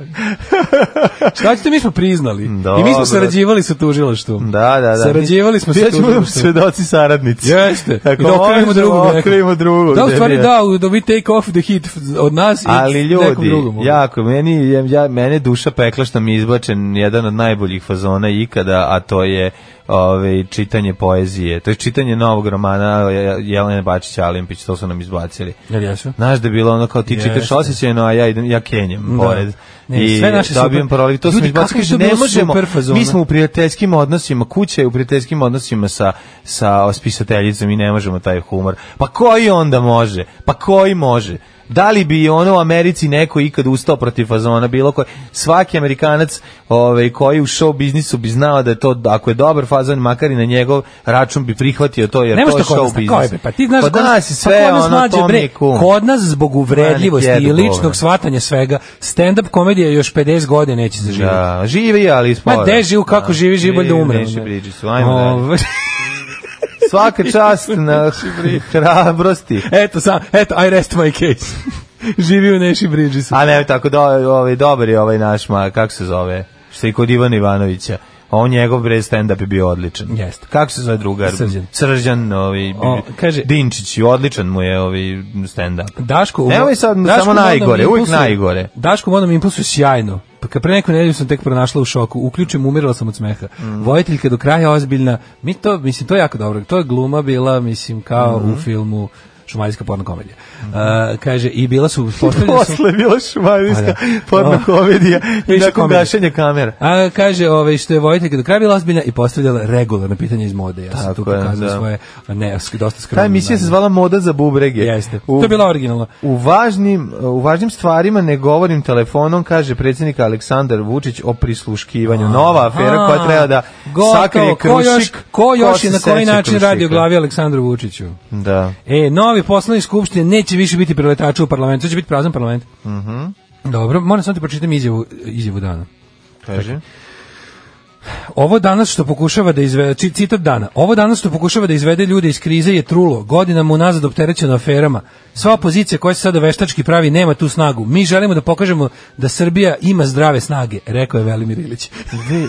S6: Šta ćete, mi smo priznali. I mi
S5: Dobro.
S6: smo sarađivali sa tužilaštvom.
S5: Da, da, da.
S6: Sarađivali smo sa
S5: Ja ćemo da budemo
S6: tužilaštvom.
S5: svedoci saradnici.
S6: Jeste.
S5: [LAUGHS] Ako
S6: I da okrivimo
S5: možemo,
S6: drugog nekog.
S5: okrivimo drugog.
S6: Da, u
S5: gde
S6: stvari
S5: bi-
S6: da, u- da we take off the hit od nas
S5: Ali
S6: i nekom
S5: ljudi,
S6: drugom. ono.
S5: jako, meni, ja, ja, mene je duša pekla što mi je izbačen jedan od najboljih fazona ikada, a to je ove, čitanje poezije. To je čitanje novog romana Je- Jelene Bačić Alimpić, to su nam izbacili.
S6: Jel jesu?
S5: Znaš da je bilo ono kao ti čitaš
S6: Jeste.
S5: osjećajno, a ja idem, ja kenjem
S6: Da.
S5: pored.
S6: Ne,
S5: I
S6: sve naše
S5: dobijem
S6: super-
S5: proliv. To smo
S6: Ljudi,
S5: izbacili,
S6: kako je to
S5: kaže, ne
S6: bilo
S5: možemo,
S6: super fazona.
S5: mi smo u prijateljskim odnosima, kuća je u prijateljskim odnosima sa, sa spisateljicom i ne možemo taj humor. Pa koji onda može? Pa koji može? da li bi ono u Americi neko ikad ustao protiv fazona bilo koji svaki Amerikanac ovaj koji je u show biznisu bi znao da je to ako je dobar fazon makar i na njegov račun bi prihvatio to jer
S6: Nema
S5: to
S6: što
S5: je
S6: kod
S5: show
S6: nas, tako je,
S5: biznis.
S6: bre, pa ti znaš,
S5: kod nas je sve
S6: pa kod nas
S5: ono
S6: mlađe,
S5: to mi
S6: bre,
S5: je kum.
S6: Kod nas zbog uvredljivosti
S5: Ma, nek
S6: i
S5: jedu
S6: ličnog
S5: govna.
S6: shvatanja svega, stand-up komedija još 50 godina neće zaživjeti.
S5: Da, živi, ali sporo.
S6: Ma de živu, kako živi, živi, bolje da umre.
S5: Neši
S6: ono.
S5: Bridgesu, ajmo dalje.
S6: Ovaj,
S5: Svaka čast na hrabrosti.
S6: [LAUGHS] Eto, sam, eto, I rest my case. [LAUGHS] živi u Neši Bridgesu.
S5: A ne, tako do, ovaj, dobar je ovaj naš, ma, kako se zove, što je i kod Ivana Ivanovića. On njegov bre stand-up je bio odličan.
S6: Jeste.
S5: Kako se zove drugar?
S6: Srđan.
S5: Srđan, ovaj,
S6: O, kaže-
S5: Dinčić, odličan mu je ovaj stand-up.
S6: Daško, u-
S5: Nemoj sad
S6: Daško
S5: samo
S6: u modnom
S5: najgore, uvijek
S6: impulsu-
S5: najgore.
S6: Daško u modnom impulsu je sjajno. Pa kad pre neku nedelju sam tek pronašla u šoku, uključim, umirala sam od smeha.
S5: Mm.
S6: Vojiteljka do kraja ozbiljna, mi to, mislim, to je jako dobro. To je gluma bila, mislim, kao
S5: Mm.
S6: u filmu Šumalijska porno komedija. E, kaže, i bila
S5: [LAUGHS]
S6: su, postavljena su...
S5: Posle je bila šumadijska
S6: Pa da.
S5: porno
S6: O.
S5: komedija i
S6: Više
S5: nakon
S6: komedija.
S5: gašenja kamera.
S6: A kaže, ovaj što je vojiteljka do kraja bila ozbiljna i postavljala regularno pitanje iz mode. Ja sam
S5: Tako
S6: tu
S5: je,
S6: pokazao
S5: da.
S6: svoje ne, dosta skromno.
S5: Ta emisija se zvala Moda za bubrege.
S6: Jeste.
S5: U-
S6: To je bila originalna.
S5: U važnim, u važnim stvarima ne govorim telefonom, kaže predsjednik Aleksandar Vučić o prisluškivanju. Nova afera koja treba da
S6: Gotovo,
S5: sakrije
S6: Ko još,
S5: krušik.
S6: ko još
S5: se
S6: i na koji
S5: seća
S6: način radi o
S5: Krušika?
S6: glavi Aleksandru Vučiću?
S5: Da.
S6: E, novi poslanik skupštine neće više biti preletača u parlamentu, to će biti prazan parlament. Mhm. Dobro, moram samo ti pročitam izjavu, izjavu dana.
S5: Kaže.
S6: Ovo danas što pokušava da izvede, ci, citat dana, ovo danas što pokušava da izvede ljude iz krize je trulo, godinama unazad opterećeno aferama. Sva opozicija koja se sada veštački pravi nema tu snagu. Mi želimo da pokažemo da Srbija ima zdrave snage, rekao je Velimir Ilić.
S5: Vi-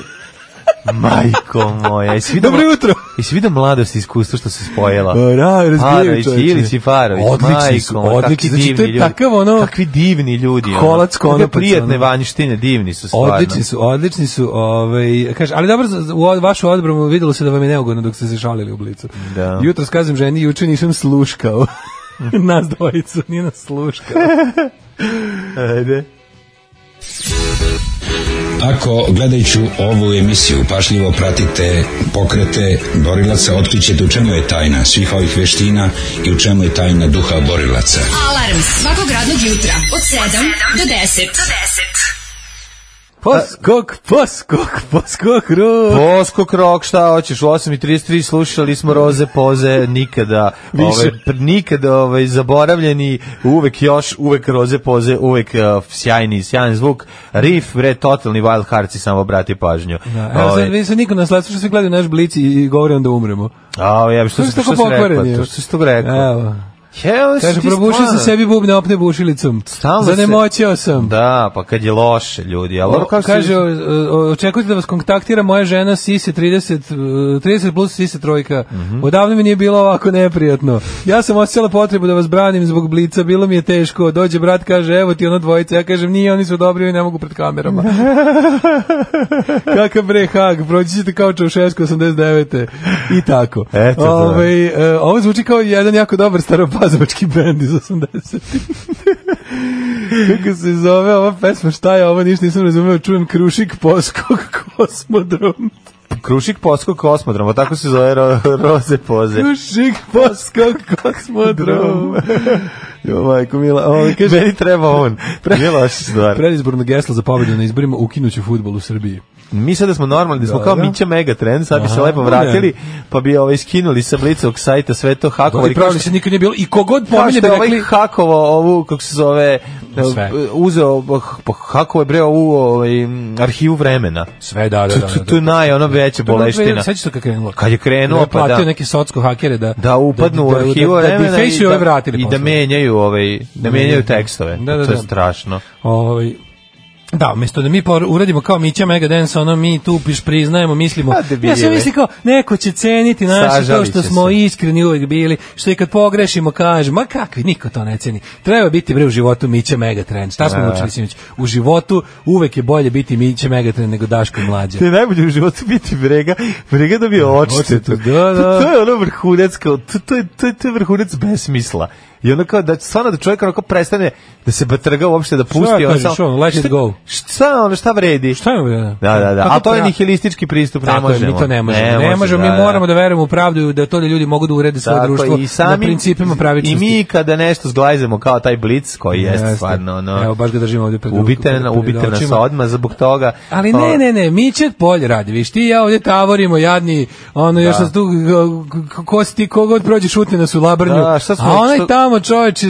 S5: Majko moja, jesi vidio,
S6: Dobro jutro.
S5: jesi vidio mladost i iskustvo što se spojela?
S6: Pa da, razbijaju
S5: Farović,
S6: čoveče.
S5: Ilić i Farović,
S6: Odlični
S5: majko
S6: su,
S5: moja, kakvi
S6: odlični. Znači, to
S5: divni
S6: je
S5: ljudi.
S6: takav ono-
S5: Kakvi divni ljudi. ono.
S6: Kolac
S5: Kakve
S6: konopac,
S5: Prijatne
S6: ono.
S5: vanjštine, divni su stvarno.
S6: Odlični su, odlični su, ovaj, kaže, ali dobro, za- u od- vašu odbranu videlo se da vam je neugodno dok ste se šalili u blicu.
S5: Da.
S6: Jutro skazam ženi, juče nisam
S5: [LAUGHS]
S6: sluškao. nas dvojicu, nije nas sluškao.
S5: Ajde.
S11: Ako gledajući ovu emisiju pašljivo pratite pokrete borilaca, otkrićete u čemu je tajna svih ovih veština i u čemu je tajna duha borilaca.
S4: Alarm svakog radnog jutra od 7 do 10.
S5: Pa,
S6: Poskok, poskok, poskok, ro.
S5: Poskok rok, šta hoćeš, u 8.33 slušali smo Roze Poze, nikada, ovaj, pr- nikada ovaj, zaboravljeni, uvek još, uvek Roze Poze, uvek eh, sjajni, sjajan zvuk, riff, bre, totalni Wild Hearts i samo obrati pažnju.
S6: Da, evo sad,
S5: Ovaj,
S6: vi se niko nas sluša, što se gledaju naš blici i govore onda umremo.
S5: A, ovaj, ja, što,
S6: Što
S5: si-
S6: si
S5: što,
S6: tako
S5: si rekao,
S6: pokvareni,
S5: to,
S6: evo?
S5: što si to rekao?
S6: Evo.
S5: Jeo,
S6: Kaže,
S5: si ti
S6: probušio sam
S5: stvarno-
S6: sebi bubne opne bušilicom.
S5: Stalno se-
S6: Zanemoćio sam.
S5: Da, pa kad je loše, ljudi. Ali,
S6: O,
S5: dobro, kako si-
S6: kaže, o, o, očekujte da vas kontaktira moja žena Sise 30, e, 30 plus Sise trojka.
S5: Mhm.
S6: Odavno mi nije bilo ovako neprijatno. Ja sam osjećala potrebu da vas branim zbog blica, bilo mi je teško. Dođe brat, kaže, evo ti ono dvojica. Ja kažem, nije, oni su dobri, i ne mogu pred
S5: [LAUGHS]
S6: kamerama. Kakav bre hag, proći ćete kao Čaušesku 89. I tako.
S5: Eto to.
S6: Ovaj, e, ovo zvuči kao jedan jako dobar staropazovački bend iz 80.
S5: [LAUGHS]
S6: Kako se zove ova pesma, šta je ovo, ništa nisam razumeo, čujem Krušik Poskog Kosmodrom.
S5: Krušik Poskok kosmodrom, pa tako se zove ro, [LAUGHS] Roze Poze.
S6: Krušik Poskog Kosmodrom.
S5: Jo, majko, mila, on kaže... Meni treba on. Nije loša stvar.
S6: Predizborno geslo za pobedu na izborima ukinuću fudbal u Srbiji.
S5: Mi sad da smo normalni, da smo
S6: Da,
S5: kao
S6: da.
S5: Mića Megatrend, sad bi se
S6: Aha,
S5: lepo
S6: ne.
S5: vratili, pa bi ovaj skinuli sa blicovog sajta sve to hakovo.
S6: I pravili se nikad nije bilo. I kogod
S5: ovaj Kao
S6: pominje
S5: što
S6: bi
S5: je ovaj
S6: rekli...
S5: hakovo ovu, kako se zove, eh,
S6: Sve.
S5: uzeo, pa hakovo je bre ovu ovaj, m, arhivu vremena.
S6: Sve, da, da, da.
S5: To, to, to je naj, ono veća boleština.
S6: Sveći to kad krenulo.
S5: Kad je krenuo,
S6: Da je
S5: pa da.
S6: platio neke socko hakere da...
S5: Da upadnu u
S6: da- da-
S5: arhivu
S6: da- da- da-
S5: vremena
S6: defaceuju ove vratili
S5: i da
S6: posle.
S5: menjaju, ovaj, da menjaju tekstove.
S6: Da, da,
S5: To je
S6: da.
S5: strašno.
S6: Ovaj Da, umjesto da mi pa uradimo kao Mića Megadance, ono mi tu piš priznajemo, mislimo.
S5: A, debile.
S6: Ja sam mislio kao, neko će ceniti naše to
S5: Sažali
S6: što
S5: će
S6: smo
S5: se.
S6: iskreni uvijek bili, što i kad pogrešimo kažemo, ma kakvi, niko to ne ceni. Treba biti bre u životu Mića Megatrend. Šta smo učili sinoć? U životu uvek je bolje biti Mića Megatrend nego Daško mlađe.
S5: Ti je najbolje u životu biti brega, brega dobio odštetu.
S6: Odštetu, da, da.
S5: To je ono vrhunac, kao, to, to, je, to, je, to je vrhunac besmisla. I onda kao da stvarno da čovjek onako prestane da se batrga uopšte da pusti.
S6: Šta
S5: ono
S6: kažeš,
S5: samo-
S6: ono, let it
S5: Šta-
S6: go.
S5: Šta ono, šta vredi?
S6: Šta je vredi?
S5: Da, da, da.
S6: Kako
S5: A to je
S6: pra-
S5: nihilistički pristup, ne
S6: Tako je,
S5: možemo.
S6: mi to ne možemo. Ne možemo, mi moramo da verujemo u pravdu i da to da ljudi mogu da urede svoje
S5: Tako je,
S6: društvo
S5: i sami,
S6: na principima
S5: I
S6: pravičnosti.
S5: mi kada nešto zglajzemo kao taj blic koji jeste,
S6: Jeste.
S5: stvarno ono.
S6: Evo, baš ga držimo ovdje pred
S5: ubite,
S6: pred-
S5: na-
S6: pred
S5: ubite nas
S6: očima.
S5: odmah zbog toga.
S6: Ali
S5: O,
S6: ne, ne, ne, mi će polje radi, viš ti i ja ovdje tavorimo, jadni, ono, još
S5: Da.
S6: nas tu, k- k- ko si ti, kogod prođe šutne nas u labrnju,
S5: Da, šta smo-
S6: a onaj
S5: što-
S6: tamo čoveč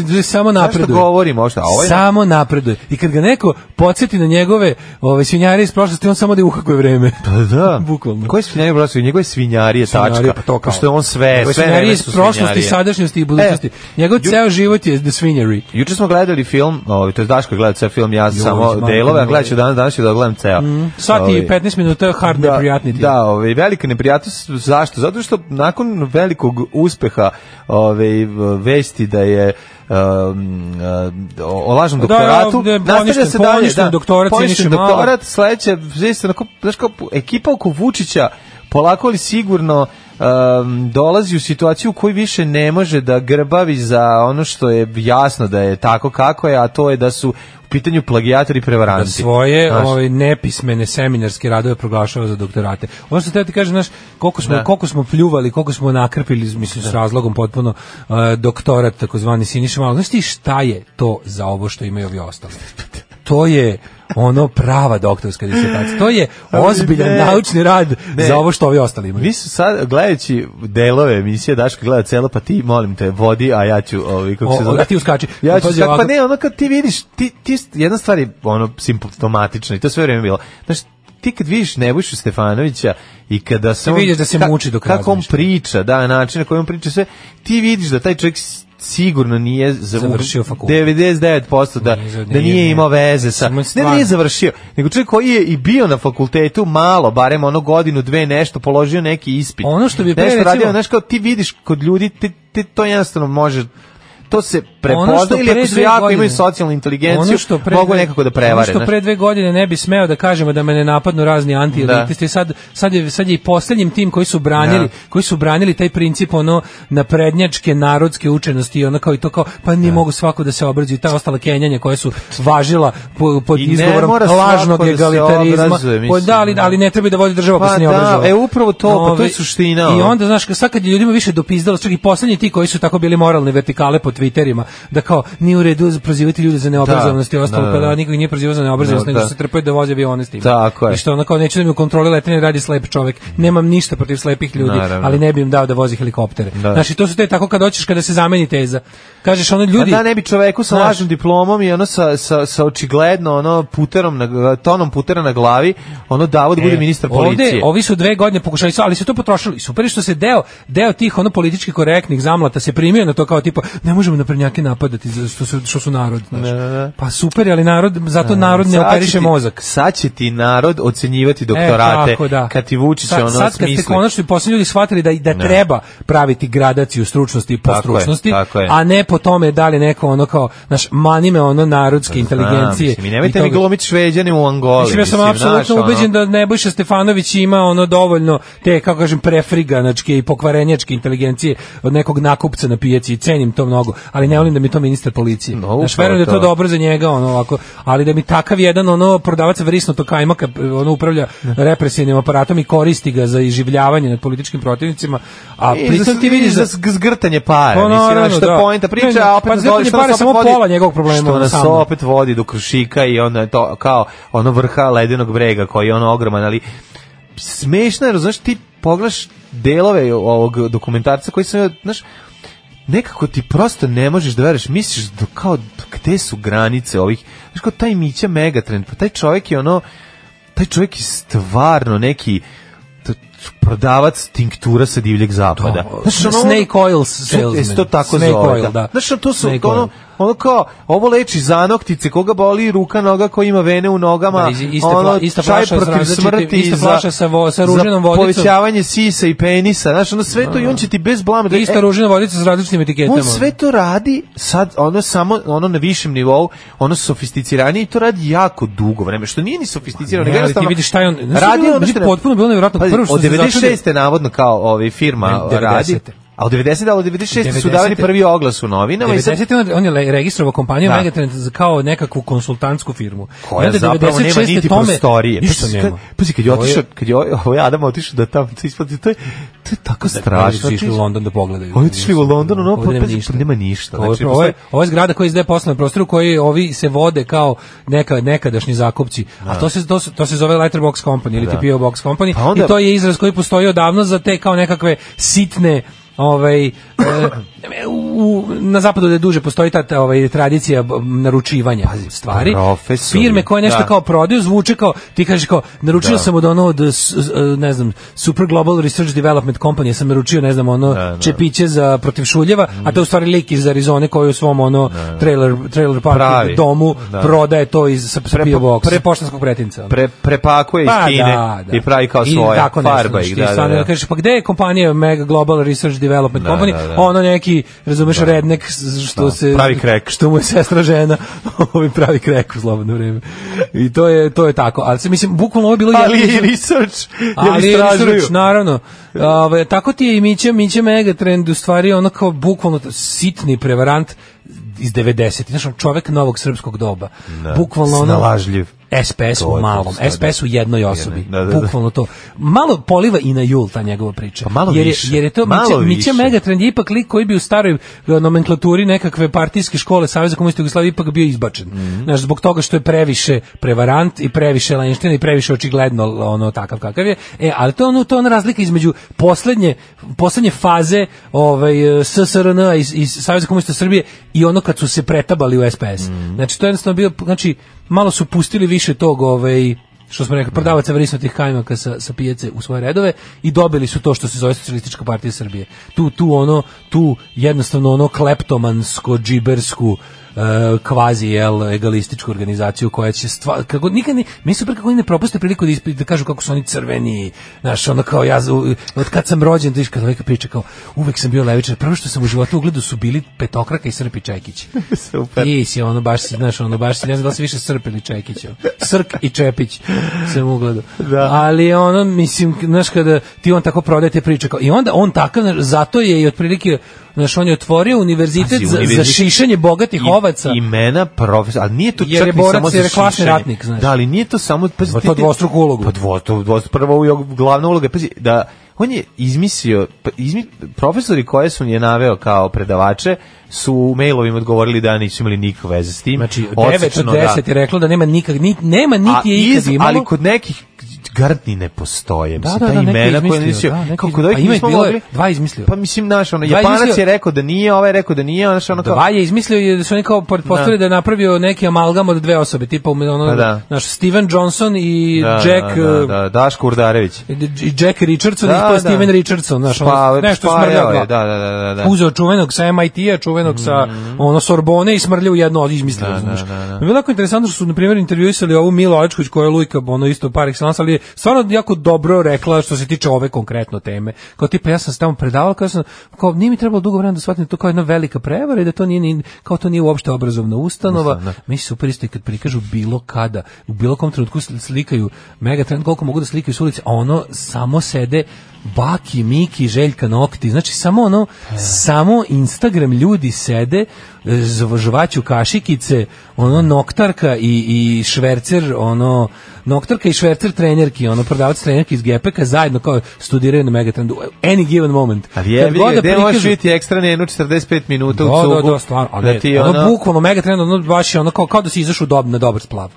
S5: Zašto
S6: samo napreduje.
S5: govorimo uopšte? A ovo je-
S6: Samo napreduje. I kad ga neko podsjeti na njegove ove, svinjare iz prošlosti, on samo da uhakuje vreme.
S5: Pa da.
S6: [LAUGHS] Bukvalno.
S5: Koji svinjarije brosu? Njegove svinjarije,
S6: Svinjarije,
S5: tačka.
S6: pa to kao.
S5: Pošto je on sve, sve
S6: Svinjarije
S5: vreme
S6: iz
S5: su
S6: prošlosti,
S5: svinjarije.
S6: sadašnjosti i budućnosti.
S5: E,
S6: Njegov
S5: ju-
S6: ceo život je the svinjary.
S5: Juče smo gledali film, ovaj to je Daško je gledao ceo film, ja samo
S6: majko
S5: delove, a
S6: mila.
S5: gledat ću danas, danas ću da gledam ceo.
S6: Mm, Sat i
S5: Ovaj,
S6: 15 minuta hard
S5: Da,
S6: neprijatni ti.
S5: Da, ovaj velika neprijatnost zašto? Zato što nakon velikog uspeha ovaj vesti da je um, uh, o o lažnom
S6: Da,
S5: doktoratu
S6: ovde je
S5: nastavlja
S6: poništen-
S5: se dalje,
S6: poništen
S5: da,
S6: doktorat
S5: poništen
S6: Siniše Malog.
S5: doktorat sledeće znači onako znaš kao ekipa oko Vučića polako ali sigurno um, dolazi u situaciju u kojoj više ne može da grbavi za ono što je jasno da je tako kako je a to je da su u pitanju plagijatori i prevaranti
S6: da svoje
S5: Znaš.
S6: ovaj nepismene seminarske radove proglašava za doktorate. Ono što te ti kažem, znaš, koliko smo
S5: Da.
S6: koliko smo pljuvali, koliko smo nakrpili mislim s razlogom potpuno uh, doktorat takozvani Siniša Malog. Znaš ti šta je to za ovo što imaju ovi ostali? To je ono prava doktorska disertacija. To je
S5: Ali
S6: ozbiljan
S5: ne.
S6: naučni rad
S5: Ne.
S6: za ovo što ovi ostali imaju.
S5: Mi su sad, gledajući delove emisije, Daško gleda celo, pa ti, molim te, vodi, a ja ću, ovi, kako
S6: O,
S5: se
S6: o,
S5: zove...
S6: a ti uskači.
S5: Ja ću
S6: Pazi
S5: uskači, pa
S6: ovako.
S5: ne, ono kad ti vidiš, ti, ti, jedna stvar je ono simptomatična i to sve vrijeme bilo. Znaš, ti kad vidiš Nebojšu Stefanovića i kada se
S6: Ti vidiš da se muči dok
S5: kako on
S6: razmišlja.
S5: priča, da, način na koji on priča sve, ti vidiš da taj čovjek s- sigurno nije za-
S6: Završio fakultet.
S5: 99% da,
S6: Nije
S5: da
S6: za-
S5: nije
S6: nije,
S5: imao
S6: nije.
S5: veze sa...
S6: Samo je
S5: Ne, da nije
S6: stvarno.
S5: završio, nego čovjek koji je i bio na fakultetu malo, barem ono godinu, dve nešto, položio neki ispit.
S6: Ono što bi pre,
S5: nešto
S6: recimo-
S5: radio, znaš kao ti vidiš kod ljudi, te, te to jednostavno može to se
S6: Ono što
S5: prepozna ili
S6: pre
S5: ako su
S6: dve
S5: jako
S6: godine-
S5: imaju socijalnu inteligenciju,
S6: ono što pre
S5: mogu
S6: dve-
S5: nekako da prevare.
S6: Ono što
S5: znaš.
S6: pre dve godine ne bi smeo da kažemo da me ne napadnu razni antielitisti, sad, sad, je, sad je i posljednjim tim koji su branili,
S5: Da.
S6: koji su branili taj princip ono naprednjačke narodske učenosti i ono kao i to kao, pa ni mogu svako da se obrazi i ta ostala kenjanja koja su važila po, pod
S5: I ne
S6: izgovorom
S5: mora svako
S6: lažnog
S5: da se
S6: egalitarizma.
S5: obrazuje,
S6: Pa
S5: mislim,
S6: da, ali,
S5: da.
S6: ali ne treba da vodi država
S5: Pa
S6: pa se ne
S5: da,
S6: obrazuje.
S5: e, upravo to, pa to je
S6: Ovaj,
S5: suština,
S6: I
S5: ono.
S6: onda znaš, ka- sad kad je ljudima više dopizdalo, čak i poslednji ti koji su tako bili moralne vertikale po Twitterima, da kao nije u redu prozivati ljude za neobrazovanost i ostalo,
S5: da,
S6: pa
S5: da.
S6: da niko ih nije prozivao za neobrazovanost,
S5: Da,
S6: nego
S5: da.
S6: su se trpaju da voze avione s tim.
S5: Tako je.
S6: I što ono kao, neću da mi u kontroli letenja radi slep čovek, nemam ništa protiv slepih ljudi,
S5: Naravno.
S6: ali ne bi im dao da vozi helikoptere.
S5: Da.
S6: Znači, to su te tako kad hoćeš kada se zameni teza. Kažeš ono ljudi,
S5: A Pa da ne bi čoveku sa
S6: Znaš.
S5: lažnom diplomom i ono sa, sa, sa očigledno ono puterom na, tonom putera na glavi, ono davo da bude ministar policije.
S6: E, Ovde, ovi su dve godine pokušali, ali su to potrošili. Super je što se deo, deo tih ono politički korektnih zamlata se primio na to kao tipa ne možemo na prnjake napadati za- što su, što su narod. Znaš. Pa super, ali narod, zato narod ne
S5: Sad će
S6: operiše
S5: ti-
S6: mozak. E,
S5: Sad će ti narod ocenjivati doktorate, kad ti Vučić
S6: sad,
S5: ono
S6: sad kad ste
S5: smisli.
S6: konačno i posljednji ljudi shvatili da, da treba praviti gradaciju stručnosti i
S5: Tako je,
S6: postručnosti,
S5: tako je.
S6: a ne po tome da li neko ono kao, znaš, manime ono narodske inteligencije.
S5: Znam, mislim, i nemojte mi
S6: toga.
S5: glomiti šveđane u Angoli.
S6: Mislim, ja sam apsolutno
S5: znaš, ono.
S6: ubeđen da Nebojša Stefanović ima ono dovoljno te, kako kažem, prefriganačke i pokvarenjačke inteligencije od nekog nakupca na pijaci i cenim to mnogo, ali ne volim da mi to ministar policije.
S5: No,
S6: No,
S5: upravo
S6: Znaš, verujem da je to
S5: to.
S6: dobro za njega, ono ovako, ali da mi takav jedan ono prodavac vrisnutog kajmaka ono upravlja represivnim aparatom i koristi ga za iživljavanje nad političkim protivnicima, a
S5: I
S6: pritom ti
S5: E, za-
S6: vidiš
S5: za
S6: da
S5: zg- zgrtanje para.
S6: Pa
S5: mislim,
S6: naravno,
S5: ono što je
S6: da.
S5: poenta
S6: Ne,
S5: priča,
S6: ne,
S5: a opet
S6: pa
S5: nas
S6: zgrtanje
S5: dovodi- što
S6: para
S5: nas opet
S6: samo
S5: vodi-
S6: pola njegovog problema,
S5: Što
S6: ono
S5: nas
S6: samo.
S5: opet vodi do krušika i onda je to kao ono vrha ledenog brega koji je ono ogroman, ali smešno je, znaš, ti pogledaš delove ovog dokumentarca koji sam, znaš, nekako ti prosto ne možeš da veruješ, misliš do, kao gde su granice ovih, znaš kao taj Mića Megatrend, pa taj čovjek je ono, taj čovjek je stvarno neki t- prodavac tinktura sa divljeg zapada.
S6: To,
S5: Znaš, ono,
S6: snake oil
S5: to-
S6: salesman.
S5: jesi to tako
S6: Snake
S5: zove,
S6: oil,
S5: da.
S6: da.
S5: Znaš, to su
S6: Snake
S5: ono,
S6: oil.
S5: ono kao, ovo leči zanoktice, koga boli ruka, noga, koji ima vene u nogama,
S6: Da, iz- ista
S5: ono,
S6: fla- ista
S5: čaj
S6: flaša s
S5: protiv
S6: različitim-
S5: smrti,
S6: ista
S5: za-
S6: flaša sa vo- sa ruženom
S5: za
S6: vodicom.
S5: povećavanje sisa i penisa, znaš, ono sve to i on će ti bez blama... E,
S6: Ista ružina vodica s različitim etiketama.
S5: on sve to radi sad ono samo ono na višem nivou ono sofisticiranije i to radi jako dugo vreme što nije ni sofisticirano
S6: Ne,
S5: nego
S6: ali ti
S5: jednostavno
S6: vidiš šta je on... Znaš,
S5: radi
S6: bilo-
S5: ono
S6: meni
S5: što ne-
S6: potpuno bilo nevjerojatno.
S5: Pazi,
S6: Prvo što
S5: od
S6: se začudio-
S5: 96. navodno kao ovaj firma
S6: Ne,
S5: radi
S6: 90-te.
S5: A u 90. ali u 96. su davali
S6: 90-te
S5: prvi oglas u novinama i sad
S6: 90. on, on je le- registrovao kompaniju
S5: Da.
S6: Megatrend za kao nekakvu konsultantsku firmu.
S5: koja
S6: I onda
S5: zapravo nema
S6: 96.
S5: niti
S6: tome-
S5: prostorije.
S6: Ništa
S5: Pazi,
S6: nema.
S5: kad- Pazi, kad je
S6: Ovo je-
S5: otišao, kad je ovo ovo je Adam otišao da tamo to isplati, to je, to je tako strašno.
S6: su išli u
S5: Otišli-
S6: London da pogledaju.
S5: Oni Pa, otišli u London, ono,
S6: Ovdje
S5: pa,
S6: nema
S5: pazi,
S6: ništa.
S5: pa nema ništa.
S6: Ovo,
S5: Znači,
S6: ovo, je, ovo je zgrada koja izdaje poslovne prostore u kojoj ovi se vode kao neka, nekadašnji zakupci. A to se, to, se- to se zove Letterbox Company ili
S5: Da.
S6: ti PO Box Company.
S5: Pa onda-
S6: I to je izraz koji postoji odavno za te kao nekakve sitne ovaj e, u, na zapadu da duže postoji ta ta, ovaj tradicija b- naručivanja stvari
S5: profesori,
S6: firme koje nešto
S5: da.
S6: kao prodaju zvuče kao ti kažeš kao naručio sam od ono od s- s- e, ne znam Super Global Research Development Company sam naručio ne znam ono
S5: Da, da.
S6: čepiće za protiv šuljeva, a to je u stvari lik iz Arizone koji u svom ono trailer trailer parku
S5: Pravi.
S6: domu
S5: Da.
S6: prodaje to iz sa, sa
S5: Prepo-
S6: PO boxa,
S5: pre-
S6: pre poštanskog pretinca. ono.
S5: Pre, prepakuje iz
S6: Pa,
S5: Kine
S6: da, da.
S5: i pravi kao
S6: I
S5: svoje,
S6: tako nešto,
S5: farba
S6: znaš,
S5: ih,
S6: ti
S5: da, da,
S6: stvarno
S5: da.
S6: Kažeš, pa gde je kompanija Mega Global Research Development
S5: Da,
S6: Company?
S5: da, da.
S6: Ono neki, razumeš, rednek s- što
S5: Da,
S6: se...
S5: pravi krek.
S6: Što mu je sestra žena, [LAUGHS] ovi pravi krek u slobodno vreme. I to je, to je tako. Ali se, mislim, bukvalno ovo je bilo...
S5: Ali
S6: jedno-
S5: i research, jer
S6: ali je
S5: istražuju.
S6: research, naravno. Ove, tako ti je i Mića, Mića Megatrend u stvari ono kao bukvalno sitni prevarant iz 90. Znaš, on čovek novog srpskog doba. Bukvalno ono...
S5: Snalažljiv.
S6: SPS
S5: To je
S6: u
S5: to,
S6: malom,
S5: da, da.
S6: SPS u jednoj osobi.
S5: Da, da, da.
S6: Bukvalno to. Malo poliva i na jul ta njegova priča.
S5: Pa malo
S6: jer, je,
S5: više.
S6: jer je to
S5: Malo
S6: Mića,
S5: više.
S6: Mića Megatrend je ipak lik koji bi u staroj e, nomenklaturi nekakve partijske škole Saveza komunista Jugoslavije ipak bio izbačen.
S5: Mhm.
S6: Znaš, zbog toga što je previše prevarant i previše lenština i previše očigledno l- ono takav kakav je. E, ali to je ono to je ona razlika između poslednje poslednje faze ovaj e, SSRN -a iz, iz Saveza komunista Srbije i ono kad su se pretabali u SPS.
S5: Mhm.
S6: Znači to je jednostavno bio znači malo su pustili više tog ovaj što smo rekli, prodavaca vrisnutih kajmaka sa, sa pijace u svoje redove i dobili su to što se zove socijalistička partija Srbije. Tu, tu ono, tu jednostavno ono kleptomansko, džibersku, e, kvazi jel, egalističku organizaciju koja će stvar, kako, nikad ni, mi super kako oni ne propuste priliku da, ispi- da kažu kako su oni crveni, znaš, ono kao ja, za- od kad sam rođen, da kad uvijek priča kao, uvek sam bio levičar, prvo što sam u životu ugledu su bili petokraka i srpi Čekić.
S5: Super.
S6: Ti si ono baš si, znaš, ono baš si, ne znam da li si više Srp ili Čekić. ono. Srk i Čepić sam ugledao.
S5: Da.
S6: Ali ono, mislim, znaš, kada ti on tako prodaje te priče, kao, i onda on takav, znaš, zato je i otprilike, znaš, on je otvorio univerzitet,
S5: Pazi,
S6: za, za
S5: univerzitet-
S6: šišanje bogatih ovaca.
S5: imena profesora, ali nije to
S6: Jer je
S5: čak ni
S6: borac,
S5: samo za
S6: jer je klasni
S5: šišanje.
S6: ratnik, znaš.
S5: Da, ali nije to samo... Pazi,
S6: Ima
S5: ti-
S6: to
S5: ti-
S6: dvostruku ulogu.
S5: Pa dvo, to, dvo, prva ulog- glavna uloga, pazi, da on je izmislio, pa, izmi, profesori koje su je naveo kao predavače, su u mailovima odgovorili da nisu imali nikakve veze s tim.
S6: Znači, 9
S5: Odsečno,
S6: od
S5: da.
S6: 10 je reklo da nema nikak, ni, nema
S5: A
S6: niti je ikad
S5: iz-
S6: imalo.
S5: Ali kod nekih gardni ne postoje.
S6: Da,
S5: Mislim,
S6: da,
S5: ta
S6: da, neki
S5: imena koja
S6: izmislio,
S5: nisi...
S6: da, neki
S5: kako
S6: izmislio.
S5: da ih
S6: Pa ima ih
S5: nismo
S6: bilo je-
S5: mogli-
S6: dva izmislio.
S5: Pa mislim, znaš, ono,
S6: Dva
S5: Japanac
S6: izmislio.
S5: je rekao da nije, ovaj je rekao da nije, znaš, ono kao...
S6: Dva je izmislio je da su oni kao pretpostavili
S5: Da.
S6: da. je napravio neki amalgam od dve osobe, tipa ono,
S5: Pa da.
S6: naš Steven Johnson i
S5: Da,
S6: Jack
S5: da, da,
S6: e,
S5: da, Daško Urdarević.
S6: i Jack Richardson, da, ispao je Steven Richardson, znaš, ono,
S5: Spava-
S6: nešto
S5: spavao
S6: smrljao
S5: je,
S6: ga.
S5: Da, da, da, da. da. Mhm.
S6: Uzeo čuvenog sa MIT-a, čuvenog sa ono Sorbone i smrljao u jedno od izmislio,
S5: Da, da,
S6: znaš.
S5: da, da.
S6: Bilo je jako interesantno što su na primjer intervjuisali ovu Milu Očković koja je Lujka, ono isto par excellence, ali je stvarno jako dobro rekla što se tiče ove konkretno teme. Kao tipa ja sam se tamo predavala, kao sam kao nije mi trebalo dugo vremena da shvatim da je to kao jedna velika prevara i da to nije ni- kao to nije uopšte obrazovna ustanova. Mi se super isto i kad prikažu bilo kada, u bilo kom trenutku sli- slikaju megatrend koliko mogu da slikaju s ulice, a ono samo sede Baki, Miki, Željka Nokti, znači samo ono, samo Instagram ljudi sede, e, zv- žvaću kašikice, ono noktarka i, i švercer, ono, noktarka i švercer trenerki, ono prodavac trenerki iz GPK zajedno kao studiraju na Megatrendu, any given moment.
S5: Ali je,
S6: Kad god
S5: vidi,
S6: da
S5: gde možeš
S6: prikažu-
S5: vidjeti ekstra njenu 45 minuta u
S6: da,
S5: cugu.
S6: da, da, stvarno, ali
S5: da ti
S6: ono,
S5: ono...
S6: bukvalno Megatrend, ono baš je ono kao, kao da si izašao dob, na dobar splav.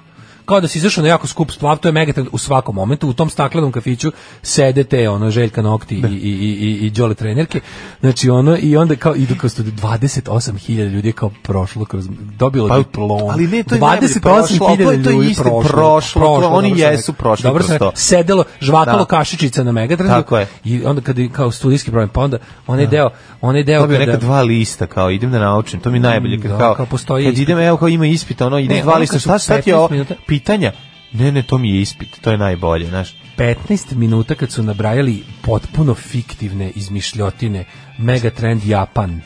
S6: Kao da si izašao na jako skup splav, to je Megatrend u svakom momentu, u tom staklenom kafiću sede te, ono, Željka Nokti i, i, i, i, i Đole trenerke, znači ono, i onda kao, idu kao studiju, 28.000 ljudi je kao prošlo kroz, dobilo
S5: Pa,
S6: diplom,
S5: ali ne, to je najbolje,
S6: 28.000
S5: prošlo, to je
S6: ljudi
S5: isto prošlo, to oni
S6: dobro sam
S5: jesu
S6: rekao.
S5: prošli
S6: Dobro
S5: kroz
S6: sam rekao,
S5: to.
S6: sedelo, žvakalo
S5: Da.
S6: kašičica na Megatrendu,
S5: Tako je.
S6: i onda kad je kao studijski problem, pa onda onaj deo, onaj deo
S5: Dobio neka
S6: kada-
S5: dva lista, kao idem da naučim, to mi je najbolje. Kad,
S6: Mm, Da,
S5: kao,
S6: kao postoji
S5: kad
S6: ispit.
S5: idem, evo kao ima ispit, ono, idem
S6: Ne,
S5: dva
S6: ono
S5: lista,
S6: kad su
S5: šta, šta ti je ovo?
S6: 15 minuta.
S5: Pitanja? Ne, ne, to mi je ispit, to je najbolje, znaš.
S6: 15 minuta kad su nabrajali potpuno fiktivne izmišljotine Megatrend Japan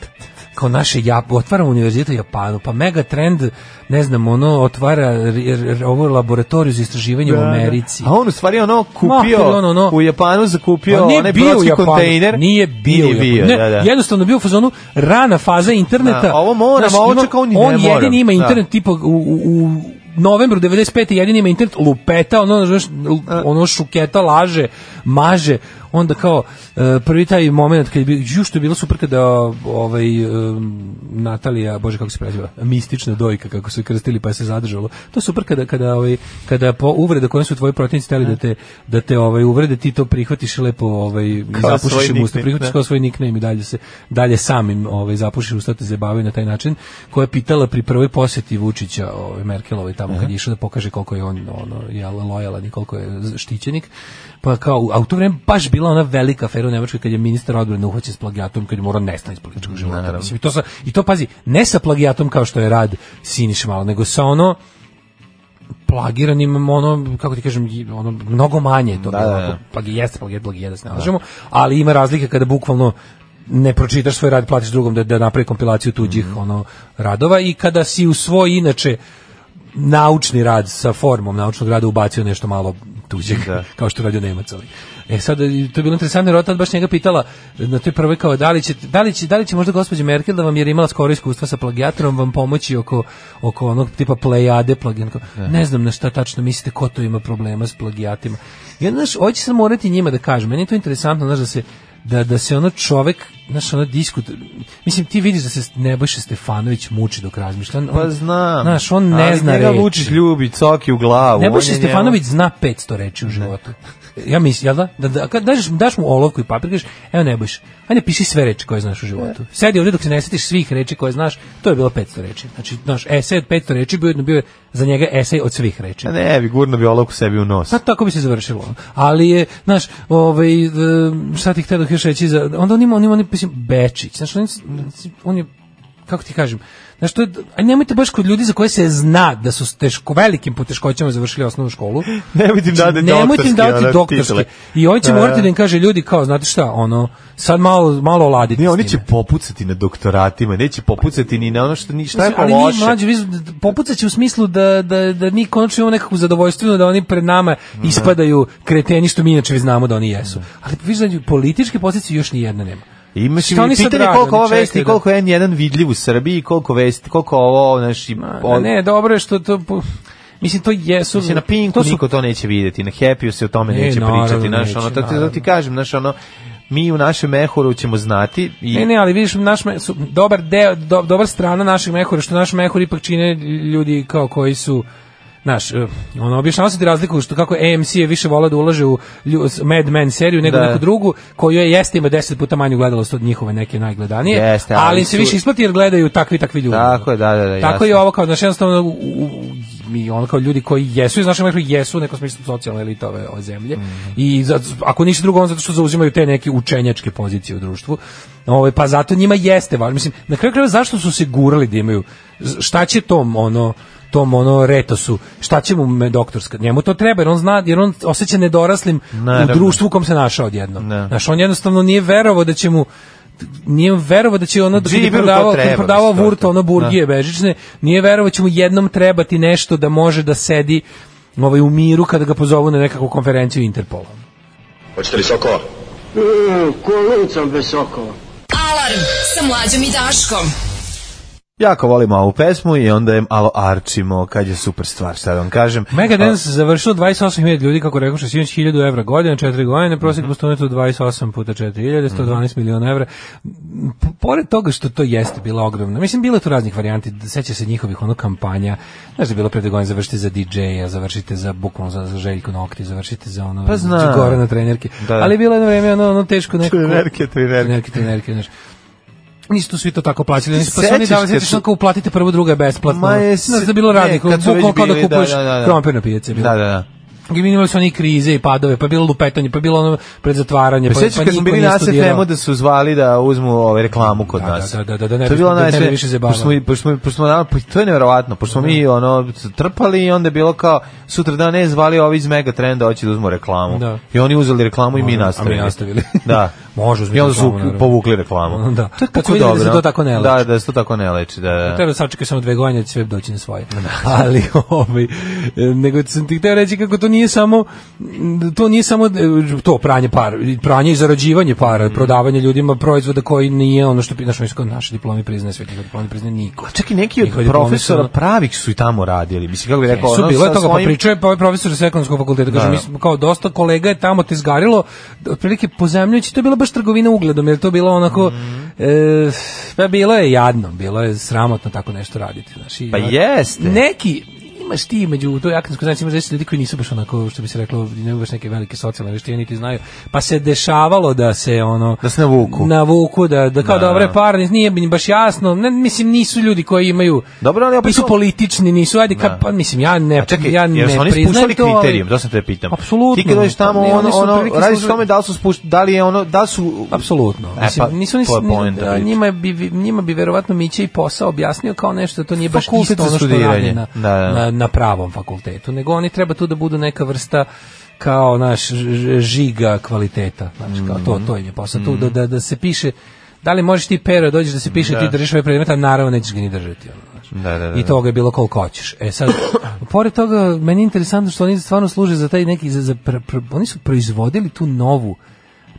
S6: kao naše Jap, otvaramo univerzitet u Japanu, pa mega trend, ne znam, ono otvara r- r- ovo laboratoriju za istraživanje u
S5: Da, da.
S6: Americi.
S5: A on u stvari ono kupio,
S6: Mahter, ono, ono.
S5: u Japanu zakupio
S6: On Pa nije
S5: onaj
S6: bio u
S5: brodski
S6: Japanu,
S5: kontejner.
S6: Nije bio, u
S5: Nije bio,
S6: Japanu.
S5: da,
S6: ne,
S5: da.
S6: Jednostavno bio u fazonu rana faza interneta.
S5: Da, ovo moram,
S6: Znaš,
S5: ovo
S6: ima-
S5: čak on i ne
S6: On
S5: moram.
S6: jedini
S5: Da.
S6: ima internet tipa u, u, u novembru 95. jedini ima internet lupeta, ono, znaš, l- ono šuketa, laže, maže, onda kao e, prvi taj moment kad je bio, ju što je bilo super kada ovaj, e, Natalija, bože kako se preziva, mistična dojka kako su je krstili pa je se zadržalo. To je super kada, kada, ovaj, kada po uvreda koje su tvoji protivnici hteli da te, da te ovaj, uvrede, ti to prihvatiš i lepo ovaj,
S5: Kao
S6: zapušiš
S5: svoj
S6: im usta,
S5: nickname, da.
S6: prihvatiš Znači, kao svoj nickname i dalje se dalje samim ovaj zapušiš usta te zabavaju na taj način koja je pitala pri prvoj posjeti Vučića ovaj Merkelovoj tamo kad je išao da pokaže koliko je on ono je lojalan i koliko je z- štićenik pa kao a u to vreme baš bila ona velika afera u Nemačkoj kad je ministar odbrane uhoćen s plagijatom kad je morao nestati iz političkog života Mislim, i to sa, i to pazi ne sa plagijatom kao što je rad Siniša malo nego sa ono plagiranim ono kako ti kažem i- ono mnogo manje je to
S5: Da,
S6: bilo,
S5: da,
S6: ako
S5: da.
S6: plagi jeste plagijat plagijat da se ne lažemo, ali ima razlike kada bukvalno ne pročitaš svoj rad platiš drugom da da napravi kompilaciju tuđih
S5: Mm.
S6: ono radova i kada si u svoj inače naučni rad sa formom naučnog rada ubacio nešto malo tuđeg, [LAUGHS] kao što je radio Nemac. ali. E sad, i to je bilo interesantno, jer tad baš njega pitala na toj prvoj kao, da li će, da li će, da li će možda gospođa Merkel da vam, jer je imala skoro iskustva sa plagijatorom, vam pomoći oko, oko onog tipa plejade plagijan. Kao, Ne znam na šta tačno mislite, ko to ima problema s plagijatima. I onda, znaš, hoće se morati njima da kažem, meni je to interesantno, znaš, da se, da, da se ono čovek, znaš, ono diskut, mislim, ti vidiš da se Nebojša Stefanović muči dok razmišlja. On-
S5: Pa znam.
S6: Znaš, on ne
S5: Ali
S6: zna
S5: njega
S6: reči.
S5: Vučić ljubi, coki u glavu. on
S6: Nebojša
S5: je njemu-
S6: Stefanović zna 500 reči u životu. Ja mislim, jel da? da, da kad daš, daš mu olovku i papir, kažeš, evo Nebojša, ajde piši sve reči koje znaš u životu. Sedi ovdje dok se ne setiš svih reči koje znaš, to je bilo 500 reči. Znači, znaš, esej od 500 reči bio, je- bio je za njega esej od svih reči.
S5: A Pa Ne, bi gurno bi olovku sebi u nos.
S6: Pa tako bi se završilo. Ali je, znaš, ovaj, e, šta ti htio još reći, za, onda on ima, on ima, on mislim, Bečić, znaš, on, je- on je, kako ti kažem, znaš, to je, a nemojte baš kod ljudi za koje se zna da su s teško, velikim poteškoćama završili osnovnu školu.
S5: Nemojte im
S6: Znači,
S5: dati
S6: nemojte im
S5: doktorske,
S6: dati
S5: ono,
S6: doktorske.
S5: titule.
S6: I on će
S5: Da, da.
S6: morati da im kaže, ljudi, kao, znate šta, ono, sad malo, malo oladiti
S5: Ne,
S6: s
S5: oni
S6: time.
S5: će popucati na doktoratima, neće popucati ni na ono što ni šta je pa
S6: Znači, ali
S5: loše.
S6: mlađi, vi popucaće u smislu da, da, da mi konačno imamo nekakvu zadovoljstvenu da oni pred nama
S5: Mm.
S6: ispadaju kreteni što mi inače vi znamo da oni jesu. Ali viš da političke posljedice još ni jedna nema.
S5: Ima si
S6: Šta oni
S5: mi
S6: sad
S5: pitanje
S6: rade?
S5: koliko
S6: Oni
S5: ova vest i
S6: čekaju da-
S5: koliko je N1 vidljiv u Srbiji, koliko vest, koliko ovo, znaš, i-
S6: Pa ne, dobro je što to... po- Mislim, to jesu...
S5: Mislim, na Pinku
S6: to
S5: to
S6: su-
S5: niko to neće vidjeti, na Happy-u se o tome
S6: Ne,
S5: neće
S6: naravno,
S5: pričati, znaš,
S6: neće,
S5: ono, tako da
S6: naravno.
S5: ti kažem, znaš, ono, mi u našem mehuru ćemo znati i
S6: Ne, ne, ali vidiš, naš me, su, dobar deo, do, dobar strana našeg mehura, što naš mehur ipak čine ljudi kao koji su Naš, eh, ono, objašnjava se ti razliku što kako AMC je više volao da ulaže u lju- s- Mad Men seriju nego
S5: Da.
S6: neku drugu, koju je jeste ima deset puta manju gledalost od njihove neke najgledanije,
S5: Jeste, ali
S6: ali, im se
S5: su-
S6: više isplati jer gledaju takvi i takvi ljudi.
S5: Tako je, da, da, da,
S6: Tako
S5: jasno.
S6: je ovo kao, znaš, jednostavno, u- u- mi ono kao ljudi koji jesu, iz našeg mehura jesu u nekom smislu socijalna elita ove, ove zemlje
S5: Mhm.
S6: i zato- ako ništa drugo, on zato što zauzimaju te neke učenjačke pozicije u društvu, Ovaj, pa zato njima jeste važno. Mislim, na kraju krajeva zašto su se gurali da imaju, Z- šta će tom ono, tom ono retosu, šta će mu me- doktorska, njemu to treba jer on zna, jer on osjeća nedoraslim
S5: Naravno.
S6: u društvu u kom se našao odjedno.
S5: Da.
S6: Znaš, on jednostavno nije verovao da će mu nije verovao da će ono da
S5: Džiberu to
S6: prodavao, kad je
S5: treba,
S6: prodavao
S5: mislim, to je
S6: Vurt,
S5: to.
S6: ono burgije bežične, nije verovao da će mu jednom trebati nešto da može da sedi ovaj, u miru kada ga pozovu na nekakvu konferenciju Interpola.
S12: Hoćete li sokova?
S4: Kolicom bez sokova.
S10: Alarm sa mlađom i Daškom.
S5: jako volimo ovu pesmu i onda je malo arčimo kad je super stvar, šta da vam kažem.
S6: Megadance završilo 28.000 ljudi, kako rekao, što sinoć 1000 evra godina, 4 godine, prosjek
S5: Mhm.
S6: mm 28 puta 4000, 112 miliona evra. M, p- Pored toga što to jeste bila ogromna, mislim, bilo je tu raznih varijanti, da seća se njihovih ono kampanja, znaš da je bilo pred godine, završite za DJ-a, završite za, bukvalno za, za Željku Nokti, završite za ono,
S5: Pa znam.
S6: za Gorana trenerke,
S5: Da.
S6: ali je bilo jedno vreme ono, ono teško nekako...
S5: Trenerke, trenerke.
S6: Trenerke, trenerke, znaš. Nisu tu svi to tako plaćali, nisu pa su
S5: Sećaš
S6: oni davali,
S5: kad
S6: sećaš
S5: su-
S6: ono kao uplatite prvo, drugo je besplatno.
S5: Ma je
S6: Znaš
S5: se-
S6: da je bilo
S5: ne,
S6: radnik,
S5: kad su već
S6: bukvalno kao da
S5: bili, da,
S6: kupuješ
S5: da, da, da.
S6: krompir na pijaci. je bilo.
S5: Da, da, da.
S6: I mi imali su oni krize i padove, pa je bilo lupetanje, pa je bilo ono pred zatvaranje, pa, pa,
S5: Sećaš kad smo
S6: niko
S5: bili
S6: nije
S5: na
S6: studirao.
S5: SFM-u da su zvali da uzmu ovaj reklamu kod
S6: Da,
S5: nas.
S6: da, da, da, da ne
S5: to je
S6: bi-
S5: bilo
S6: da ne bi
S5: najsme-
S6: više zabavno.
S5: pošto smo, i- pošto smo, pošto smo, nama- pa to je neverovatno, pošto smo mi ono trpali i onda je bilo kao sutra dan ne zvali ovi iz Mega Trenda hoće da uzmu reklamu.
S6: Da.
S5: I oni uzeli reklamu i mi
S6: Ono, a mi
S5: nastavili.
S6: [LAUGHS] nastavili.
S5: [LAUGHS] da. I
S6: Može uzmeti
S5: onda su
S6: reklamu, naravno.
S5: povukli reklamu.
S6: [LAUGHS] Da.
S5: To je
S6: Kad
S5: tako
S6: su vidjeli da se
S5: dobro.
S6: to tako ne
S5: Da,
S6: leči.
S5: da se to tako ne leči, da, da.
S6: Treba da sačekaj samo dve godine, će sve doći na svoje. [LAUGHS] Ali, ovaj, e, nego sam ti hteo reći kako to nije samo, m, to nije samo e, to pranje para, pranje i zarađivanje
S5: Mm.
S6: para, prodavanje ljudima proizvoda koji nije ono što, pi- znaš, oni su kao, naše diplomi priznaje, sve njihove diplomi priznaje niko.
S5: Čak i neki od
S6: Njihovi diplomi
S5: profesora
S6: su-
S5: pravih su i tamo radili. Mislim, kako bi rekao,
S6: Su
S5: ono,
S6: bilo
S5: sa
S6: je toga, pa
S5: svojim-
S6: pričao je pa ovaj profesor sa ekonomskog fakulteta, kaže,
S5: Da.
S6: mi smo kao dosta kolega je tamo te zgarilo, otprilike pozemljujući, to je bila baš trgovina ugledom, jer to je bilo onako,
S5: Mm.
S6: e, pa bilo je jadno, bilo je sramotno tako nešto raditi. Znaš, i,
S5: Pa
S6: ono,
S5: jeste.
S6: Neki, imaš ti među toj akademskoj zajednici imaš zaista ljudi koji nisu baš onako što bi se reklo nemaju baš neke velike socijalne veštine niti znaju pa se dešavalo da se ono
S5: Da se navuku.
S6: navuku da da kao
S5: Da.
S6: dobre pare nije mi baš jasno ne, mislim nisu ljudi koji imaju
S5: Dobro, ali opet
S6: nisu
S5: to-
S6: politični nisu ajde kad, pa mislim ja ne
S5: A čekaj,
S6: ja ne
S5: jer su oni
S6: priznajem
S5: spuštali
S6: to, ali-
S5: kriterijum, to sam te pitam.
S6: Apsolutno.
S5: Ti kad dođeš tamo,
S6: Pa ne,
S5: ono,
S6: oni su
S5: ono,
S6: otprilike
S5: radiš o
S6: služili-
S5: tome da li su spušt, da li je ono, da li su...
S6: Apsolutno.
S5: E,
S6: Mislim,
S5: pa,
S6: nisu nisu
S5: to je
S6: ni-
S5: poenta
S6: da,
S5: priče.
S6: njima bi vi- njima bi verovatno Miće i posao objasnio kao nešto to nije baš
S5: Fakultet
S6: isto
S5: za
S6: ono što
S5: studiranje.
S6: radi na,
S5: Da, da.
S6: na na pravom fakultetu, nego oni treba tu da budu neka vrsta kao naš ž- ž- žiga kvaliteta, znači kao to to im je posao tu da, da, da se piše da li možeš ti pero dođeš da se piše
S5: Mhm. Da.
S6: ti držiš ovaj predmet, a naravno nećeš ga ni držati. Ono, znaš.
S5: Da, da, da.
S6: I toga je bilo koliko hoćeš.
S5: [COUGHS]
S6: E sad, pored toga, meni je interesantno što oni stvarno služe za taj neki, za, za, pr- pr- oni su proizvodili tu novu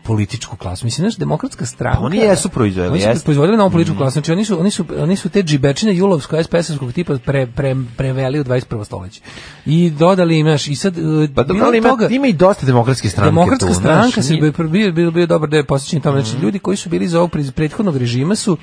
S6: političku klasu. Mislim, znaš, demokratska stranka...
S5: Pa oni jesu proizveli,
S6: Oni su
S5: jeste.
S6: proizvodili novu političku klasu. Znači, oni su, oni su, oni su te džibečine julovsko-SPS-ovskog tipa pre, pre, preveli u 21. stoljeće. I dodali im, znaš, i sad... e,
S5: Pa
S6: bilo
S5: dobro, ali ima,
S6: toga-
S5: ima i dosta demokratske stranke
S6: Demokratska
S5: tu, znaš,
S6: stranka se
S5: nije- Mhm.
S6: bio, bio, bio, bio dobar deo posjećanja tamo. Znači, ljudi koji su bili za ovog pre- prethodnog režima su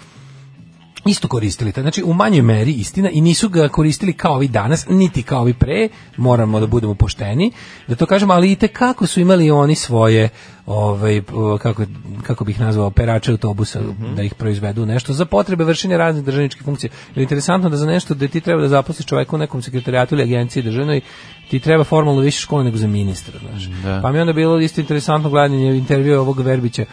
S6: isto koristili. taj- Znači, u manjoj meri istina i nisu ga koristili kao ovi danas, niti kao ovi pre, moramo da budemo pošteni, da to kažemo, ali i kako su imali oni svoje, ovaj, p- kako, kako bih nazvao, perače autobusa, da ih proizvedu u nešto, za potrebe vršenja raznih državničkih funkcija. Jer je interesantno da za nešto gde ti treba da zaposliš čoveka u nekom sekretarijatu ili agenciji državnoj, ti treba formalno više škole nego za ministra, znaš. Pa mi je onda bilo isto interesantno gledanje intervjua ovog Verbića,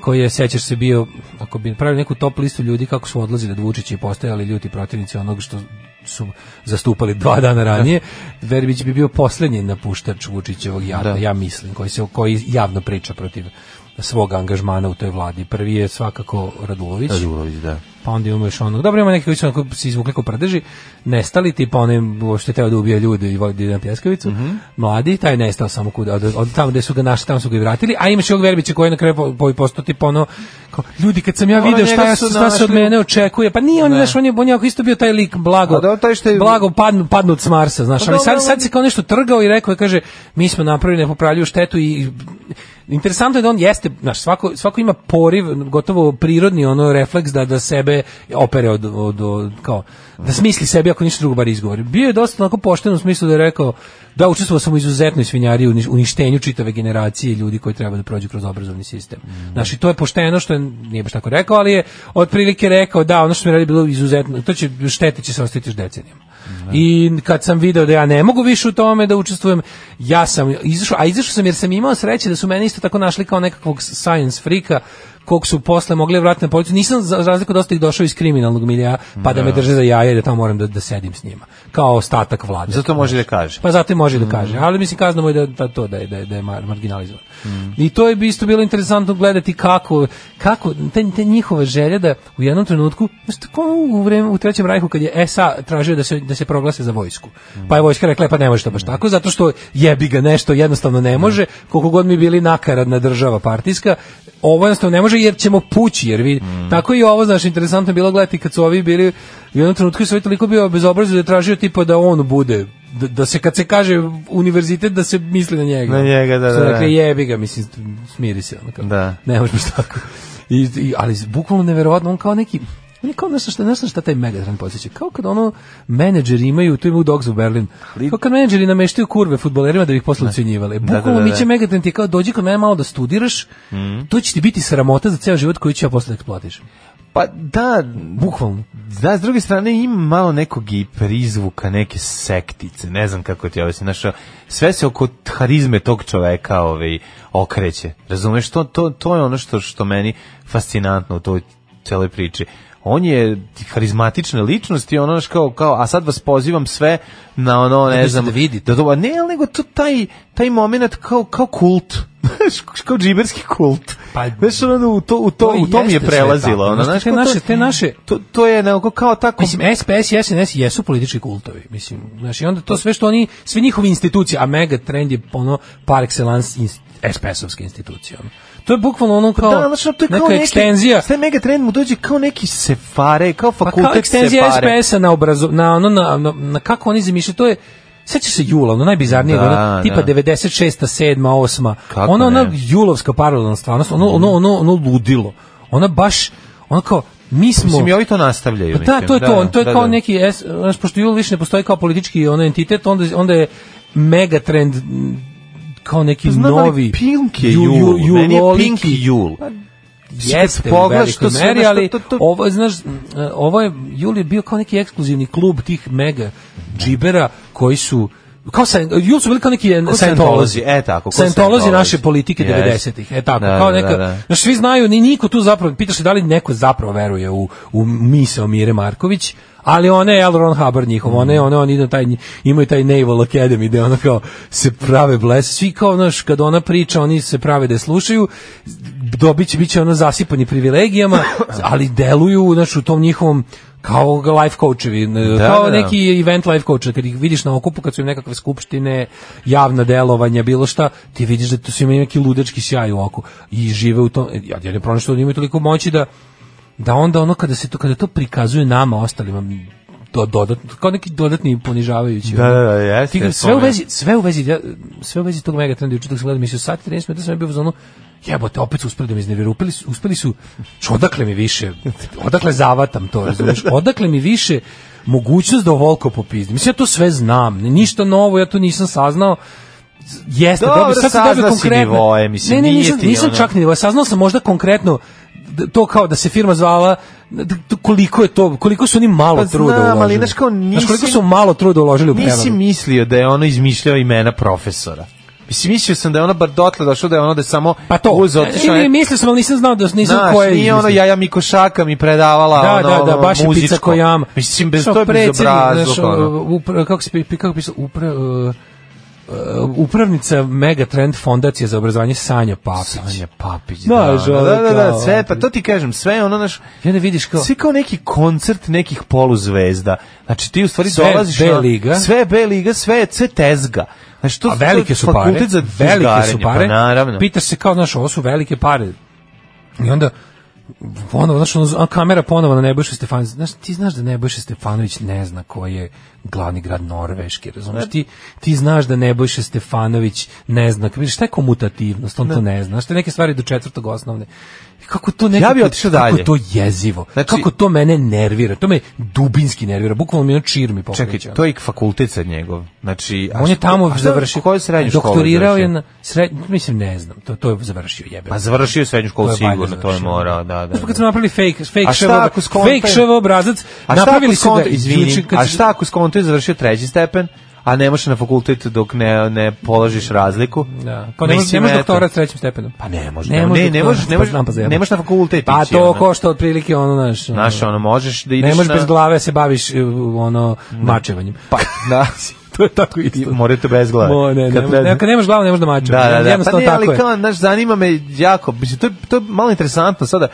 S6: koji je, sećaš se, bio, ako bi pravili neku top listu ljudi kako su odlazili od Vučića i postajali ljuti protivnici onog što su zastupali dva dana ranije, Verbić bi bio posljednji napuštač Vučićevog jada, ja mislim, koji, se, koji javno priča protiv svog angažmana u toj vladi. Prvi je svakako Radulović,
S5: Radulović, da.
S6: pa onda imamo još onog. Dobro, ima neki koji su onako se izvukli kao prdeži, nestali, tipa onaj što je teo da ubije ljude i vodi na pljeskavicu,
S5: Mhm.
S6: mladi, taj je nestao samo kuda, od, od tamo gde su ga našli, tamo su ga i vratili, a imaš i ovog Verbića koji je na kraju po, po, postao tipa ono, kao, ljudi, kad sam ja
S5: Ono,
S6: video
S5: njega
S6: šta, ja,
S5: su
S6: šta se od
S5: našli-
S6: mene očekuje, pa nije on, znaš, on je, on je ovako isto bio taj lik
S5: A
S6: blago,
S5: da, taj što je-
S6: blago padnu, padnut s Marsa, znaš,
S5: Pa
S6: ali
S5: dobro,
S6: sad, sad se kao nešto trgao i rekao je, kaže, mi smo napravili nepopravljivu štetu i interesantno je da on jeste, znaš, svako, svako ima poriv, gotovo prirodni ono refleks da, da sebe opere od, od, od- kao, da smisli sebi ako ništa drugo bar izgovori. Bio je dosta onako pošten u smislu da je rekao da učestvovao sam u izuzetnoj svinjari u uništenju čitave generacije ljudi koji treba da prođu kroz obrazovni sistem.
S5: Mhm.
S6: Znaš, i to je pošteno što je, nije baš tako rekao, ali je otprilike rekao da ono što mi radili bilo izuzetno, to će, štete će se ostaviti još decenijama. I kad sam video da ja ne mogu više u tome da učestvujem, ja sam izašao, a izašao sam jer sam imao sreće da su mene isto tako našli kao nekakvog science frika kog su posle mogli vratiti na policiju. Nisam za razliku dosta ih došao iz kriminalnog milija, pa da me drže za jaja i da tamo moram da, da sedim s njima. Kao ostatak vlade.
S5: Zato može da kaže.
S6: Pa zato i može da kaže. Ali mislim kazna mu je da, da to da je, da je, da je mar- marginalizovan. I to je bi isto bilo interesantno gledati kako kako te, te njihove želje da u jednom trenutku znaš, tako u vreme u trećem rajhu kad je SA tražio da se da se proglase za vojsku. Pa je vojska rekla e, pa ne može to baš tako zato što jebi ga nešto jednostavno ne može koliko god mi bili nakaradna država partijska ovo jednostavno ne može jer ćemo pući jer vi tako i ovo znaš interesantno je bilo gledati kad su ovi bili u jednom trenutku sve toliko bio bezobrazno da je tražio tipa da on bude da, da se kad se kaže univerzitet da se misli na njega.
S5: Na njega, da,
S6: Što
S5: da, da.
S6: Dakle jebi ga, mislim smiri se ono kao.
S5: Da.
S6: Ne može baš tako. I, i- ali bukvalno neverovatno on kao neki on je kao nešto što, nešto što taj Megatron podsjeća. Kao kad ono menadžeri imaju, tu ima u Dogs u Berlin, kao kad menadžeri nameštaju kurve futbolerima da bi ih posle ucenjivali. Bukvalno
S5: da, Mhm. da,
S6: mi će
S5: da.
S6: Megatron ti je kao dođi kod mene malo da studiraš, to će ti biti sramota za ceo život koju ću ja posle da eksploatišem.
S5: Pa da,
S6: Bukvalno.
S5: Da, s druge strane ima malo nekog i prizvuka, neke sektice, ne znam kako ti objasnim, znaš, sve se oko harizme tog čoveka ovaj, okreće, razumeš, to, to, to je ono što, što meni fascinantno u toj celoj priči. On je harizmatična ličnost i ono znaš, kao, kao, a sad vas pozivam sve na ono,
S6: Da
S5: ne
S6: biste
S5: znam,
S6: da vidite.
S5: Da, to- a ne, ali nego to taj, taj moment kao, kao kult, [LAUGHS] Znaš, kao džiberski kult. Pa, znaš, ono, u, to, u, to, u tom je
S6: jeste sve
S5: prelazilo.
S6: tako.
S5: Ono, znaš,
S6: Znaš, te
S5: kao
S6: naše, te naše,
S5: to, to je nekako kao tako...
S6: Mislim, SPS i SNS jesu politički kultovi. Mislim, znaš, i onda to sve što oni, sve njihove institucije, a mega trend je ono par excellence ins- SPS-ovske institucije. ono. To je bukvalno ono kao,
S5: da, znači, to je kao
S6: neka
S5: neki,
S6: ekstenzija.
S5: Sve mega trend mu dođe kao neki sefare, kao
S6: Pa kao
S5: fakultet
S6: ekstenzija
S5: sefare.
S6: SPS-a na, obrazo, na, ono, na, na, na kako oni zamišljaju, to je Sećaš se jula, ono najbizarnije,
S5: Da,
S6: da, ono, tipa
S5: da.
S6: 96. 7. 8.
S5: Kako
S6: ono, ono
S5: ne?
S6: julovska paralelna stvarnost, ono, ono, ono, ono ludilo. Ona baš, ono kao, mi smo...
S5: Mislim, i ovi to nastavljaju.
S6: Pa da,
S5: mislim,
S6: to je to,
S5: da,
S6: to je
S5: da,
S6: kao
S5: da.
S6: neki, es- znaš, pošto Jul više ne postoji kao politički ono entitet, onda, onda je megatrend m, kao neki
S5: Pa znam, ali
S6: novi
S5: Pink je jul, meni je Pink jul.
S6: Pa Jeste u
S5: pogledaš
S6: velikoj
S5: to sve,
S6: meri,
S5: znaš,
S6: ali
S5: to- to-
S6: ovo, je, znaš, m, ovo je, Jul je bio kao neki ekskluzivni klub tih mega džibera koji su kao sa, Jul su bili kao neki Scientology.
S5: Scientology, e, tako, ko
S6: Scientology
S5: Scientology.
S6: naše politike
S5: Jest.
S6: 90-ih, e tako,
S5: Da,
S6: kao
S5: da,
S6: neka,
S5: da, da.
S6: Znaš, svi znaju, ni niko tu zapravo, pitaš se da li neko zapravo veruje u, u misao Mire Marković, ali one je L. Ron Hubbard njihov, one, one, oni idu taj, imaju taj Naval Academy gde ono kao se prave bles, svi kao, znaš, kad ona priča, oni se prave da je slušaju, dobit će, bit će ono zasipani privilegijama, ali deluju, znaš, u tom njihovom kao ga life coachevi, n-
S5: Da,
S6: kao
S5: da, da.
S6: neki event life coach, kad ih vidiš na okupu, kad su im nekakve skupštine, javna delovanja, bilo šta, ti vidiš da tu su imaju neki ludački sjaj u oku i žive u tom, e, ja, ja ne pronašao da imaju toliko moći da, da onda ono kada se to, kada to prikazuje nama ostalima, do, dodatno, kao neki dodatni ponižavajući.
S5: Da, da, da, jeste, ono.
S6: Ti, sve,
S5: stvarno.
S6: u vezi, sve u vezi, ja, sve u vezi tog megatrenda, juče dok sam gledao, mislio, sad 13 minuta sam ja bio u zonu, jebote, opet su uspeli da me iznerviraju, uspeli su, uspeli su, č, odakle mi više, odakle zavatam to,
S5: [LAUGHS]
S6: razumeš, odakle mi više mogućnost da ovoliko popizdim, mislim, ja to sve znam, ništa novo, ja to nisam saznao, Jeste,
S5: Dobro,
S6: dobro, sad sam dobio
S5: saznao si
S6: konkretno.
S5: nivoe, mislim,
S6: ne, ne,
S5: nije
S6: nisam,
S5: ti
S6: nisam
S5: ono-
S6: čak ni nivoe, saznao sam možda konkretno d- to kao da se firma zvala d- d- koliko je to, koliko su oni malo
S5: Pa
S6: truda
S5: znam, ali
S6: uložili.
S5: znaš kao nisi-
S6: koliko su malo truda uložili u prevaru.
S5: Nisi mislio da je ono izmišljao imena profesora. Mislim, mislio sam da je ono bar dotle došlo da je ono da je samo
S6: Pa to,
S5: uzeo, otišao
S6: ili
S5: je-
S6: mislio sam, ali nisam znao da nisam
S5: Znaš,
S6: koje
S5: nije ono Jaja Mikošaka mi predavala
S6: Da,
S5: ono,
S6: da, da,
S5: ono,
S6: baš je
S5: muzičko.
S6: pizza kojama.
S5: Mislim, bez
S6: Što
S5: to je
S6: predsjednik,
S5: bezobrazluk.
S6: znaš,
S5: ono.
S6: upra- kako se pi- kako pisao, upra, uh, uh, upravnica Megatrend fondacije za obrazovanje Sanja Papić.
S5: Sanja Papić,
S6: Da,
S5: da,
S6: ono,
S5: da, da, da,
S6: kao-
S5: sve, pa to ti kažem, sve je ono naš,
S6: I onda vidiš kao,
S5: svi kao neki koncert nekih poluzvezda. Znači ti u stvari
S6: Sve je
S5: dolaziš
S6: B
S5: na-
S6: liga.
S5: sve je B liga, sve je sve tezga. Znači to
S6: a velike su pare,
S5: fakultet za
S6: velike su
S5: tezgarenje,
S6: pare,
S5: pa naravno.
S6: pitaš se kao, znaš, ovo su velike pare, i onda ponovo, znaš, ono, a kamera ponovo na Nebojša Stefanović, znaš, ti znaš da Nebojša Stefanović ne zna koji je glavni grad Norveške, razumiješ, ti, ti znaš da Nebojša Stefanović ne zna, vidiš, šta je komutativnost, on to ne zna, znaš, te neke stvari do četvrtog osnovne, I kako to nekako,
S5: bi otišao
S6: kako
S5: dalje.
S6: to jezivo,
S5: Znači-
S6: kako to mene nervira, to me dubinski nervira, bukvalno mi ono čir mi pokreće.
S5: Čekaj,
S6: ono.
S5: to je i fakultet sad njegov. Znači, a
S6: On je
S5: što- a
S6: tamo
S5: šta-
S6: završio.
S5: Koju srednju školu?
S6: Doktorirao
S5: završio?
S6: je na sred, mislim ne znam, to to je završio jebe.
S5: Pa završio je srednju školu
S6: To je valjda
S5: sigurno, to je
S6: završio.
S5: morao, da, da.
S6: Znaš pa kad
S5: da.
S6: smo napravili fake, fake
S5: A šta
S6: show,
S5: ako skonta-
S6: fake show obrazac,
S5: A šta
S6: napravili
S5: ako
S6: su ga,
S5: skonto, izvini,
S6: juče kad-
S5: a šta ako skonto je završio treći stepen, a ne možeš na fakultet dok ne, ne položiš razliku?
S6: Da, kao Pa ne može, ne može
S5: Mislim, eto.
S6: doktorat s trećim stepenom.
S5: Pa ne može,
S6: Ne
S5: ne,
S6: može
S5: ne, ne
S6: doktorat,
S5: možeš,
S6: pa
S5: ne možeš,
S6: znam, pa zajebam.
S5: ne možeš na fakultet
S6: Pa
S5: ići,
S6: to
S5: ono.
S6: košta otprilike ono naš. ono,
S5: Znaš, ono, možeš da ideš
S6: ne možeš
S5: na...
S6: bez glave se baviš uh, ono mačevanjem.
S5: Pa, [LAUGHS] da,
S6: [LAUGHS] to je tako isto.
S5: morate bez glave.
S6: Mo, ne, ne,
S5: Kad
S6: ne, kad nemaš glavu, ne možeš da mačeš.
S5: Da, da, da. Pa
S6: Jednostavno
S5: ne,
S6: tako
S5: ali
S6: je.
S5: kao, znaš, zanima me jako, mislim, to, je- to je malo interesantno sada,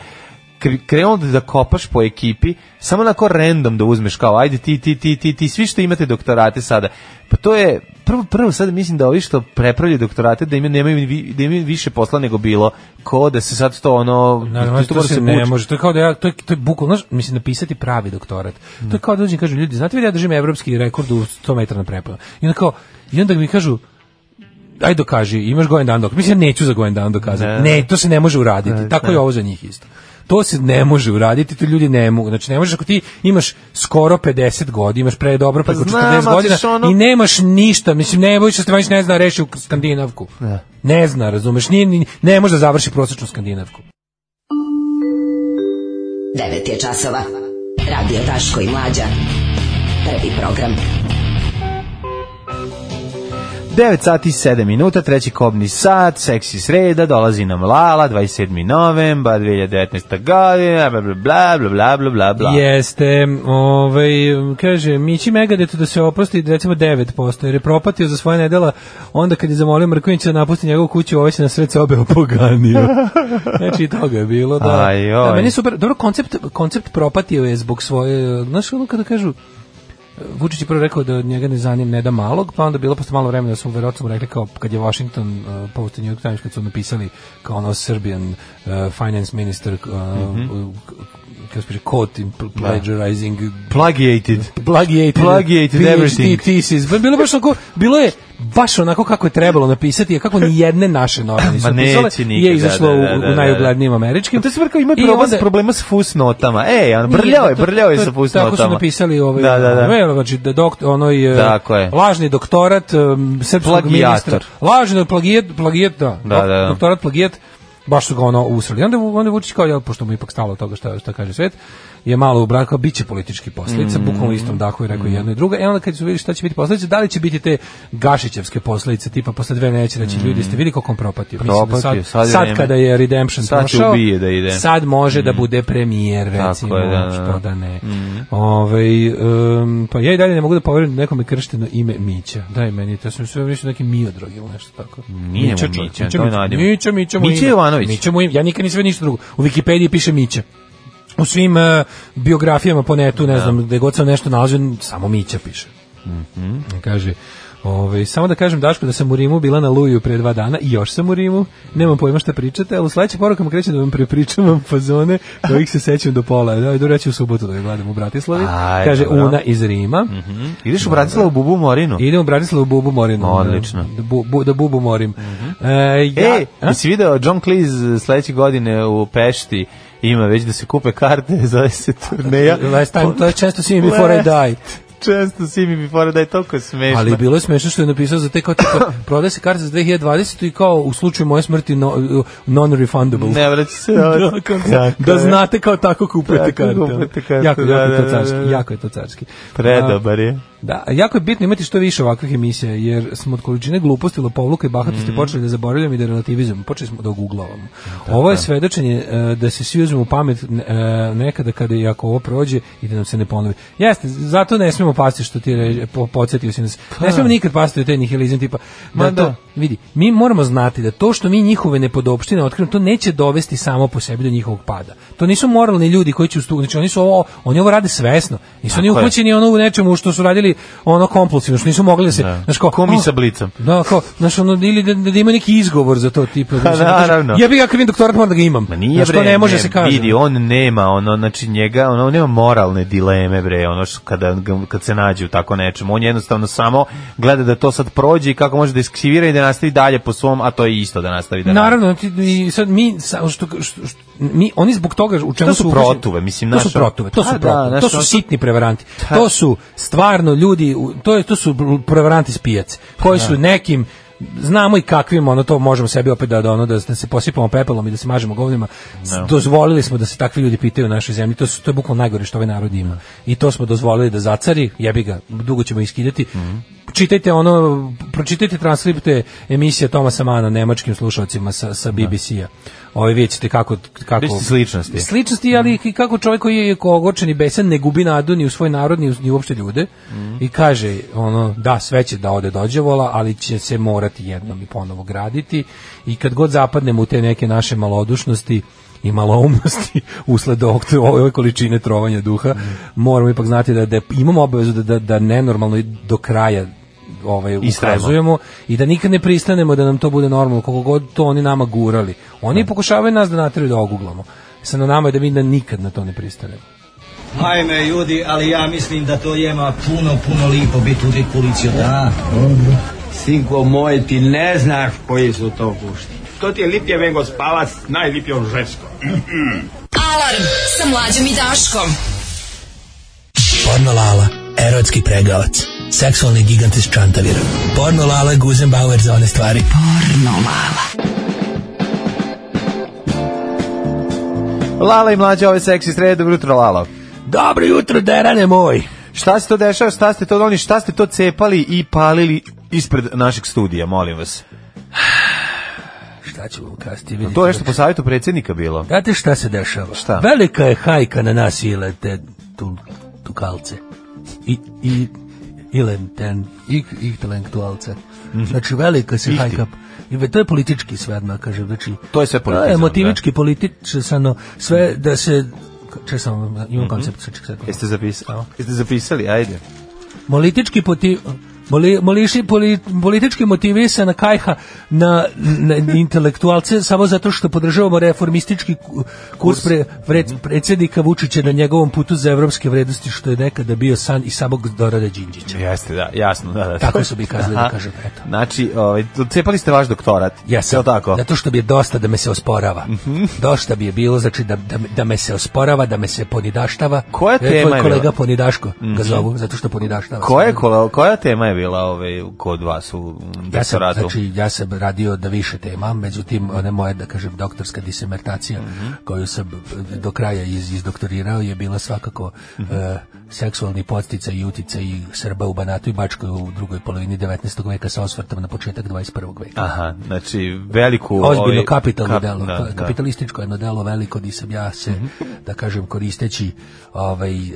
S5: Kre- krenuo da kopaš po ekipi, samo onako random da uzmeš kao, ajde ti, ti, ti, ti, ti, svi što imate doktorate sada. Pa to je, prvo, prvo sad mislim da ovi što prepravljaju doktorate, da imaju, nemaju, vi- da imaju više posla nego bilo, ko da se sad to ono,
S6: Ne, ne,
S5: tu
S6: to
S5: mora
S6: se ne
S5: muči.
S6: može. To je kao da ja, to je, to je bukvalno, znaš, mislim, napisati pravi doktorat.
S5: Mm.
S6: To je kao da dođem i kažem, ljudi, znate vi da ja držim evropski rekord u 100 metara na prepadu. I onda kao, i onda mi kažu, aj dokaži, imaš gojen dan dokazati. Mislim, ja neću za gojen dan dokazati. Ne.
S5: Ne.
S6: to se ne može uraditi. Tako je ovo za njih isto. To se ne može uraditi, to ljudi ne mogu. Znači, ne možeš ako ti imaš skoro 50 godina, imaš pre dobro preko
S5: znam,
S6: 40
S5: ali
S6: godina
S5: ćeš ono-
S6: i nemaš ništa. Mislim, ne bojiš se, ne zna reši u skandinavku. Ne, zna, razumeš, nije, ni- ne može da završi prosečnu skandinavku.
S10: 9 je časova. Radio Daško i Mlađa. Prvi program.
S5: 9 sati i 7 minuta, treći kobni sat, seksi sreda, dolazi nam Lala, 27. novembar, 2019. godina, bla, bla, bla, bla, bla, bla, bla.
S6: Jeste, ovaj, kaže, Mići Megadetu da se oprosti recimo 9%, jer je propatio za svoje nedela, onda kad je zamolio Mrkovića da napusti njegovu kuću, ovaj se na sred sobe [LAUGHS] opoganio. znači, i toga je bilo, da.
S5: Aj, oj.
S6: da meni je super, dobro, koncept, koncept propatio je zbog svoje, znaš, ono kada kažu, Vučić je prvo rekao da njega ne zanim ne da malog, pa onda bilo posle malo vremena da su verovatno mu rekli kao kad je Washington uh, Post i New York Times kad su napisali kao ono Serbian uh, finance minister uh,
S5: Mhm.
S6: k- kako se piše quote in pl- plagiarizing
S5: Plagiated.
S6: plagiated,
S5: Plagiated
S6: PhD
S5: everything.
S6: thesis. Ba- Bilo je baš onako, bilo je baš onako kako je trebalo napisati, a kako ni jedne naše novine nisu
S5: [LAUGHS] Ma
S6: napisale,
S5: neće nikad,
S6: je izašlo
S5: da, da,
S6: u,
S5: da, da.
S6: u najuglednijim američkim.
S5: To se bar kao ima
S6: I
S5: problem,
S6: onda-
S5: problema s fusnotama. E, on brljao je,
S6: Nije, to-
S5: brljao je
S6: to-
S5: sa fusnotama.
S6: Tako su napisali ovaj
S5: Da, da, da.
S6: ovaj, znači da dokt onoj eh,
S5: Tako je.
S6: lažni doktorat em, srpskog
S5: Plagijator.
S6: ministra. Lažni plagijat, plagijat, da.
S5: Da, da, da.
S6: Doktorat plagijat baš su ga ono usrali. I Onda mu- onda je Vučić kao jel pošto mu je ipak stalo od toga šta šta kaže svet je malo u braku, biće politički posledice,
S5: Mm.
S6: bukvalno istom dahu je rekao jedno i drugo. E onda kad su vidjeli šta će biti posledice, da li će biti te Gašićevske posledice, tipa posle dve neće reći ljudi, ste vidi koliko on propatio. Mislim da
S5: Mm. Propatio, sad
S6: sad,
S5: je
S6: sad
S5: vreme.
S6: kada je Redemption
S5: Sad će
S6: prošao,
S5: ubije da ide.
S6: sad može da bude premijer,
S5: Mhm. Tako
S6: recimo,
S5: je, da, Mhm. da, da.
S6: što da ne. Ovaj, em, pa ja i dalje ne mogu da poverujem da nekome kršteno ime Mića. Daj meni, to sam sve mislio neki Miodrag ili nešto tako.
S5: Nije mu
S6: Čić,
S5: Mića, to je nadimak.
S6: Mića, Mića, mu
S5: Mića
S6: ime.
S5: Jovanović.
S6: Mića mu ime. Ja nikad nisam vidio ništa drugo. U Wikipediji piše Mića. U svim eh, biografijama po netu, ne znam, gde god sam nešto nalazio, samo Mića piše. Kaže, ovaj, samo da kažem Daško da sam u Rimu bila na Luju pre dva dana i još sam u Rimu, nemam pojma šta pričate, ali u sledećim porukama krećem da vam prepričavam fazone kojih se sećam do pola. Da, idu reći u subotu da je gledam u Bratislavi.
S5: Aj,
S6: Kaže,
S5: dobro. Mhm.
S6: Una iz Rima.
S5: Mm. Ideš u Bratislavu u Bubu Morinu.
S6: Idem u Bratislavu u Bubu Morinu.
S5: Odlično.
S6: Da, bu, bu- da Bubu morim. E, ja,
S5: E,
S6: a?
S5: jesi video John Cleese sledeće godine u Pešti ima već da se kupe karte, [LAUGHS] zove se
S6: [LAUGHS]
S5: turneja.
S6: Last time, Pa, to je često see me before I die.
S5: Često si mi before I die, toliko je smešno.
S6: Ali bilo je smešno što je napisao za te kao tipa, [LAUGHS] prodaje se karta za 2020 i kao u slučaju moje smrti no- non-refundable.
S5: Ne vraća
S6: [LAUGHS]
S5: se.
S6: da, kao- da znate kao tako kupujete
S5: Tako
S6: karte. ono.
S5: kupujete karte,
S6: Jako,
S5: da,
S6: jako je
S5: da,
S6: to
S5: da, da,
S6: carski.
S5: da.
S6: Jako je to carski.
S5: Predobar je.
S6: Da, jako je bitno imati što više ovakvih emisija, jer smo od količine gluposti, lopovluka i bahatosti
S5: Mm.
S6: počeli da zaboravljamo i da relativizujemo, počeli smo da oguglavamo. Ovo je svedočenje e, da se svi uzmemo u pamet e, nekada kada i ako ovo prođe i da nam se ne ponovi. Jeste, zato ne smemo pasti što ti re, po, podsjetio si nas. Ne smemo nikad pasti u taj nihilizam tipa.
S5: Pa. Ma
S6: da, to-
S5: da.
S6: vidi, mi moramo znati da to što mi njihove nepodopštine otkrijemo, to neće dovesti samo po sebi do njihovog pada. To nisu moralni ljudi koji će ustu, znači oni su ovo, oni ovo rade svesno. Nisu oni
S5: Tako je.
S6: uhvaćeni ono u nečemu što su radili ono kompulsivno, što nisu mogli da se,
S5: Da.
S6: znaš kao,
S5: Ko mi
S6: "Oh,
S5: sa blicom."
S6: Da, kao, znaš ono ili da, da, ima neki izgovor za to tipa. znaš, ono, kaže,
S5: Pa naravno.
S6: Ja bih ja krivim doktorat moram da ga imam.
S5: Ma nije
S6: Znaš, to
S5: bre,
S6: ne može se kaže.
S5: Vidi, on nema, ono, znači njega, ono, on nema moralne dileme, bre, ono, što kada, ga- kad se nađe u tako nečemu. On jednostavno samo gleda da to sad prođe i kako može da iskivira i da nastavi dalje po svom, a to je isto da nastavi da
S6: Naravno, ti, i sad mi, sa- što, što, što- mi, oni zbog toga u čemu
S5: To su
S6: uhićeni-
S5: protuve, mislim,
S6: to
S5: znaš,
S6: su protuve, to
S5: pa da,
S6: su protuve,
S5: znaš,
S6: to
S5: ono
S6: su
S5: su-
S6: sitni prevaranti, to su stvarno ljudi, u- to, je, to su br- prevaranti s pijace, koji su nekim znamo i kakvim ono to možemo sebi opet da, da ono da, da se posipamo pepelom i da se mažemo govnima S- dozvolili smo da se takvi ljudi pitaju u našoj zemlji to su to je bukvalno najgore što ovaj narod ima i to smo dozvolili da zacari jebi ga dugo ćemo iskidati
S5: Mhm.
S6: čitajte ono pročitajte transkripte emisije Tomasa Mana nemačkim slušalcima sa sa BBC-a Ovi vidjet ćete kako, kako...
S5: Vidjet ćete sličnosti. mm.
S6: Sličnosti, ali i kako čovjek koji je ogorčen i besan ne gubi nadu ni u svoj narod, ni, u, ni uopšte ljude.
S5: Mm.
S6: I kaže, ono, da, sve će da ode dođe vola, ali će se morati jednom i ponovo graditi. I kad god zapadnemo u te neke naše malodušnosti, i maloumnosti [LAUGHS] usled ovog, ove količine trovanja duha,
S5: Mm.
S6: moramo ipak znati da, da imamo obavezu da, da, da nenormalno i do kraja ovaj,
S5: Istrajemo.
S6: ukazujemo poštujemo i da nikad ne pristanemo da nam to bude normalno, koliko god to oni nama gurali. Oni pokušavaju nas da nateraju da oguglamo. Sad na nama je da mi da nikad na to ne pristanemo.
S13: Ajme ljudi, ali ja mislim da to jema puno, puno lipo biti u dekuliciju, da?
S14: Sinko moj, ti ne znaš koji su to gušti. To ti je lipje vengo spavac, najlipje on žensko.
S4: Alarm sa mlađom i Daškom.
S15: Porno Lala, erotski pregavac. Seksualni gigant iz Čantavira. Porno Lala je Guzenbauer za one stvari. Porno Lala.
S5: Lala i mlađa ove seksi srede, dobro jutro Lalo.
S15: Dobro jutro, derane moj.
S5: Šta se to dešava, šta ste to doni, šta ste to cepali i palili i ispred našeg studija, molim vas.
S6: Šta ću vam kasti? Vidite,
S5: To je nešto po savjetu predsjednika bilo.
S6: Znate šta se dešava?
S5: Šta?
S6: Velika je hajka na nas i lete tu, tu kalce. I, i, i lenten, i, i intelektualce.
S5: Mhm.
S6: Znači, velika se
S5: Ihti.
S6: hajka... I ve- to je politički sve odmah, kaže, znači...
S5: To je sve
S6: To je
S5: politizam,
S6: motivički, političano, sve da se... Če sam, imam
S5: Mhm.
S6: koncept, sad čekaj sekund.
S5: Jeste zapisali? Jeste zapisali? Ajde.
S6: Molitički poti, moli, moliši, poli, politički motivisana kajha na, na intelektualce samo zato što podržavamo reformistički ku- kurs pre, pre, predsjednika Vučića na njegovom putu za evropske vrednosti što je nekada bio san i samog Dorada Đinđića.
S5: Jeste, da, jasno, da, da.
S6: Tako su mi kazali da
S5: Aha.
S6: kažem, eto.
S5: Znači, ovaj, cepali ste vaš doktorat. Jeste. tako? Mhm.
S6: Zato što bi je dosta da me se osporava. Dosta bi je bilo, znači da, da, me- da me se osporava, da me se ponidaštava. Koja
S5: tema je
S6: Tvoj kolega
S5: bila?
S6: ponidaško
S5: Mhm.
S6: ga zovu, zato što ponidaštava.
S5: Koja, je kola- koja tema je bila ovaj, kod vas u
S6: Ja sam,
S5: doktoratu?
S6: znači, ja sam radio na više tema, međutim, ona moja, da kažem, doktorska disemertacija, koju sam eh, do kraja iz, izdoktorirao, je bila svakako eh, seksualni podstica i utica i Srba u Banatu i Bačkoj u drugoj polovini 19. veka sa osvrtom na početak 21. veka.
S5: Aha, znači, veliku...
S6: Ozbiljno
S5: ovaj,
S6: kapitalno
S5: kap-
S6: delo,
S5: da,
S6: ka-
S5: da.
S6: kapitalističko jedno delo veliko di sam ja se, da kažem, koristeći ovaj, eh,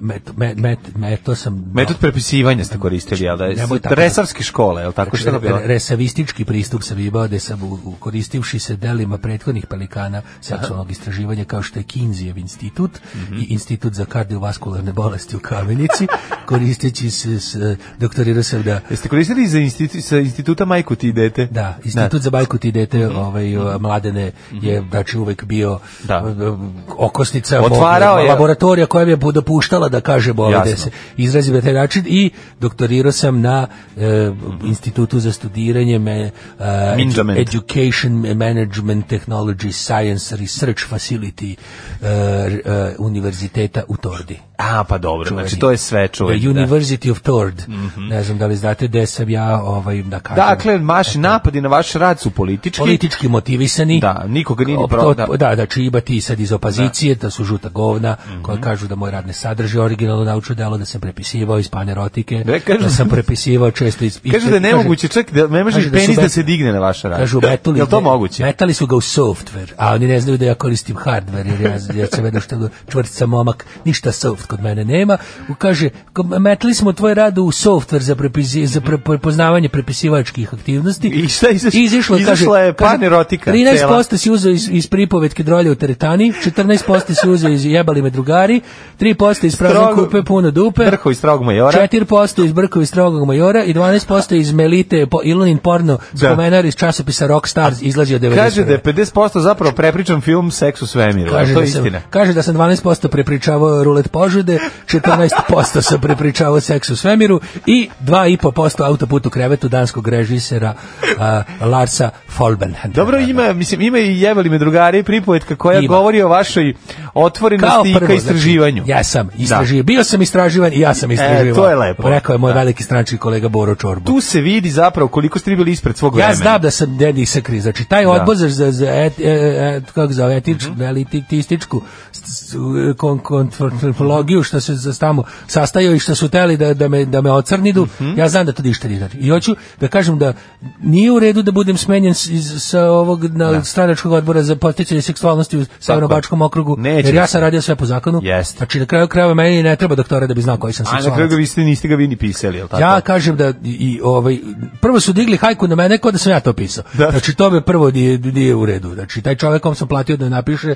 S6: met, met, met- meto sam...
S5: Metod prepisivanja ste koristili, jel da?
S6: Znači, Nemoj tako. Znači,
S5: Resavske škole, jel tako? Šta je bilo?
S6: Re- resavistički pristup sam imao da sam u- u- koristivši se delima prethodnih pelikana seksualnog istraživanja kao što je Kinzijev institut i institut za kardiovaskularne bolesti u Kamenici koristeći se s, doktorirao sam da
S5: Jeste koristili za institu, sa instituta Majku ti idete?
S6: Da, institut za bajku ti dete ovaj, o, mladene je znači uvek bio o, okosnica
S5: Otvarao
S6: mog-
S5: je-
S6: laboratorija koja mi je dopuštala da kažem ovaj
S5: Jasno.
S6: da se izrazim na taj način i doktorirao sam na e, institutu za studiranje me, e,
S5: Minđament.
S6: Education Management Technology Science Research Facility e, r- e, univerziteta u Tordi.
S5: A, pa dobro,
S6: Čuveni.
S5: znači to je sve čuveni.
S6: The
S5: da. Mhm.
S6: University of Tord. Ne znam da li znate gde sam ja ovaj, da kažem.
S5: Dakle, vaši napadi na vaš rad su politički.
S6: Politički motivisani.
S5: Da, nikoga nije ni
S6: Op-
S5: pro... Da.
S6: op- da, da, čiba ti sad iz opozicije, da, su žuta govna,
S5: Mhm.
S6: koja kažu da moj rad ne sadrži originalno naučno delo, da sam prepisivao iz panerotike, da,
S5: kažu-
S6: sam prepisivao često iz...
S5: Kažu da je nemoguće, čak da ne možeš
S6: Kaže da su
S5: penis da
S6: bet-
S5: se digne na vaš rad.
S6: Kažu, metali,
S5: Jel to moguće?
S6: metali su ga u software, a oni ne znaju da ja koristim hardware, jer ja, ja sam jedno što čvrt sam momak, ništa soft kod mene nema. U- Kaže, ko- metali smo tvoj rad u software za, prepizi, za pre- prepoznavanje prepisivačkih aktivnosti.
S5: I šta je izaš-
S6: Izišlo, kaže,
S5: izašla je
S6: kaže,
S5: panerotika
S6: 13% si uzeo iz, iz pripovetke drolje u teretani, 14% si uzeo iz jebali me drugari, 3% iz prazne
S5: Strogo-
S6: kupe puno dupe,
S5: Brko iz strog majora.
S6: 4% iz Brkovi strogog majora i 12% iz Melite po Ilonin porno spomenar iz časopisa Rockstars izlazi od 90.
S5: Kaže da je 50% zapravo prepričan film Seks u svemiru. Kaže to je
S6: da sam,
S5: istina.
S6: kaže da sam 12% prepričavao rulet požude, 14% sam prepričavao seks u svemiru i 2,5% autoput u krevetu danskog režisera a, Larsa Folbenhenda.
S5: Dobro, ima, mislim, ima i jebali me drugari pripovetka koja
S6: Ima.
S5: govori o vašoj otvorenosti i ka istraživanju. E,
S6: Znači, ja sam istraživan, bio sam istraživan i ja sam istraživan.
S5: to je lepo.
S6: Rekao je moj veliki stranički kolega Boro Čorbu.
S5: Tu se vidi zapravo koliko ste vi bili ispred svog
S6: Ja
S5: vremena.
S6: znam da sam dedi sa kriza. Znači, taj
S5: Da. Mhm.
S6: odbor za, za, za et, e, e, kako zove, etič, elitističku s- s- kon- kontrapologiju što se za tamo sastajao i što su teli da, da, me, da me ocrnidu,
S5: Mhm.
S6: ja znam da to ništa nije. I hoću da kažem da nije u redu da budem smenjen s- iz, sa ovog na, stranačkog odbora za poticanje seksualnosti u Severno-Bačkom okrugu,
S5: Neće
S6: jer ja
S5: se.
S6: sam radio sve po zakonu.
S5: Jeste.
S6: Znači, na kraju krajeva meni ne treba doktora da bi znao koji sam
S5: A
S6: seksualac.
S5: na kraju ga vi ste, niste ga vi ni pisali, jel tako?
S6: Ja kažem da i- i ovaj prvo su digli hajku na mene kao da sam ja to pisao.
S5: Da.
S6: Znači to me prvo nije, nije u redu. Znači taj čovjek kom sam platio da napiše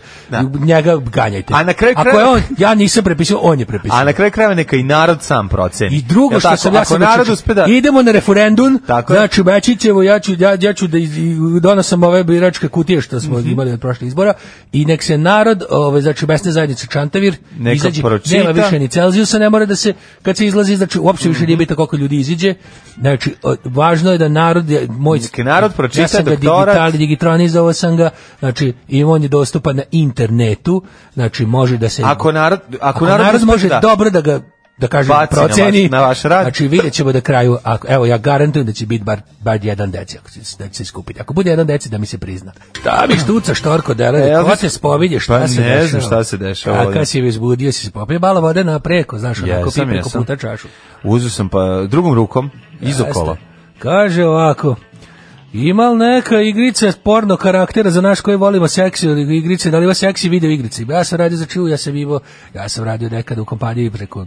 S6: njega ganjajte.
S5: A na kraju
S6: Ako je
S5: krajeva-
S6: on ja nisam prepisao, on je prepisao.
S5: A na kraju krajeva neka i narod sam proceni.
S6: I drugo
S5: Jel
S6: što
S5: tako?
S6: sam ja
S5: Ako
S6: sam
S5: narod
S6: znači,
S5: uspe da...
S6: idemo na referendum.
S5: Tako je.
S6: znači Bečićevo ja ću ja, ja ću da iz- i donosam ove biračke kutije što smo
S5: Mhm.
S6: imali od prošlih izbora i nek se narod ovaj znači mesne zajednice Čantavir
S5: Neka
S6: izađe
S5: pročita.
S6: nema više ni Celzijusa ne mora da se kad se izlazi znači uopšte više nije
S5: Mhm.
S6: bitno koliko ljudi iziđe. Znači o, važno je da narod je- moj
S5: Nek narod pročita
S6: ja sam ga
S5: doktorat.
S6: digital, digitronizovao sam ga znači i on je dostupan na internetu znači može da se
S5: Ako narod, ako narod, uspe
S6: može
S5: da...
S6: dobro da ga da kažem
S5: Baci na vaš-
S6: proceni
S5: na vaš rad.
S6: znači vidjet ćemo da kraju ako, evo ja garantujem da će biti bar, bar jedan deci ako će, se- da će se skupiti ako bude jedan deci da mi se prizna šta mi štuca štorko
S5: E,
S6: dele ko
S5: Elvis-
S6: te spominje šta
S5: Pa
S6: se
S5: ne
S6: dešava
S5: znam šta se dešava
S6: a
S5: ovdje.
S6: kad si izbudio si se popio malo vode na preko znaš onako
S5: Jesam,
S6: pi preko
S5: jesam.
S6: puta čašu
S5: Uzeo sam pa drugom rukom, izokolo.
S6: Jeste. Kaže ovako, ima li neka igrica porno karaktera za naš koji volimo seksi ili igrice, da li ima seksi video igrice? Ja sam radio za čiju, ja sam imao, ja sam radio nekad u kompaniji preko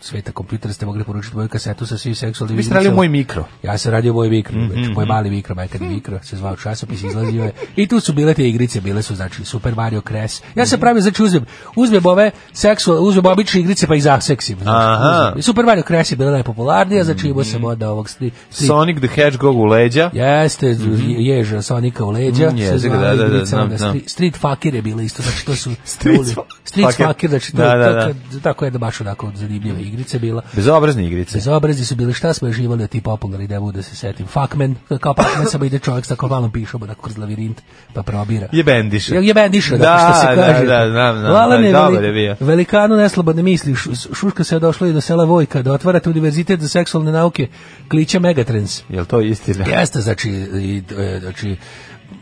S6: sveta kompjutera ste mogli poručiti moju kasetu sa svim seksualnim
S5: Vi ste radili moj mikro.
S6: Ja sam radio moj mikro,
S5: Mhm,
S6: mm -hmm. moj mali mikro, majka mikro, se zvao časopis, izlazio je. I tu su bile te igrice, bile su znači Super Mario Crash. Ja
S5: Mhm.
S6: sam pravio, znači uzmem, uzmem ove seksual, uzmem obične igrice pa ih zaseksim. Znači,
S5: Aha. Mhm.
S6: uzmem. I Super Mario Crash je bila najpopularnija, znači imao sam onda ovog stri, stri-
S5: Sonic the Hedgehog u leđa.
S6: Jeste,
S5: Mhm.
S6: ježa Sonika u leđa.
S5: Mm,
S6: se
S5: jezik,
S6: zvala
S5: da, da, da,
S6: igrica,
S5: znam,
S6: onda
S5: znam.
S6: Street, street Fucker je bila isto, znači to
S5: [LAUGHS]
S6: su... street, street
S5: Fucker.
S6: Fucker, znači to,
S5: Da, da,
S6: to-
S5: da.
S6: to- tako jedna baš onako zanimljiva igrica bila.
S5: Bezobrazne igrice.
S6: Bezobrazi su bili, šta smo još imali od tih popularnih demo da se setim? Fuckman, kao Pac-Man samo ide čovjek sa tako malom pišom, onako kroz lavirint, pa probira.
S5: Je bendiš.
S6: Je, je bendiša, da,
S5: da,
S6: što se kaže.
S5: Da, da, znam, znam,
S6: Lalan
S5: da,
S6: je
S5: dobar
S6: veli-
S5: je bio.
S6: Velikanu neslobodne misli, šu- šuška se je došla i do sela Vojka, da otvarate univerzitet za seksualne nauke, kliče Megatrends.
S5: Jel to istina?
S6: Jeste, znači, i, e, znači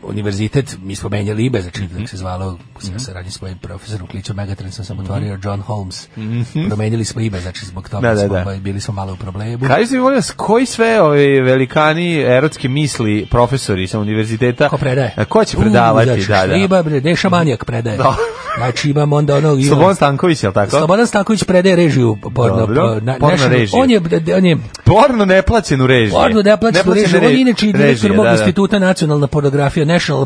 S6: univerzitet, mi smo menjali ime, znači,
S5: Mhm.
S6: kako se zvalo, ja sam radnji s mojim profesorom Klićom Megatren, sam
S5: Mhm.
S6: sam otvorio John Holmes. Promenili smo ime, znači, zbog toga
S5: Da, da,
S6: smo,
S5: da.
S6: ovaj, bili smo malo u problemu.
S5: Kaži se mi molim vas, koji sve ovi velikani erotske misli profesori sa univerziteta? Ko
S6: predaje?
S5: E, Ko će predavati?
S6: U, znači,
S5: da, da.
S6: Šriba, bre, Deša Manijak predaje.
S5: Da.
S6: Znači, imam onda ono... imam-
S5: Slobodan Stanković, je li tako?
S6: Slobodan Stanković predaje režiju porno.
S5: Dobro.
S6: po- na-
S5: Porno
S6: national-
S5: režiju.
S6: On je, on je
S5: Porno neplaćenu režiju.
S6: Porno da plaća tu režiju. On je inače i direktor mog
S5: da, da.
S6: instituta nacionalna pornografija, National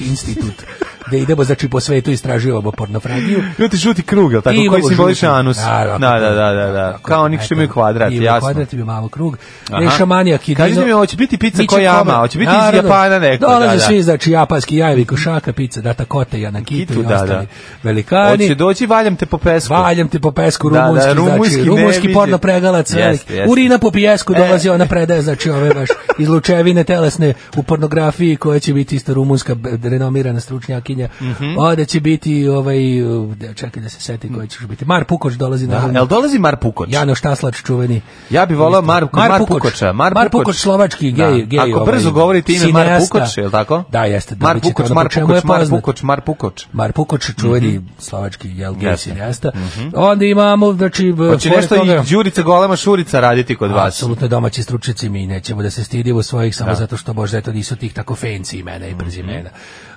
S5: [LAUGHS]
S6: Institute, gde idemo, znači, po svetu istraživamo pornofragiju.
S5: Imate žuti krug, jel tako?
S6: I
S5: Koji
S6: imamo
S5: simboliše
S6: žuti.
S5: anus.
S6: Naravno.
S5: da, da, da, da, da. Kao onih što imaju kvadrat,
S6: Ima
S5: jasno.
S6: kvadrat, ima malo krug.
S5: Aha.
S6: Reša manijak i
S5: Kaži
S6: dino-
S5: mi, hoće biti pizza
S6: Biće
S5: ko jama,
S6: komad.
S5: hoće biti iz Japana neko, da,
S6: Dolaze
S5: da.
S6: svi, znači, japanski jajevi, košaka, pizza, data kote, janakitu
S5: Kitu,
S6: i
S5: da,
S6: ostali
S5: da.
S6: velikani.
S5: Hoće doći, valjam te po pesku.
S6: Valjam te po pesku
S5: Da, da,
S6: rumunski,
S5: rumunski,
S6: znači,
S5: ne
S6: rumunski
S5: vidim.
S6: porno pregalac
S5: Jeste,
S6: velik.
S5: jeste.
S6: Urina po
S5: E.
S6: pijesku dolazi, ona predaje, znači ove baš izlučevine telesne u pornografiji koja će biti isto rumunska b- renomirana stručnjakinja.
S5: Mhm.
S6: Ovde će biti ovaj, uh, da, čekaj da se seti koja će još biti. Mar Pukoč dolazi.
S5: Da,
S6: naravno.
S5: jel dolazi Mar Pukoč?
S6: Jano Štaslač čuveni.
S5: Ja bih volao Mar, Mar,
S6: Mar Pukoč.
S5: Pukoča. Mar,
S6: Mar Pukoč, slovački gej- gej,
S5: Ako
S6: ovaj,
S5: brzo govorite ime Mar
S6: cineasta.
S5: Pukoč, je li tako?
S6: Da, jeste,
S5: Mar
S6: dobit ćete
S5: Pukoč,
S6: ono
S5: Mar
S6: po čemu
S5: Pukoč,
S6: je
S5: Mar
S6: poznat.
S5: Pukoč, Mar Pukoč.
S6: Mar Pukoč, čuveni slovački jel gej
S5: Mhm. Jeste. Mhm.
S6: cineasta. Onda imamo, znači, b-
S5: Hoće
S6: pored
S5: nešto
S6: toga-
S5: i Đurica Golema Šurica raditi kod vas.
S6: Apsolutno domaći stručnjaci mi nećemo da se stidimo svojih samo
S5: Da. Mhm.
S6: zato što možda eto nisu tih tako fancy imena i prezimena.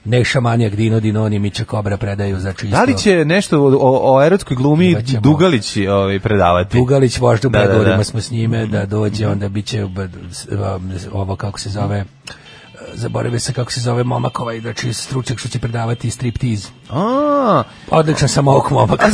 S6: Neša Manijak, Dino Dinoni, Mića Kobra predaju znači isto.
S5: Da li će nešto o, o, o erotskoj glumi Dugalić ovaj, predavati?
S6: Dugalić možda u
S5: Da, Mhm. da, da.
S6: pregovorima smo s njime da dođe, onda bit će b- s- um, ovo kako se zove e, zaboravio se kako se zove momak ovaj, znači stručnjak što će predavati striptiz.
S5: A,
S6: Odličan sam ovog momaka.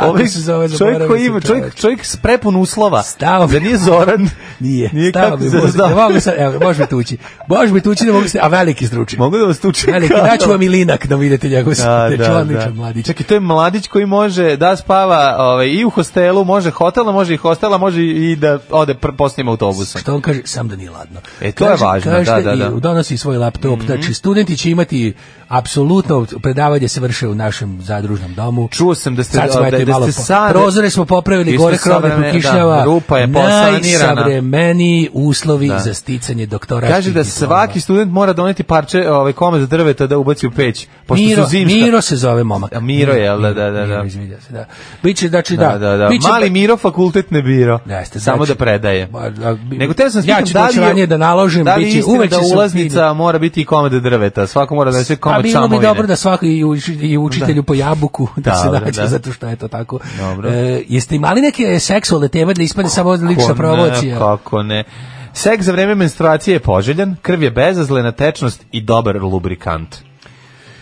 S5: ovaj
S6: Kako se zove,
S5: čovjek
S6: zaboravio
S5: koji
S6: sam
S5: ima, čovjek,
S6: čoveče.
S5: čovjek s prepun uslova.
S6: Stao
S5: Pa, Da nije Zoran. Nije. Nije
S6: Stao
S5: kako
S6: bi
S5: se
S6: mozak,
S5: zove.
S6: ne mogu sad, evo, može mi tući. Može mi tući, ne mogu se, a veliki stručnjak.
S5: Mogu da vas tuče.
S6: Veliki,
S5: kao-
S6: daću vam i linak da vidite njegov [LAUGHS]
S5: Da,
S6: znači,
S5: da,
S6: odličan
S5: da.
S6: mladić.
S5: Čekaj, to je mladić koji može da spava ovaj, i u hostelu, može hotela, može i hostela, može i da ode pr posljednjim autobusom.
S6: Što on kaže, sam da nije ladno.
S5: E, to je važno, da, da, Mhm. da.
S6: i donosi svoj laptop, znači studenti će imati apsolutno predavanje se vrše u našem zadružnom domu.
S5: Čuo sam da ste
S6: Sad smo
S5: da,
S6: eto i
S5: da
S6: malo
S5: ste
S6: po-
S5: sad
S6: prozore smo popravili,
S5: Isto
S6: gore krov ne
S5: savremene-
S6: prokišnjava.
S5: Da, rupa je posanirana.
S6: Najsavremeniji uslovi
S5: Da.
S6: za sticanje doktora.
S5: Kaže da svaki student mora doneti parče ovaj komad drveta da ubaci u peć, pošto
S6: Miro,
S5: su zimska.
S6: Miro se zove momak.
S5: A, Miro je, jel da, da, da. da.
S6: izvinjam se, da. Biće, znači, da.
S5: Da, da, da.
S6: Biće-
S5: Mali Miro fakultet ne biro.
S6: Da, jeste,
S5: Samo
S6: znači-
S5: da predaje.
S6: Ba- da, bi-
S5: Nego te sam
S6: ja
S5: spitam
S6: ću
S5: da
S6: doći
S5: li je,
S6: ranije da naložim,
S5: da li je
S6: biće-
S5: istina
S6: uvek
S5: da
S6: će se
S5: ulaznica mora biti i komad drveta. Svako mora da se
S6: Pa
S5: komad
S6: bilo bi
S5: čamovine.
S6: dobro da svako i, uči- i učitelju po jabuku da, se
S5: Dobro,
S6: nađe,
S5: da.
S6: zato što je to tako.
S5: Dobro.
S6: E, jeste imali neke seksualne teme da ispane samo lična
S5: Kako ne,
S6: promocija?
S5: Kako ne. Sek za vreme menstruacije je poželjan, krv je bezazlena tečnost i dobar lubrikant.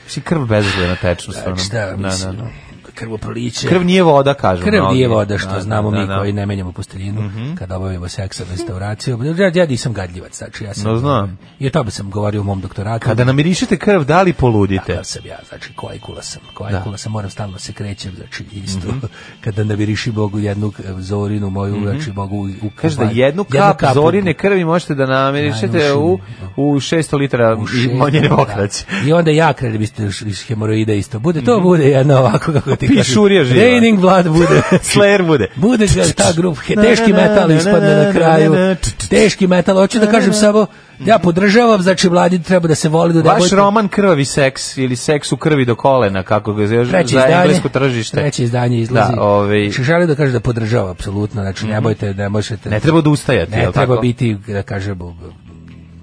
S5: Mislim, krv bezazlena tečnost.
S6: Znači,
S5: ono.
S6: da, mislim, krvoproliće.
S5: Krv nije voda, kažu
S6: Krv
S5: mnogi.
S6: nije voda, što
S5: Da,
S6: znamo
S5: da, Mhm.
S6: mi
S5: da.
S6: koji ne menjamo posteljinu kada obavimo seksa restauraciju. Ja, ja nisam gadljivac, znači ja sam...
S5: No, znam.
S6: I o tome sam govorio u mom doktoratu.
S5: Kada namirišete krv, da li poludite?
S6: Da sam ja, znači kojkula sam, kojkula sam, moram stalno se krećem, znači isto,
S5: Mhm.
S6: [LAUGHS] kada namiriši Bogu jednu eh, zorinu moju, znači mogu u, u
S5: Kaže Mhm. da
S6: kampanju.
S5: jednu kap zorine krvi možete da namirišete
S6: Da,
S5: u, u 600 litara [LAUGHS] i manjene
S6: da.
S5: okraće.
S6: I onda ja krenem isto iz- iz hemoroida isto. Bude to, bude jedno ovako kako ti kažem.
S5: Mhm. Pišurija živa.
S6: Raining Blood
S5: [LAUGHS]
S6: bude.
S5: [LAUGHS] Slayer bude.
S6: Bude ga ta grup, he- teški metal ispadne na kraju. Teški metal, hoću da kažem samo, ja podržavam, znači mladi treba da se voli do
S5: Vaš roman Krvavi seks ili Seks u krvi do kolena, kako ga zoveš,
S6: Treće
S5: za
S6: izdanje.
S5: englesko tržište.
S6: Treće izdanje izlazi.
S5: Da, ovaj, Mhm.
S6: Znači, želim da kažem da podržava, apsolutno. Znači, ne bojte, ne možete...
S5: Ne treba odustajati,
S6: Ne
S5: jel
S6: treba
S5: tako?
S6: biti, da kažem, b- b-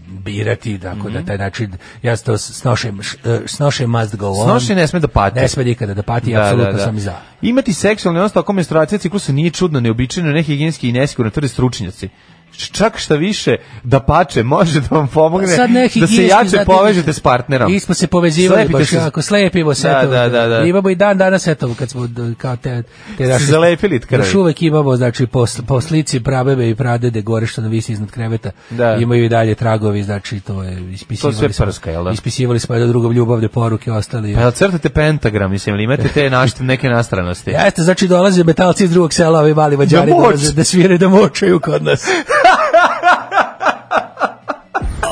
S6: birati, dakle,
S5: Mhm.
S6: da taj način, ja to snošem, š- eh, snošem must go on.
S5: Snošaj ne sme da pati.
S6: Ne sme nikada da pati, apsolutno sam za.
S5: Imati seksualni odnos tokom menstruacije ciklusa nije čudno, neobičajno, nehigijenski i nesigurno, tvrde stručnjaci. Č- Čak šta više, da pače, može da vam pomogne
S6: Sad neki
S5: da se
S6: higijenski,
S5: jače
S6: znate,
S5: povežete s partnerom.
S6: Mi smo se povezivali
S5: Slepite
S6: baš
S5: se.
S6: jako, slepimo se.
S5: Da,
S6: eto,
S5: da, da, da.
S6: Imamo i dan danas, eto, kad smo d- kao te... te naše-
S5: zalepili tkrvi.
S6: Još uvek imamo, znači, po, s- po slici prabebe i pradede gore što nam visi iznad kreveta.
S5: Da.
S6: Imaju i dalje tragovi, znači, to je ispisivali.
S5: To sve
S6: smo-
S5: prska, jel da?
S6: Ispisivali smo jedno drugom ljubavne poruke, ostali.
S5: Pa jel crtate pentagram, mislim, ili imate te
S6: [LAUGHS]
S5: naš, neke nastranosti?
S6: Jeste, znači dolaze metalci iz drugog sela, ovi mali mađari
S5: Da moč.
S6: dolaze da svire da močaju kod nas.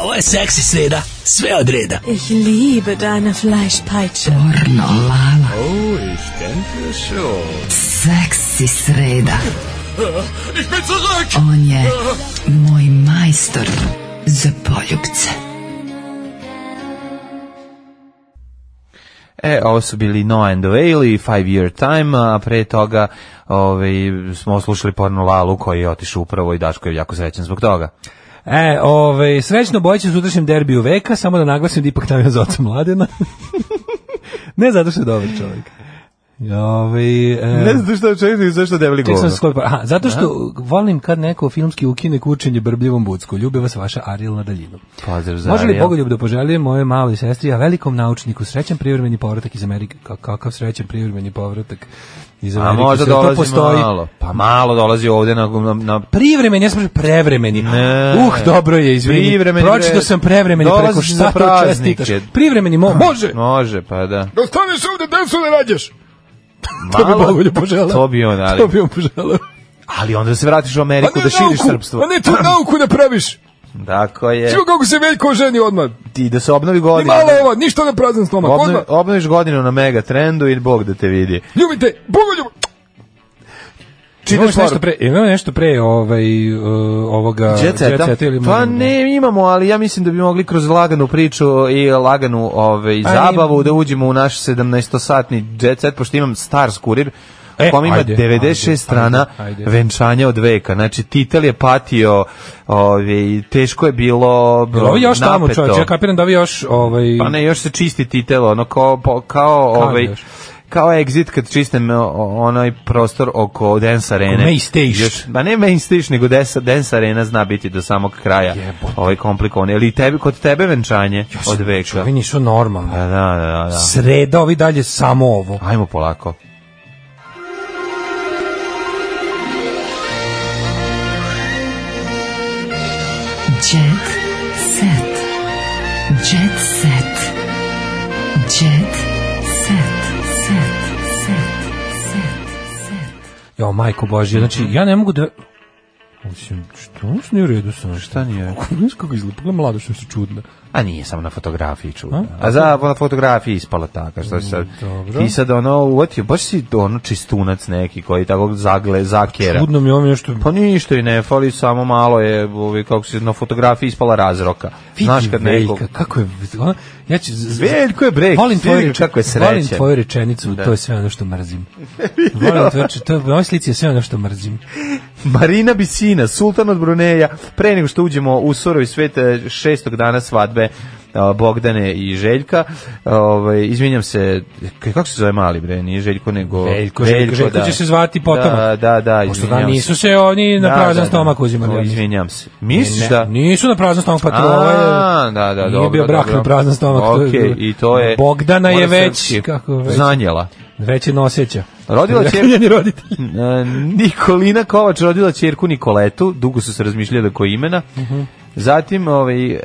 S6: Ovo je seksi sreda, sve od reda.
S16: Ich liebe deine Fleischpeitsche.
S10: Pornolala.
S16: Oh, ich denke schon.
S10: Seksi sreda.
S2: Ich bin zurück!
S10: On je moj majstor za poljubce.
S5: E, ovo su bili No and the Whale i Five Year Time, a pre toga ovaj, smo slušali porno Lalu koji je otišao upravo i Daško je jako srećan zbog toga.
S6: E, ovaj, srećno bojić u sutrašnjem derbiju veka, samo da naglasim da ipak navijam za oca mladena. [LAUGHS] ne zato što je dobar čovjek. Ovaj, e,
S5: Ne znam što čovjek, zašto debeli
S6: Ček sam
S5: govno.
S6: se sklopio. Aha, zato što volim kad neko filmski ukine kučenje brbljivom bucku. Ljubi vas vaša Ariel na daljinu.
S5: Pozdrav za
S6: Može li
S5: Ariel.
S6: Bogoljub da poželije moje maloj sestri, a velikom naučniku, srećan privremeni povratak iz Amerike? Ka- kakav srećan privremeni povratak iz
S5: A
S6: Amerike?
S5: možda
S6: Sve to
S5: dolazi
S6: postoji.
S5: malo. Pa malo dolazi ovde na... na, na
S6: Privremeni, ja sam rekao prevremeni.
S5: Ne.
S6: uh, dobro je, izvini.
S5: Privremeni,
S6: Pročito
S5: bre.
S6: sam prevremeni
S5: Dolazi za
S6: preko šta to
S5: praznike.
S6: čestitaš. Privremeni mo, može.
S5: Može, pa da.
S8: Da ostaneš ovde, decu ne rađaš.
S6: To bi
S5: Malo-
S6: Bogolju poželao.
S5: To bi on, ali...
S6: To bi Pa on poželao.
S5: Ali onda se vratiš u Ameriku da širiš srpstvo. E.
S8: a ne tu nauku da praviš.
S5: Tako je.
S8: Čimo kako se veljko ženi odmah.
S5: Ti da se obnovi
S8: Ni
S5: godina.
S8: malo ovo, ništa na prazan stomak,
S5: Obnovi,
S8: odmah.
S5: obnoviš godinu na mega trendu i Bog da te vidi.
S8: Ljubite, bogoljub.
S6: Čitaš nešto pre, imamo nešto pre ovaj, uh, ovoga
S5: Jet seta?
S6: Jet seta ili
S5: Pa
S6: možemo-
S5: ne, imamo, ali ja mislim da bi mogli kroz laganu priču i laganu ove,
S6: Pa
S5: zabavu da uđemo u naš 17-satni jet set, pošto imam Stars kurir,
S6: E,
S5: e, kom ima
S6: ajde,
S5: 96
S6: ajde,
S5: strana
S6: ajde, ajde.
S5: venčanja od veka. Znači, Titel je patio, ove, teško je bilo
S6: Jel Ovo je još tamo,
S5: napeto.
S6: čovječ, ja kapiram da vi još ovaj,
S5: Pa ne, još se čisti titel, ono kao, po- kao,
S6: Kao
S5: ovaj,
S6: još?
S5: kao exit kad čistim o- o- onaj prostor oko Dance Arene.
S6: Main stage.
S5: ba ne main stage, nego Dance, Dance Arena zna biti do samog kraja. Ovaj komplikovan. Ili tebi, kod tebe venčanje od veka. Pa
S6: ovi nisu normalni.
S5: Da, da, da. da.
S6: Sreda, ovi dalje samo ovo.
S5: Ajmo polako.
S10: Jet set. Jet set. Jet set. Set. Set. Set.
S6: Jo, majko božje, znači,
S5: Mhm.
S6: ja ne mogu da... Mislim, što ono što nije u redu sam?
S5: Šta nije?
S6: Znaš kako izgleda, pogledaj mlado što su čudna.
S5: A nije samo na fotografiji čudno. A za na fotografiji ispalo tako što se sad.
S6: dobro.
S5: Ti sad ono uvatio, baš si ono čistunac neki koji tako zagle, zakjera.
S6: Čudno mi je ovo nešto...
S5: Pa ništa i ne fali, samo malo je, ovaj, kako se na fotografiji ispala razroka.
S6: Vidi
S5: Znaš kad
S6: Veljka,
S5: neko...
S6: kako je... Ona, ja ću, z- z-
S5: Veljko je brek,
S6: volim tvoju,
S5: vidi
S6: reč-
S5: kako je
S6: volim
S5: srećan.
S6: tvoju rečenicu,
S5: Da.
S6: to je sve ono što mrzim.
S5: [LAUGHS]
S6: volim tvoju rečenicu, to je, na ovoj slici je sve ono što mrzim.
S5: Pa Marina Bisina, sultan od Bruneja, pre nego što uđemo u surovi svet e, šestog dana svadbe e, Bogdane i Željka. Ovaj izvinjam se, k- kako se zove mali bre, nije Željko nego
S6: Veljko, Željko, Željko će se zvati potomak.
S5: Da, da, da,
S6: Pošto
S5: izvinjam
S6: da nisu
S5: se.
S6: se oni na
S5: Da,
S6: prazan
S5: da, da.
S6: stomak uzimali.
S5: O,
S6: ja mislim.
S5: Izvinjam se. Misliš
S6: Ne,
S5: da?
S6: Nisu na prazan stomak, pa to ovo
S5: A,
S6: je...
S5: da, da,
S6: nije
S5: dobro.
S6: bio brak
S5: dobro.
S6: na prazan stomak. to je-
S5: Okej, i to je...
S6: Bogdana je
S5: mora
S6: već,
S5: srpski.
S6: kako već,
S5: Zanjela.
S6: već je noseća. [LAUGHS]
S5: Rodila će-
S6: Njeni roditelji.
S5: E, Nikolina Kovač rodila ćerku Nikoletu, dugo su se razmišljali oko imena.
S6: Mhm.
S5: Zatim, ovaj, e,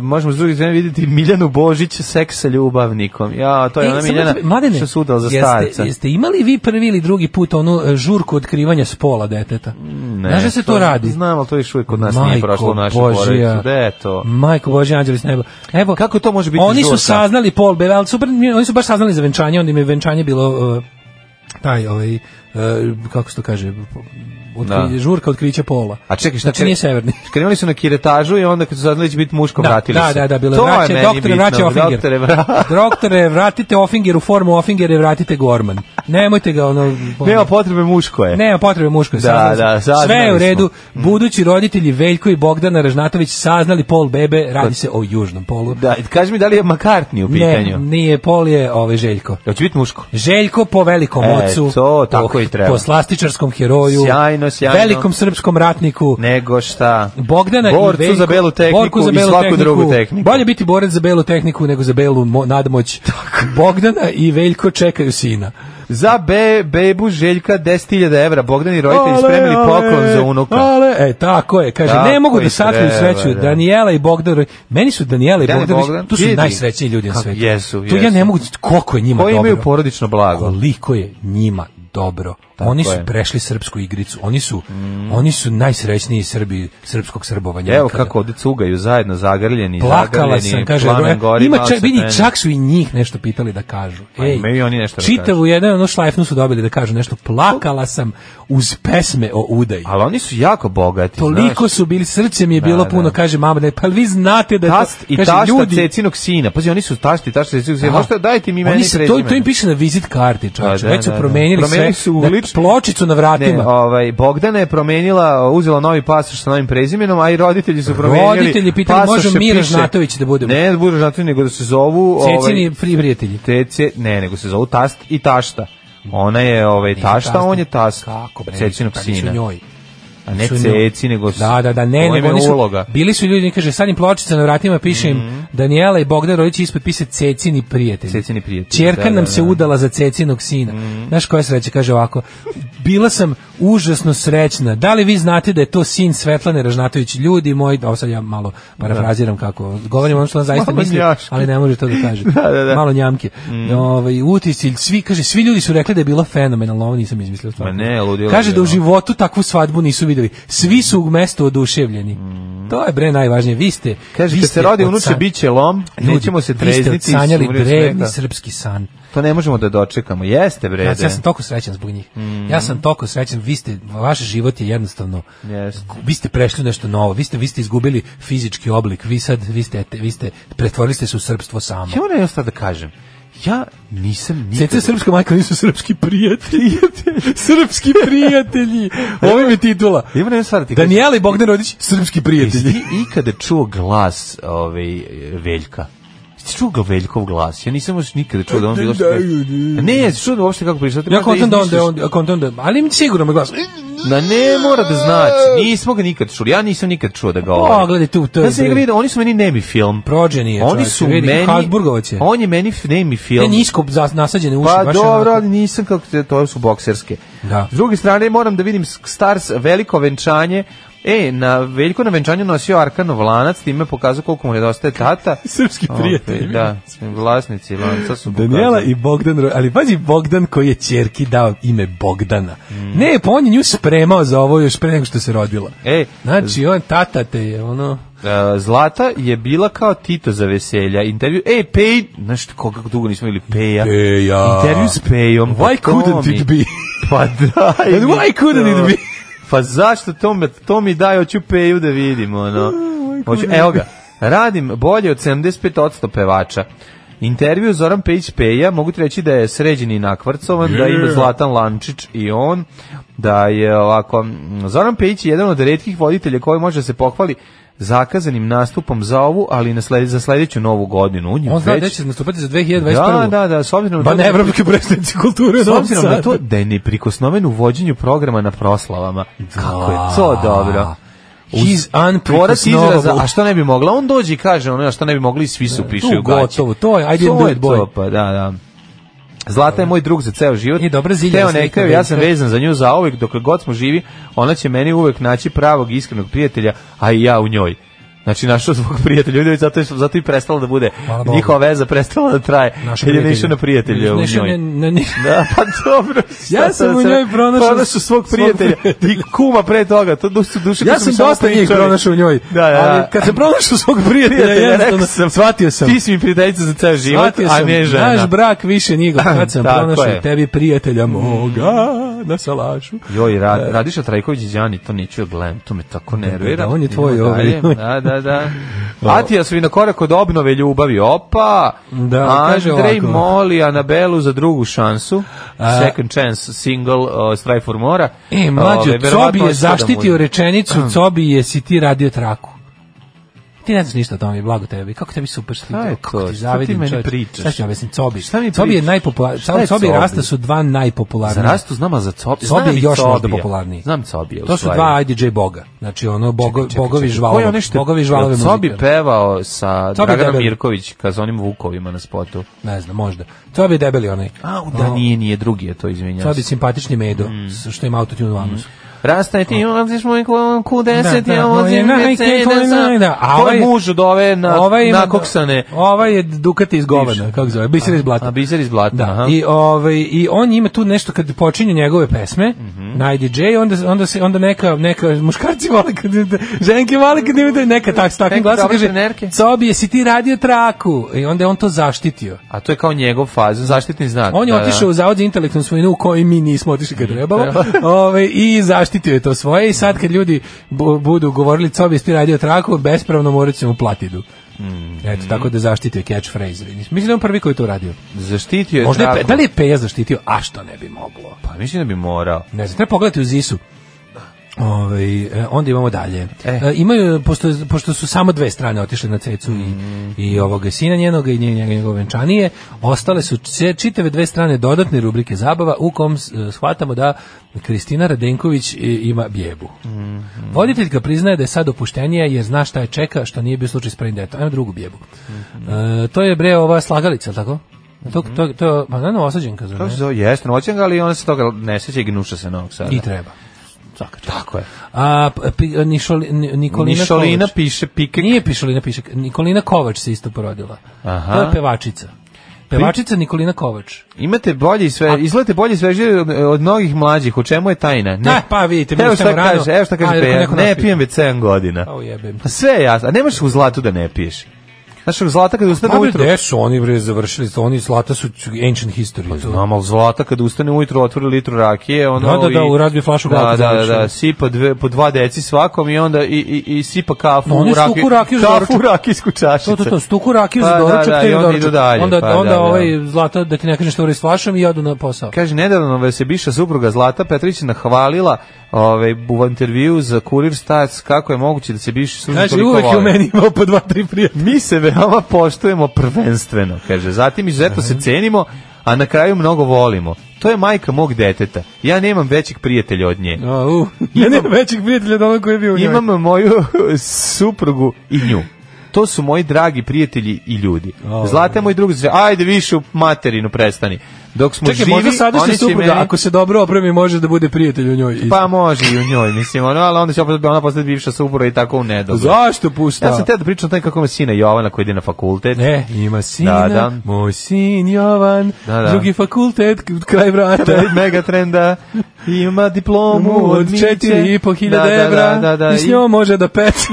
S5: možemo s druge strane vidjeti Miljanu Božić, seks sa ljubavnikom. Ja, to Pa je
S6: E,
S5: ona
S6: samo
S5: Miljana
S6: da- Mladene,
S5: što se udala za
S6: jeste-
S5: starca.
S6: Jeste imali vi prvi ili drugi put onu e, žurku otkrivanja spola deteta?
S5: Ne,
S6: Znaš da se to radi?
S5: Znam, ali to još uvijek kod nas nije
S6: Majko
S5: prošlo u našoj
S6: Božja.
S5: porodici. Gde je to?
S6: Majko Bože, anđeli s neba. Evo,
S5: Kako to može biti
S6: oni su
S5: žurka?
S6: saznali Paul Bevel, super, oni su baš saznali za venčanje, onda im je venčanje bilo uh, taj ovaj e, kako se to kaže od
S5: Da.
S6: žurka otkrića pola.
S5: A čekaj, šta
S6: znači nije severni.
S5: Krenuli su na kiretažu i onda kad su saznali da će biti muško,
S6: Da,
S5: [LAUGHS] vratili
S6: da,
S5: se.
S6: Da, da, bilo je
S5: To je
S6: vraća,
S5: meni
S6: doktore,
S5: bitno,
S6: vraća Offinger.
S5: Doktore,
S6: [LAUGHS]
S5: vra-
S6: doktore, vratite Offinger u formu Offinger i vratite Gorman. Nemojte ga ono...
S5: Nema potrebe muško [LAUGHS] je.
S6: Nema potrebe muško je.
S5: Da,
S6: saznali
S5: da,
S6: smo. Sve je
S5: saznali Mm.
S6: u redu. Budući roditelji Veljko i Bogdana Ražnatović saznali pol bebe, radi se o južnom polu.
S5: Da, i kaži mi da li je Makartni u
S6: Ne,
S5: pitanju.
S6: nije pol je ovaj Željko.
S5: Hoće biti muško.
S6: Željko po velikom
S5: E,
S6: ocu,
S5: to tako i treba.
S6: po slastičarskom heroju,
S5: Sjajno, sjajno.
S6: velikom srpskom ratniku,
S5: Nego šta?
S6: Bogdana
S5: Borcu
S6: i Veljko,
S5: za belu tehniku
S6: borku za
S5: i
S6: belu
S5: svaku
S6: tehniku.
S5: drugu tehniku.
S6: Bolje biti borac za belu tehniku nego za belu mo- nadmoć. Bogdana i Veljko čekaju sina.
S5: Za be, bebu Željka 10.000 evra. Bogdan i roditelji spremili poklon za unuka.
S6: Ale, e, tako je, kaže,
S5: Tako
S6: ne mogu da
S5: i
S6: sakriju
S5: treba,
S6: sreću,
S5: da.
S6: Danijela i Bogdan, meni su Danijela i
S5: Danijela
S6: Bogdan,
S5: i Bogdan,
S6: tu su
S5: vidi.
S6: najsrećniji ljudi na
S5: Kako
S6: svetu.
S5: jesu,
S6: Tu ja
S5: jesu.
S6: ne mogu, koliko je njima
S5: Koji
S6: dobro.
S5: imaju porodično blago.
S6: Koliko je njima dobro.
S5: Tako
S6: oni su
S5: je. Mm.
S6: prešli srpsku igricu, oni su, oni su najsrećniji Srbi, srpskog srbovanja.
S5: Evo
S6: nikada.
S5: kako ovde cugaju zajedno zagrljeni,
S6: Plakala
S5: zagrljeni,
S6: sam, kaže,
S5: plamen
S6: bro,
S5: gori,
S6: ima
S5: malo
S6: čak,
S5: se
S6: vidi,
S5: meni.
S6: čak su i njih nešto pitali da kažu.
S5: Pa imaju i oni nešto da
S6: čitavu jedan, ono šlajfnu su dobili da kažu nešto. Plakala sam uz pesme o udaji.
S5: Ali oni su jako bogati,
S6: Toliko
S5: znaš.
S6: su bili, srce mi je
S5: Da,
S6: bilo
S5: da.
S6: puno, kaže mama, ne, pa vi znate da je to-
S5: Tast i
S6: kaže,
S5: tašta
S6: ljudi-
S5: cecinog sina. Pazi, oni su tašti i tašta cecinog sina.
S6: Da.
S5: Možete, dajte mi meni
S6: Oni se, to,
S5: prezime.
S6: to im piše na vizit karti, čovječe.
S5: Pa da,
S6: Već su
S5: da, da.
S6: promenili,
S5: Promenili
S6: sve.
S5: su
S6: na
S5: lič-
S6: pločicu na vratima.
S5: Ne, ovaj, Bogdana je promenila, uzela novi pasoš sa novim prezimenom, a i roditelji su promenili.
S6: Roditelji pitali,
S5: pasoše,
S6: može Mira
S5: piše-
S6: Žnatović da budemo?
S5: Ne, da budu Žnatović, nego da se zovu...
S6: Cecini
S5: ovaj-
S6: prijatelji.
S5: Tece, ne, nego se zovu tast i tašta. Ona je ovaj, tašta,
S6: tasta.
S5: on je tast.
S6: Kako, bre,
S5: Cecinog
S6: pa nisu
S5: sina.
S6: njoj.
S5: A ne
S6: Su njoj.
S5: ceci, nego... s-
S6: Da, da, da, ne,
S5: to im
S6: nego
S5: je
S6: oni su,
S5: uloga. Mhm.
S6: bili su ljudi, kaže, sad im pločica na vratima, piše im Danijela i Bogdan Rodić ispod piše Cecini prijatelji.
S5: Cecini prijatelji,
S6: Čerka
S5: da,
S6: nam
S5: da, Mhm.
S6: se
S5: da.
S6: udala za Cecinog sina. Znaš koja sreća, kaže ovako, bila sam užasno srećna. Da li vi znate da je to sin Svetlane Ražnatović? Ljudi moji, ovo sad ja malo parafraziram kako, govorim ono što on zaista
S5: Malo
S6: misli,
S5: njaški.
S6: ali ne može to da kaže.
S5: [LAUGHS] Da, da, Mm. da.
S6: Malo njamke. Ovaj, utisci, svi, kaže, svi ljudi su rekli da je bilo fenomenalno, ovo nisam izmislio. stvarno.
S5: Ma ne, ludilo
S6: Kaže
S5: je,
S6: da u
S5: ono.
S6: životu takvu svadbu nisu videli. Svi su u mestu oduševljeni. To je bre najvažnije. Vi ste
S5: Mm. Kaže,
S6: vi
S5: kad
S6: ste
S5: se rodi
S6: od
S5: unuče,
S6: san-
S5: bit će lom,
S6: Ljudi,
S5: nećemo se
S6: vi ste
S5: trezniti. i
S6: odsanjali
S5: sumriti od
S6: drevni
S5: smeka.
S6: srpski san.
S5: To ne možemo da dočekamo. Jeste, bre.
S6: Ja, ja sam toliko srećan zbog njih.
S5: Mm.
S6: Ja sam toliko srećan. Vi ste, vaš život je jednostavno
S5: Jeste.
S6: vi ste prešli u nešto novo. Vi ste vi ste izgubili fizički oblik. Vi sad vi ste vi ste pretvorili ste se u srpstvo samo.
S5: Ja moram jednostavno da kažem. Ja nisam nikad...
S6: Ceca srpska majka nisu srpski prijatelji. srpski prijatelji. Ovo im je titula.
S5: Ja moram jednu stvar da ti kažem.
S6: Danijela i Bogdan Rodić, srpski
S5: Jesi
S6: prijatelji.
S5: ti ikada čuo glas ovaj, Veljka? Jesi čuo ga Veljkov glas? Ja nisam još nikada čuo da on bilo što... Ne, jesi čuo da uopšte kako priča?
S6: Ja kontam da on, da on, ja kontam da, ali mi sigurno me glas.
S5: Na ne mora da znači. Nismo ga nikad čuli. Ja nisam nikad čuo da ga ovaj.
S6: Pogledaj tu, Pa, to je
S5: Da se ga
S6: bre.
S5: vidio, oni su meni nemi film.
S6: Prođen je,
S5: Oni
S6: čovječe,
S5: su
S6: vidi,
S5: meni...
S6: Habsburgovac je.
S5: On je meni f- nemi film.
S6: Ne nisko za- nasađene uši,
S5: Pa
S6: baš
S5: dobro,
S6: onako.
S5: ali nisam kako te, to su bokserske.
S6: Da.
S5: S druge strane moram da vidim s- Stars veliko venčanje. E, na veliko na venčanju nosio Arkanov lanac, time pokazao koliko mu nedostaje tata.
S6: [LAUGHS] Srpski prijatelji.
S5: Opet, Da, vlasnici lanca su pokazali.
S6: Daniela i Bogdan, Ro- ali pazi Bogdan koji je čerki dao ime Bogdana. Ne, pa on je nju spremao za ovo još pre nego što se rodila.
S5: E,
S6: Znači, on tata te je, ono...
S5: e, Zlata je bila kao Tito za veselja. Intervju, e, Pej, znaš ko, kako dugo nismo imali Peja.
S6: Peja.
S5: Intervju s Pejom. pa
S6: Why
S5: to
S6: couldn't
S5: mi-
S6: it be?
S5: Pa daj
S6: And
S5: mi
S6: why couldn't
S5: to.
S6: it be?
S5: Pa zašto to, me, to mi daj, hoću peju da vidim,
S6: Oh,
S5: ono. Hoću, evo ga, radim bolje od 75% pevača. Intervju Zoran Pejić Peja, mogu ti reći da je sređen i nakvrcovan, da ima
S6: Yeah.
S5: Zlatan Lančić i on, da je ovako, mm, Zoran Pejić je jedan od retkih voditelja koji može da se pohvali zakazanim nastupom za ovu, ali i na slede, za sledeću novu godinu. On, je
S6: On zna
S5: već-
S6: da će nastupati za 2021.
S5: Da, da, da, s obzirom
S6: Pa
S5: da-
S6: ne, evropske predstavnici kulture.
S5: S
S6: Novom
S5: obzirom na
S6: Sadu.
S5: to da je neprikosnoven u vođenju programa na proslavama. Kako je to dobro.
S6: He's
S5: Tvorac
S6: unprikosnovable.
S5: izraza, a što ne bi mogla? On dođe i kaže, ono, a što ne bi mogli, svi su prišli
S6: tu
S5: u gaće.
S6: gotovo, to je, I didn't
S5: To
S6: do it, boy.
S5: to, pa, da, da. Zlata je moj drug za ceo život.
S6: I dobra zilja
S5: Teo
S6: slika
S5: ne hteo, ja sam
S6: velika.
S5: vezan za nju za uvek, dokle god smo živi, ona će meni uvek naći pravog, iskrenog prijatelja, a i ja u njoj. Znači našao svog prijatelja Udović zato je zato i prestala da bude
S6: Hvala Bogu.
S5: njihova veza prestala da traje.
S6: Našao
S5: Jer je
S6: prijatelja.
S5: naišao na prijatelja u
S6: Naišao
S5: njoj.
S6: na- na njih.
S5: Da, [LAUGHS] pa dobro.
S6: Ja
S5: šta
S6: sam
S5: sad
S6: u
S5: se-
S6: njoj pronašao
S5: svog
S6: svog
S5: prijatelja i kuma pre toga. To du- su duše
S6: Ja
S5: koje su mi
S6: sam
S5: samo
S6: dosta njih
S5: pričali.
S6: pronašao u njoj.
S5: Da, da, da.
S6: Ali kad sam pronašao svog prijatelja, jednostavno,
S5: rekao
S6: shvatio sam.
S5: Ti si mi prijateljica za ceo život,
S6: Shvatio
S5: a
S6: sam,
S5: ne žena.
S6: Naš brak više njegov, kad sam
S5: Tako
S6: pronašao
S5: je.
S6: tebi prijatelja moga na salašu.
S5: Joj, Ra- Radiša Trajković i Đani, to neću ja gledam, to me tako nervira.
S6: Da, on je
S5: Idemo
S6: tvoj ovaj.
S5: dalje. Da, da,
S6: [LAUGHS]
S5: da. Atija su i na korak od obnove ljubavi. Opa!
S6: Da, kaže
S5: Andrej
S6: ovako.
S5: moli Anabelu za drugu šansu.
S6: A-
S5: Second chance single uh, Strive for Mora.
S6: E, mlađo,
S5: Ove, verovatno
S6: Cobi je
S5: hoće to da mu- Mm.
S6: zaštitio rečenicu, Cobi je si ti radio traku. Ti ne znaš ništa o tome, blago tebi. Kako tebi super što
S5: Šta je to?
S6: kako ti
S5: Šta
S6: zavidim.
S5: ti meni
S6: čoveče.
S5: pričaš?
S6: Šta ću ja objasniti? Cobi.
S5: Šta mi
S6: Cobi je
S5: pričaš?
S6: najpopularniji.
S5: Šta je
S6: Cobi, Cobi i
S5: Cobi?
S6: Rasta su dva najpopularnija.
S5: Za Rastu znam, a za Cobi,
S6: Cobi
S5: znam
S6: je
S5: i
S6: još možda
S5: Cobija.
S6: popularniji.
S5: Znam Cobija, u
S6: To su
S5: stvari.
S6: dva IDJ boga. Znači ono bogo,
S5: Čekaj,
S6: bogovi
S5: čekaj.
S6: žvalove.
S5: Ko je onaj što-
S6: bogovi žvalove
S5: Jel
S6: muzike.
S5: Cobi pevao sa
S6: Cobi
S5: Draganom
S6: debeli.
S5: Mirković, ka sa onim vukovima na spotu.
S6: Ne znam, možda. Cobi je debeli onaj.
S5: A, Mm. da, nije, nije, drugi je to, izvinjam
S6: Cobi je
S5: se.
S6: simpatični medo, s- što ima autotune u
S5: Mm.
S6: anusu.
S5: Rastaj ti, ulaziš moj klon, Q10,
S6: Da, da,
S5: ja vozim
S6: on je-
S5: Mercedesa.
S6: da, a
S5: Ko je
S6: ovaj-
S5: muž od ove na,
S6: ovaj ima-
S5: nakoksane?
S6: Ovaj je Dukat iz govana,
S5: Bivši.
S6: kako zove, biser iz blata.
S5: A biser iz blata,
S6: Da,
S5: aha.
S6: i ovaj i on ima tu nešto kad počinju njegove pesme,
S5: Mhm.
S6: na DJ onda onda se onda neka neka muškarci vole kad ženke vole kad imaju neka tak s takvim
S5: Neke
S6: glasom
S5: dobre
S6: kaže
S5: trenerke.
S6: Cobi jesi ti radio traku i onda je on to zaštitio.
S5: A to je kao njegov faz, zaštitni znak.
S6: On je
S5: da, da.
S6: otišao u zavod za intelektualnu svojinu u koji mi nismo otišli kad trebalo ovaj, i zaštitio je to svoje i sad kad ljudi bu- budu govorili co bi radio traku, bespravno morat ćemo platidu.
S5: Mm.
S6: Eto, tako da zaštitio je catchphrase. vidiš. Mislim da je on prvi koji je to uradio.
S5: Zaštitio je
S6: Možda je, Pe-
S5: traku.
S6: da li je Peja zaštitio? A što ne bi moglo?
S5: Pa mislim da bi morao.
S6: Ne znam, treba pogledati u Zisu. Ovaj, e, onda imamo dalje. E, imaju, pošto, pošto su samo dve strane otišle na cecu i, i ovoga sina njenoga i njega njegove venčanije, ostale su če- čitave dve strane dodatne rubrike zabava u kom s- e, shvatamo da Kristina Radenković e, ima bjebu. Mhm. Voditeljka priznaje da je sad opuštenija jer zna šta je čeka, što nije bio slučaj s prvim detom. Ajmo drugu bjebu. E, to je bre ova slagalica, jel tako? To, to, Mhm. to, pa naravno osađenka, zar
S5: Kako
S6: ne?
S5: se zove? Jeste, noćen ga, ali ona se toga ne seća i gnuša se novog sada.
S6: I treba.
S5: Tako je.
S6: A p- pi- Nišoli, Ni- Nikolina
S5: Nišolina
S6: Kovač.
S5: piše pike.
S6: Nije Pišolina piše, Nikolina Kovač se isto porodila.
S5: Aha.
S6: To je pevačica. Pevačica Nikolina Kovač.
S5: Imate bolje i sve, izgledate bolje i svežije od, od mnogih mlađih. U čemu je tajna?
S6: Da, pa vidite, mi
S5: evo
S6: ustajemo
S5: šta
S6: rano.
S5: kaže, evo šta kaže
S6: Ajde,
S5: Peja,
S6: neko- neko
S5: ne
S6: nas pita.
S5: pijem već 7 godina.
S6: Au jebem.
S5: Pa sve je jasno. A nemaš u zlatu da ne piješ. Znaš, u zlata kada ustane
S6: Ma bre,
S5: ujutro...
S6: gde su oni bre završili? To Oni zlata su ancient history. to.
S5: Znam, ali zlata kada ustane ujutro otvori litru rakije, ono...
S6: Da, da, da,
S5: i-
S6: u razbi flašu
S5: da, da,
S6: glava
S5: da,
S6: završi.
S5: da, sipa dve, po dva deci svakom i onda i, i, i sipa kafu
S6: Oni
S5: u rakiju.
S6: stuku rakiju za
S5: kafu
S6: doručak.
S5: u rakijsku čašicu.
S6: To, to, to, stuku rakiju za
S5: Pa, da,
S6: doručak,
S5: da,
S6: to
S5: i
S6: je
S5: onda
S6: doručak.
S5: idu dalje,
S6: Onda,
S5: pa,
S6: onda
S5: da, da.
S6: ovaj zlata, da ti ne kažem što uri s flašom i odu na posao.
S5: Kaže, nedavno vas je bivša supruga Zlata Petrić nahvalila ovaj, u intervju za Kurir Stats kako je moguće da se bivši supruga
S6: Znači,
S5: toliko
S6: uvek je u
S5: vole.
S6: meni imao po dva, tri prijatelja.
S5: Mi se veoma poštujemo prvenstveno, kaže. Zatim izuzetno se cenimo, a na kraju mnogo volimo. To je majka mog deteta. Ja nemam većeg prijatelja od nje.
S6: A, u, ja nemam većih prijatelja od onog koji je bio u njoj.
S5: Imam moju [LAUGHS] suprugu i nju. To su moji dragi prijatelji i ljudi. Zlata je moj drug, znači, ajde više u materinu prestani. Dok smo
S6: Čekaj,
S5: živi,
S6: možda sadašnja
S5: oni će
S6: supruga,
S5: meni-
S6: ako se dobro opremi, može da bude prijatelj u njoj.
S5: Pa može i u njoj, mislim, ono, ali onda će opet ona postati bivša supruga i tako u nedobu.
S6: Zašto pušta?
S5: Ja sam te da pričam o tome kako ima sina Jovana koji ide na fakultet.
S6: Ne, E, ima sina,
S5: Da, da.
S6: moj sin Jovan,
S5: Da, da.
S6: drugi fakultet, k- kraj vrata.
S5: Da, [LAUGHS] mega trenda, ima diplomu
S6: Mu
S5: od
S6: od četiri i po hiljada
S5: da, da,
S6: evra
S5: da, da, da,
S6: i s
S5: i-
S6: njom može da
S5: [LAUGHS]
S6: peca.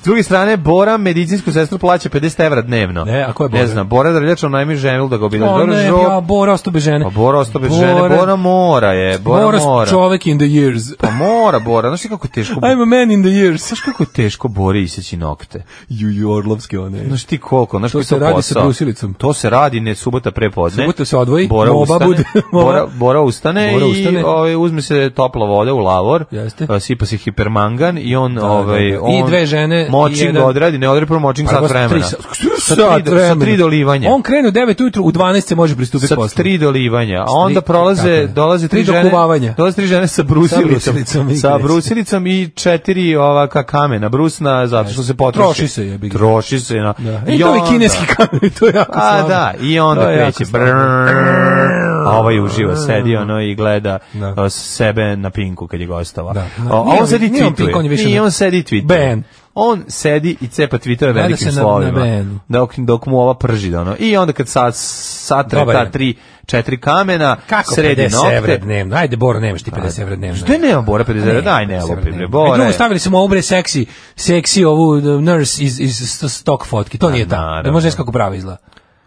S5: S druge strane, Bora medicinsku sestru plaća 50 evra dnevno.
S6: Ne, a ko je Bora?
S5: Ne znam, Bora Drljača, najmi ženil da ga obilazi.
S6: O ne,
S5: Žo-
S6: ja, Bora ostao bez žene.
S5: Pa Bora ostao bez žene, Bora mora je, Bora,
S6: Bora s-
S5: mora.
S6: čovek in the years.
S5: Pa mora Bora, znaš ti kako je teško...
S6: I'm a man in the years.
S5: Znaš kako je teško Bori iseći nokte?
S6: Ju, ju, orlovske one.
S5: Znaš ti koliko, znaš
S6: To
S5: koji
S6: se radi sa
S5: posao?
S6: brusilicom.
S5: To se radi ne subota prepodne.
S6: Subota se odvoji,
S5: Bora
S6: moba
S5: [LAUGHS] ustane,
S6: bude- moba.
S5: Bora, Bora ustane
S6: Bora
S5: i
S6: ustane.
S5: ovaj, uzme se topla voda u lavor,
S6: Jeste.
S5: a, sipa se hipermangan i on...
S6: da,
S5: ovaj,
S6: da. I
S5: on
S6: dve žene i
S5: Močing
S6: jedan- Pa
S5: odradi, ne odradi prvo močing sat vremena.
S6: Sa,
S5: Sa tri- Sa tri dolivanja.
S6: On krene u 9 ujutru, u 12 se može pristupiti
S5: sa
S6: poslu.
S5: tri dolivanja, a
S6: Sa
S5: onda
S6: tri-
S5: prolaze,
S6: tako je.
S5: dolaze tri,
S6: Tri
S5: žene,
S6: dokuvavanja.
S5: dolaze tri žene sa brusilicom, sa [LAUGHS]
S6: brusilicom i
S5: brusilicom,
S6: igrice.
S5: i četiri ovaka kamena brusna, zato što se potroši.
S6: Troši se, jebi ga.
S5: Troši se. Na,
S6: Da. E, to je
S5: onda-
S6: kineski kamen, to je jako
S5: A
S6: slabo.
S5: Pa da, i onda
S6: To je ono, jako
S5: kreće.
S6: slabo.
S5: brrrr, a ovaj uživa, sedi ono i gleda o, sebe na pinku kad je gostava. Da. A
S6: Da. Nije
S5: on
S6: on-
S5: sedi i
S6: nije on pink, on je
S5: tweetuje.
S6: više
S5: Nije
S6: na-
S5: on sedi i tweetuje.
S6: Ben.
S5: On sedi i cepa tweetove
S6: Gleda
S5: velikim
S6: se na- na
S5: slovima.
S6: Benu.
S5: dok, dok mu ova prži. da Ono. I onda kad sad satre
S6: Dobar je.
S5: ta tri, četiri kamena,
S6: Kako
S5: sredi
S6: 50 evra
S5: nokte.
S6: dnevno? Ajde, Bora, nemaš ti 50 evra dnevno.
S5: Gde nema Bora 50 evra?
S6: Ne,
S5: Daj, ne
S6: 50
S5: lupi,
S6: evra
S5: bre,
S6: dnevno.
S5: Bore.
S6: E, drugo, stavili smo ovu, bre, seksi, seksi ovu e, nurse iz, iz st- stock fotki. To nije ta. Da
S5: Pa naravno.
S6: može kako prava izgleda.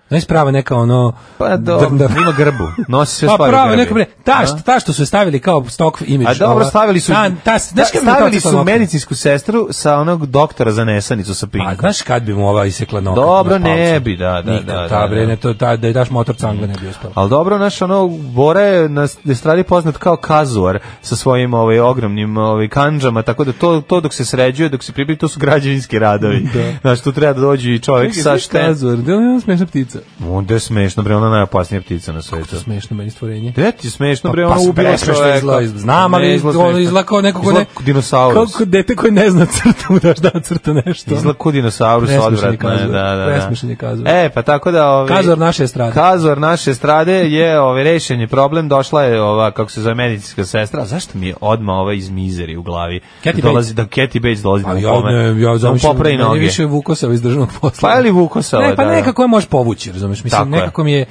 S6: Znaš prava neka ono...
S5: Pa do,
S6: [LAUGHS]
S5: ima grbu. Nosi sve
S6: Pa
S5: stvari u
S6: prava
S5: grbi.
S6: neka bre, ta što,
S5: A?
S6: ta što su stavili kao stock image.
S5: A dobro,
S6: ova,
S5: stavili su,
S6: Ta, ta, znaš
S5: da,
S6: kad bi mi to
S5: stavili
S6: cipala
S5: su
S6: nokte?
S5: medicinsku sestru sa onog doktora za nesanicu sa pinkom.
S6: Pa znaš kad bi mu ova isekla nokat?
S5: Dobro,
S6: na palcu?
S5: ne bi, da, da,
S6: Nikad,
S5: da,
S6: ta,
S5: da,
S6: bre,
S5: da.
S6: ne, to, ta, da je daš motor cangla ne bi uspela.
S5: Ali dobro, naš ono, Bora je na estradi poznat kao kazuar sa svojim ovaj, ogromnim ovaj, kanđama, tako da to, to dok se sređuje, dok se približi, to su građevinski radovi.
S6: Da.
S5: [LAUGHS] Znaš, tu treba da dođe i čovjek
S6: Čekaj,
S5: sa
S6: znaš
S5: šta...
S6: Kazor, da li je ona smešna ptica?
S5: Onda je smešno, bre, ona je najopasnija ptica na svetu.
S6: To smešno meni stvorenje.
S5: Gde ti je smešno, bre,
S6: Pa,
S5: ona
S6: pa,
S5: ubila
S6: presmešno
S5: čoveka.
S6: izgleda, iz- znam, ali
S5: Ne izgleda
S6: ono
S5: smešno.
S6: izgleda kao neko ko ne-
S5: Izgleda dinosaurus.
S6: Kako dete koje ne zna crta mu daš da crta nešto. Ono.
S5: Izgleda ko dinosaurus
S6: Presmešan je
S5: odvratno je,
S6: Kazor,
S5: da, da, da.
S6: presmešan je Kazor.
S5: E, pa tako da... Ovi,
S6: Kazor naše estrade.
S5: Kazor naše strade je ovaj, rešen je problem, došla je ova, kako se zove, medicinska sestra, A zašto mi je odma ova iz mizeri u glavi?
S6: Kathy
S5: da dolazi, da Kathy Bates dolazi
S6: Pa
S5: da mu
S6: ja
S5: pome-
S6: ne, ja
S5: da mu
S6: zamišljam,
S5: popravi
S6: meni
S5: noge.
S6: više Vukosava iz državnog posla.
S5: Pa je li Vukosava,
S6: Ne, pa
S5: da, da.
S6: nekako je možeš povući, razumeš? Mislim,
S5: Tako je.
S6: nekako mi je,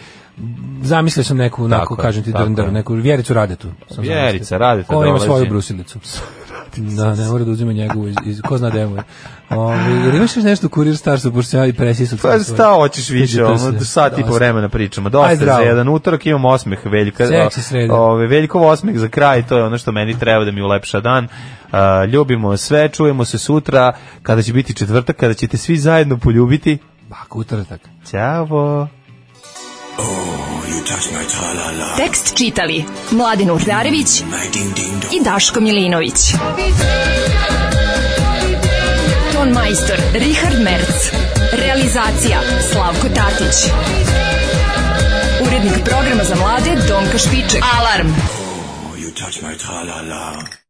S6: zamislio sam neku, onako,
S5: Tako je,
S6: kažem ti,
S5: tako
S6: drndar,
S5: je.
S6: neku Vjericu Radetu. sam zamislio.
S5: Vjerica Radeta
S6: Ona ima
S5: dolazi.
S6: svoju
S5: [LAUGHS]
S6: brusilicu. Da, ne mora da uzima njegovu iz, iz ko zna gde mu je. Ovi, Jel imaš još nešto u Kurir Starsu, pošto sam ja i presisao.
S5: Pa šta hoćeš više, ono, sat i po
S6: Dosta.
S5: vremena pričamo. Dosta
S6: Aj,
S5: je za
S6: zdravo.
S5: jedan utorak, imam osmeh Veljka.
S6: Seksi sreda.
S5: Ove, Veljkov osmeh za kraj, to je ono što meni treba da mi ulepša dan. A, ljubimo vas sve, čujemo se sutra, kada će biti četvrtak, kada ćete svi zajedno poljubiti.
S6: Bak, utrtak.
S5: Ćao!
S4: Tekst čitali Mladin Urdarević i Daško Milinović. Ton majstor Richard Merc. Realizacija Slavko Tatić. Urednik programa za mlade Donka Špiček. Alarm!
S17: You touch my tra-la-la.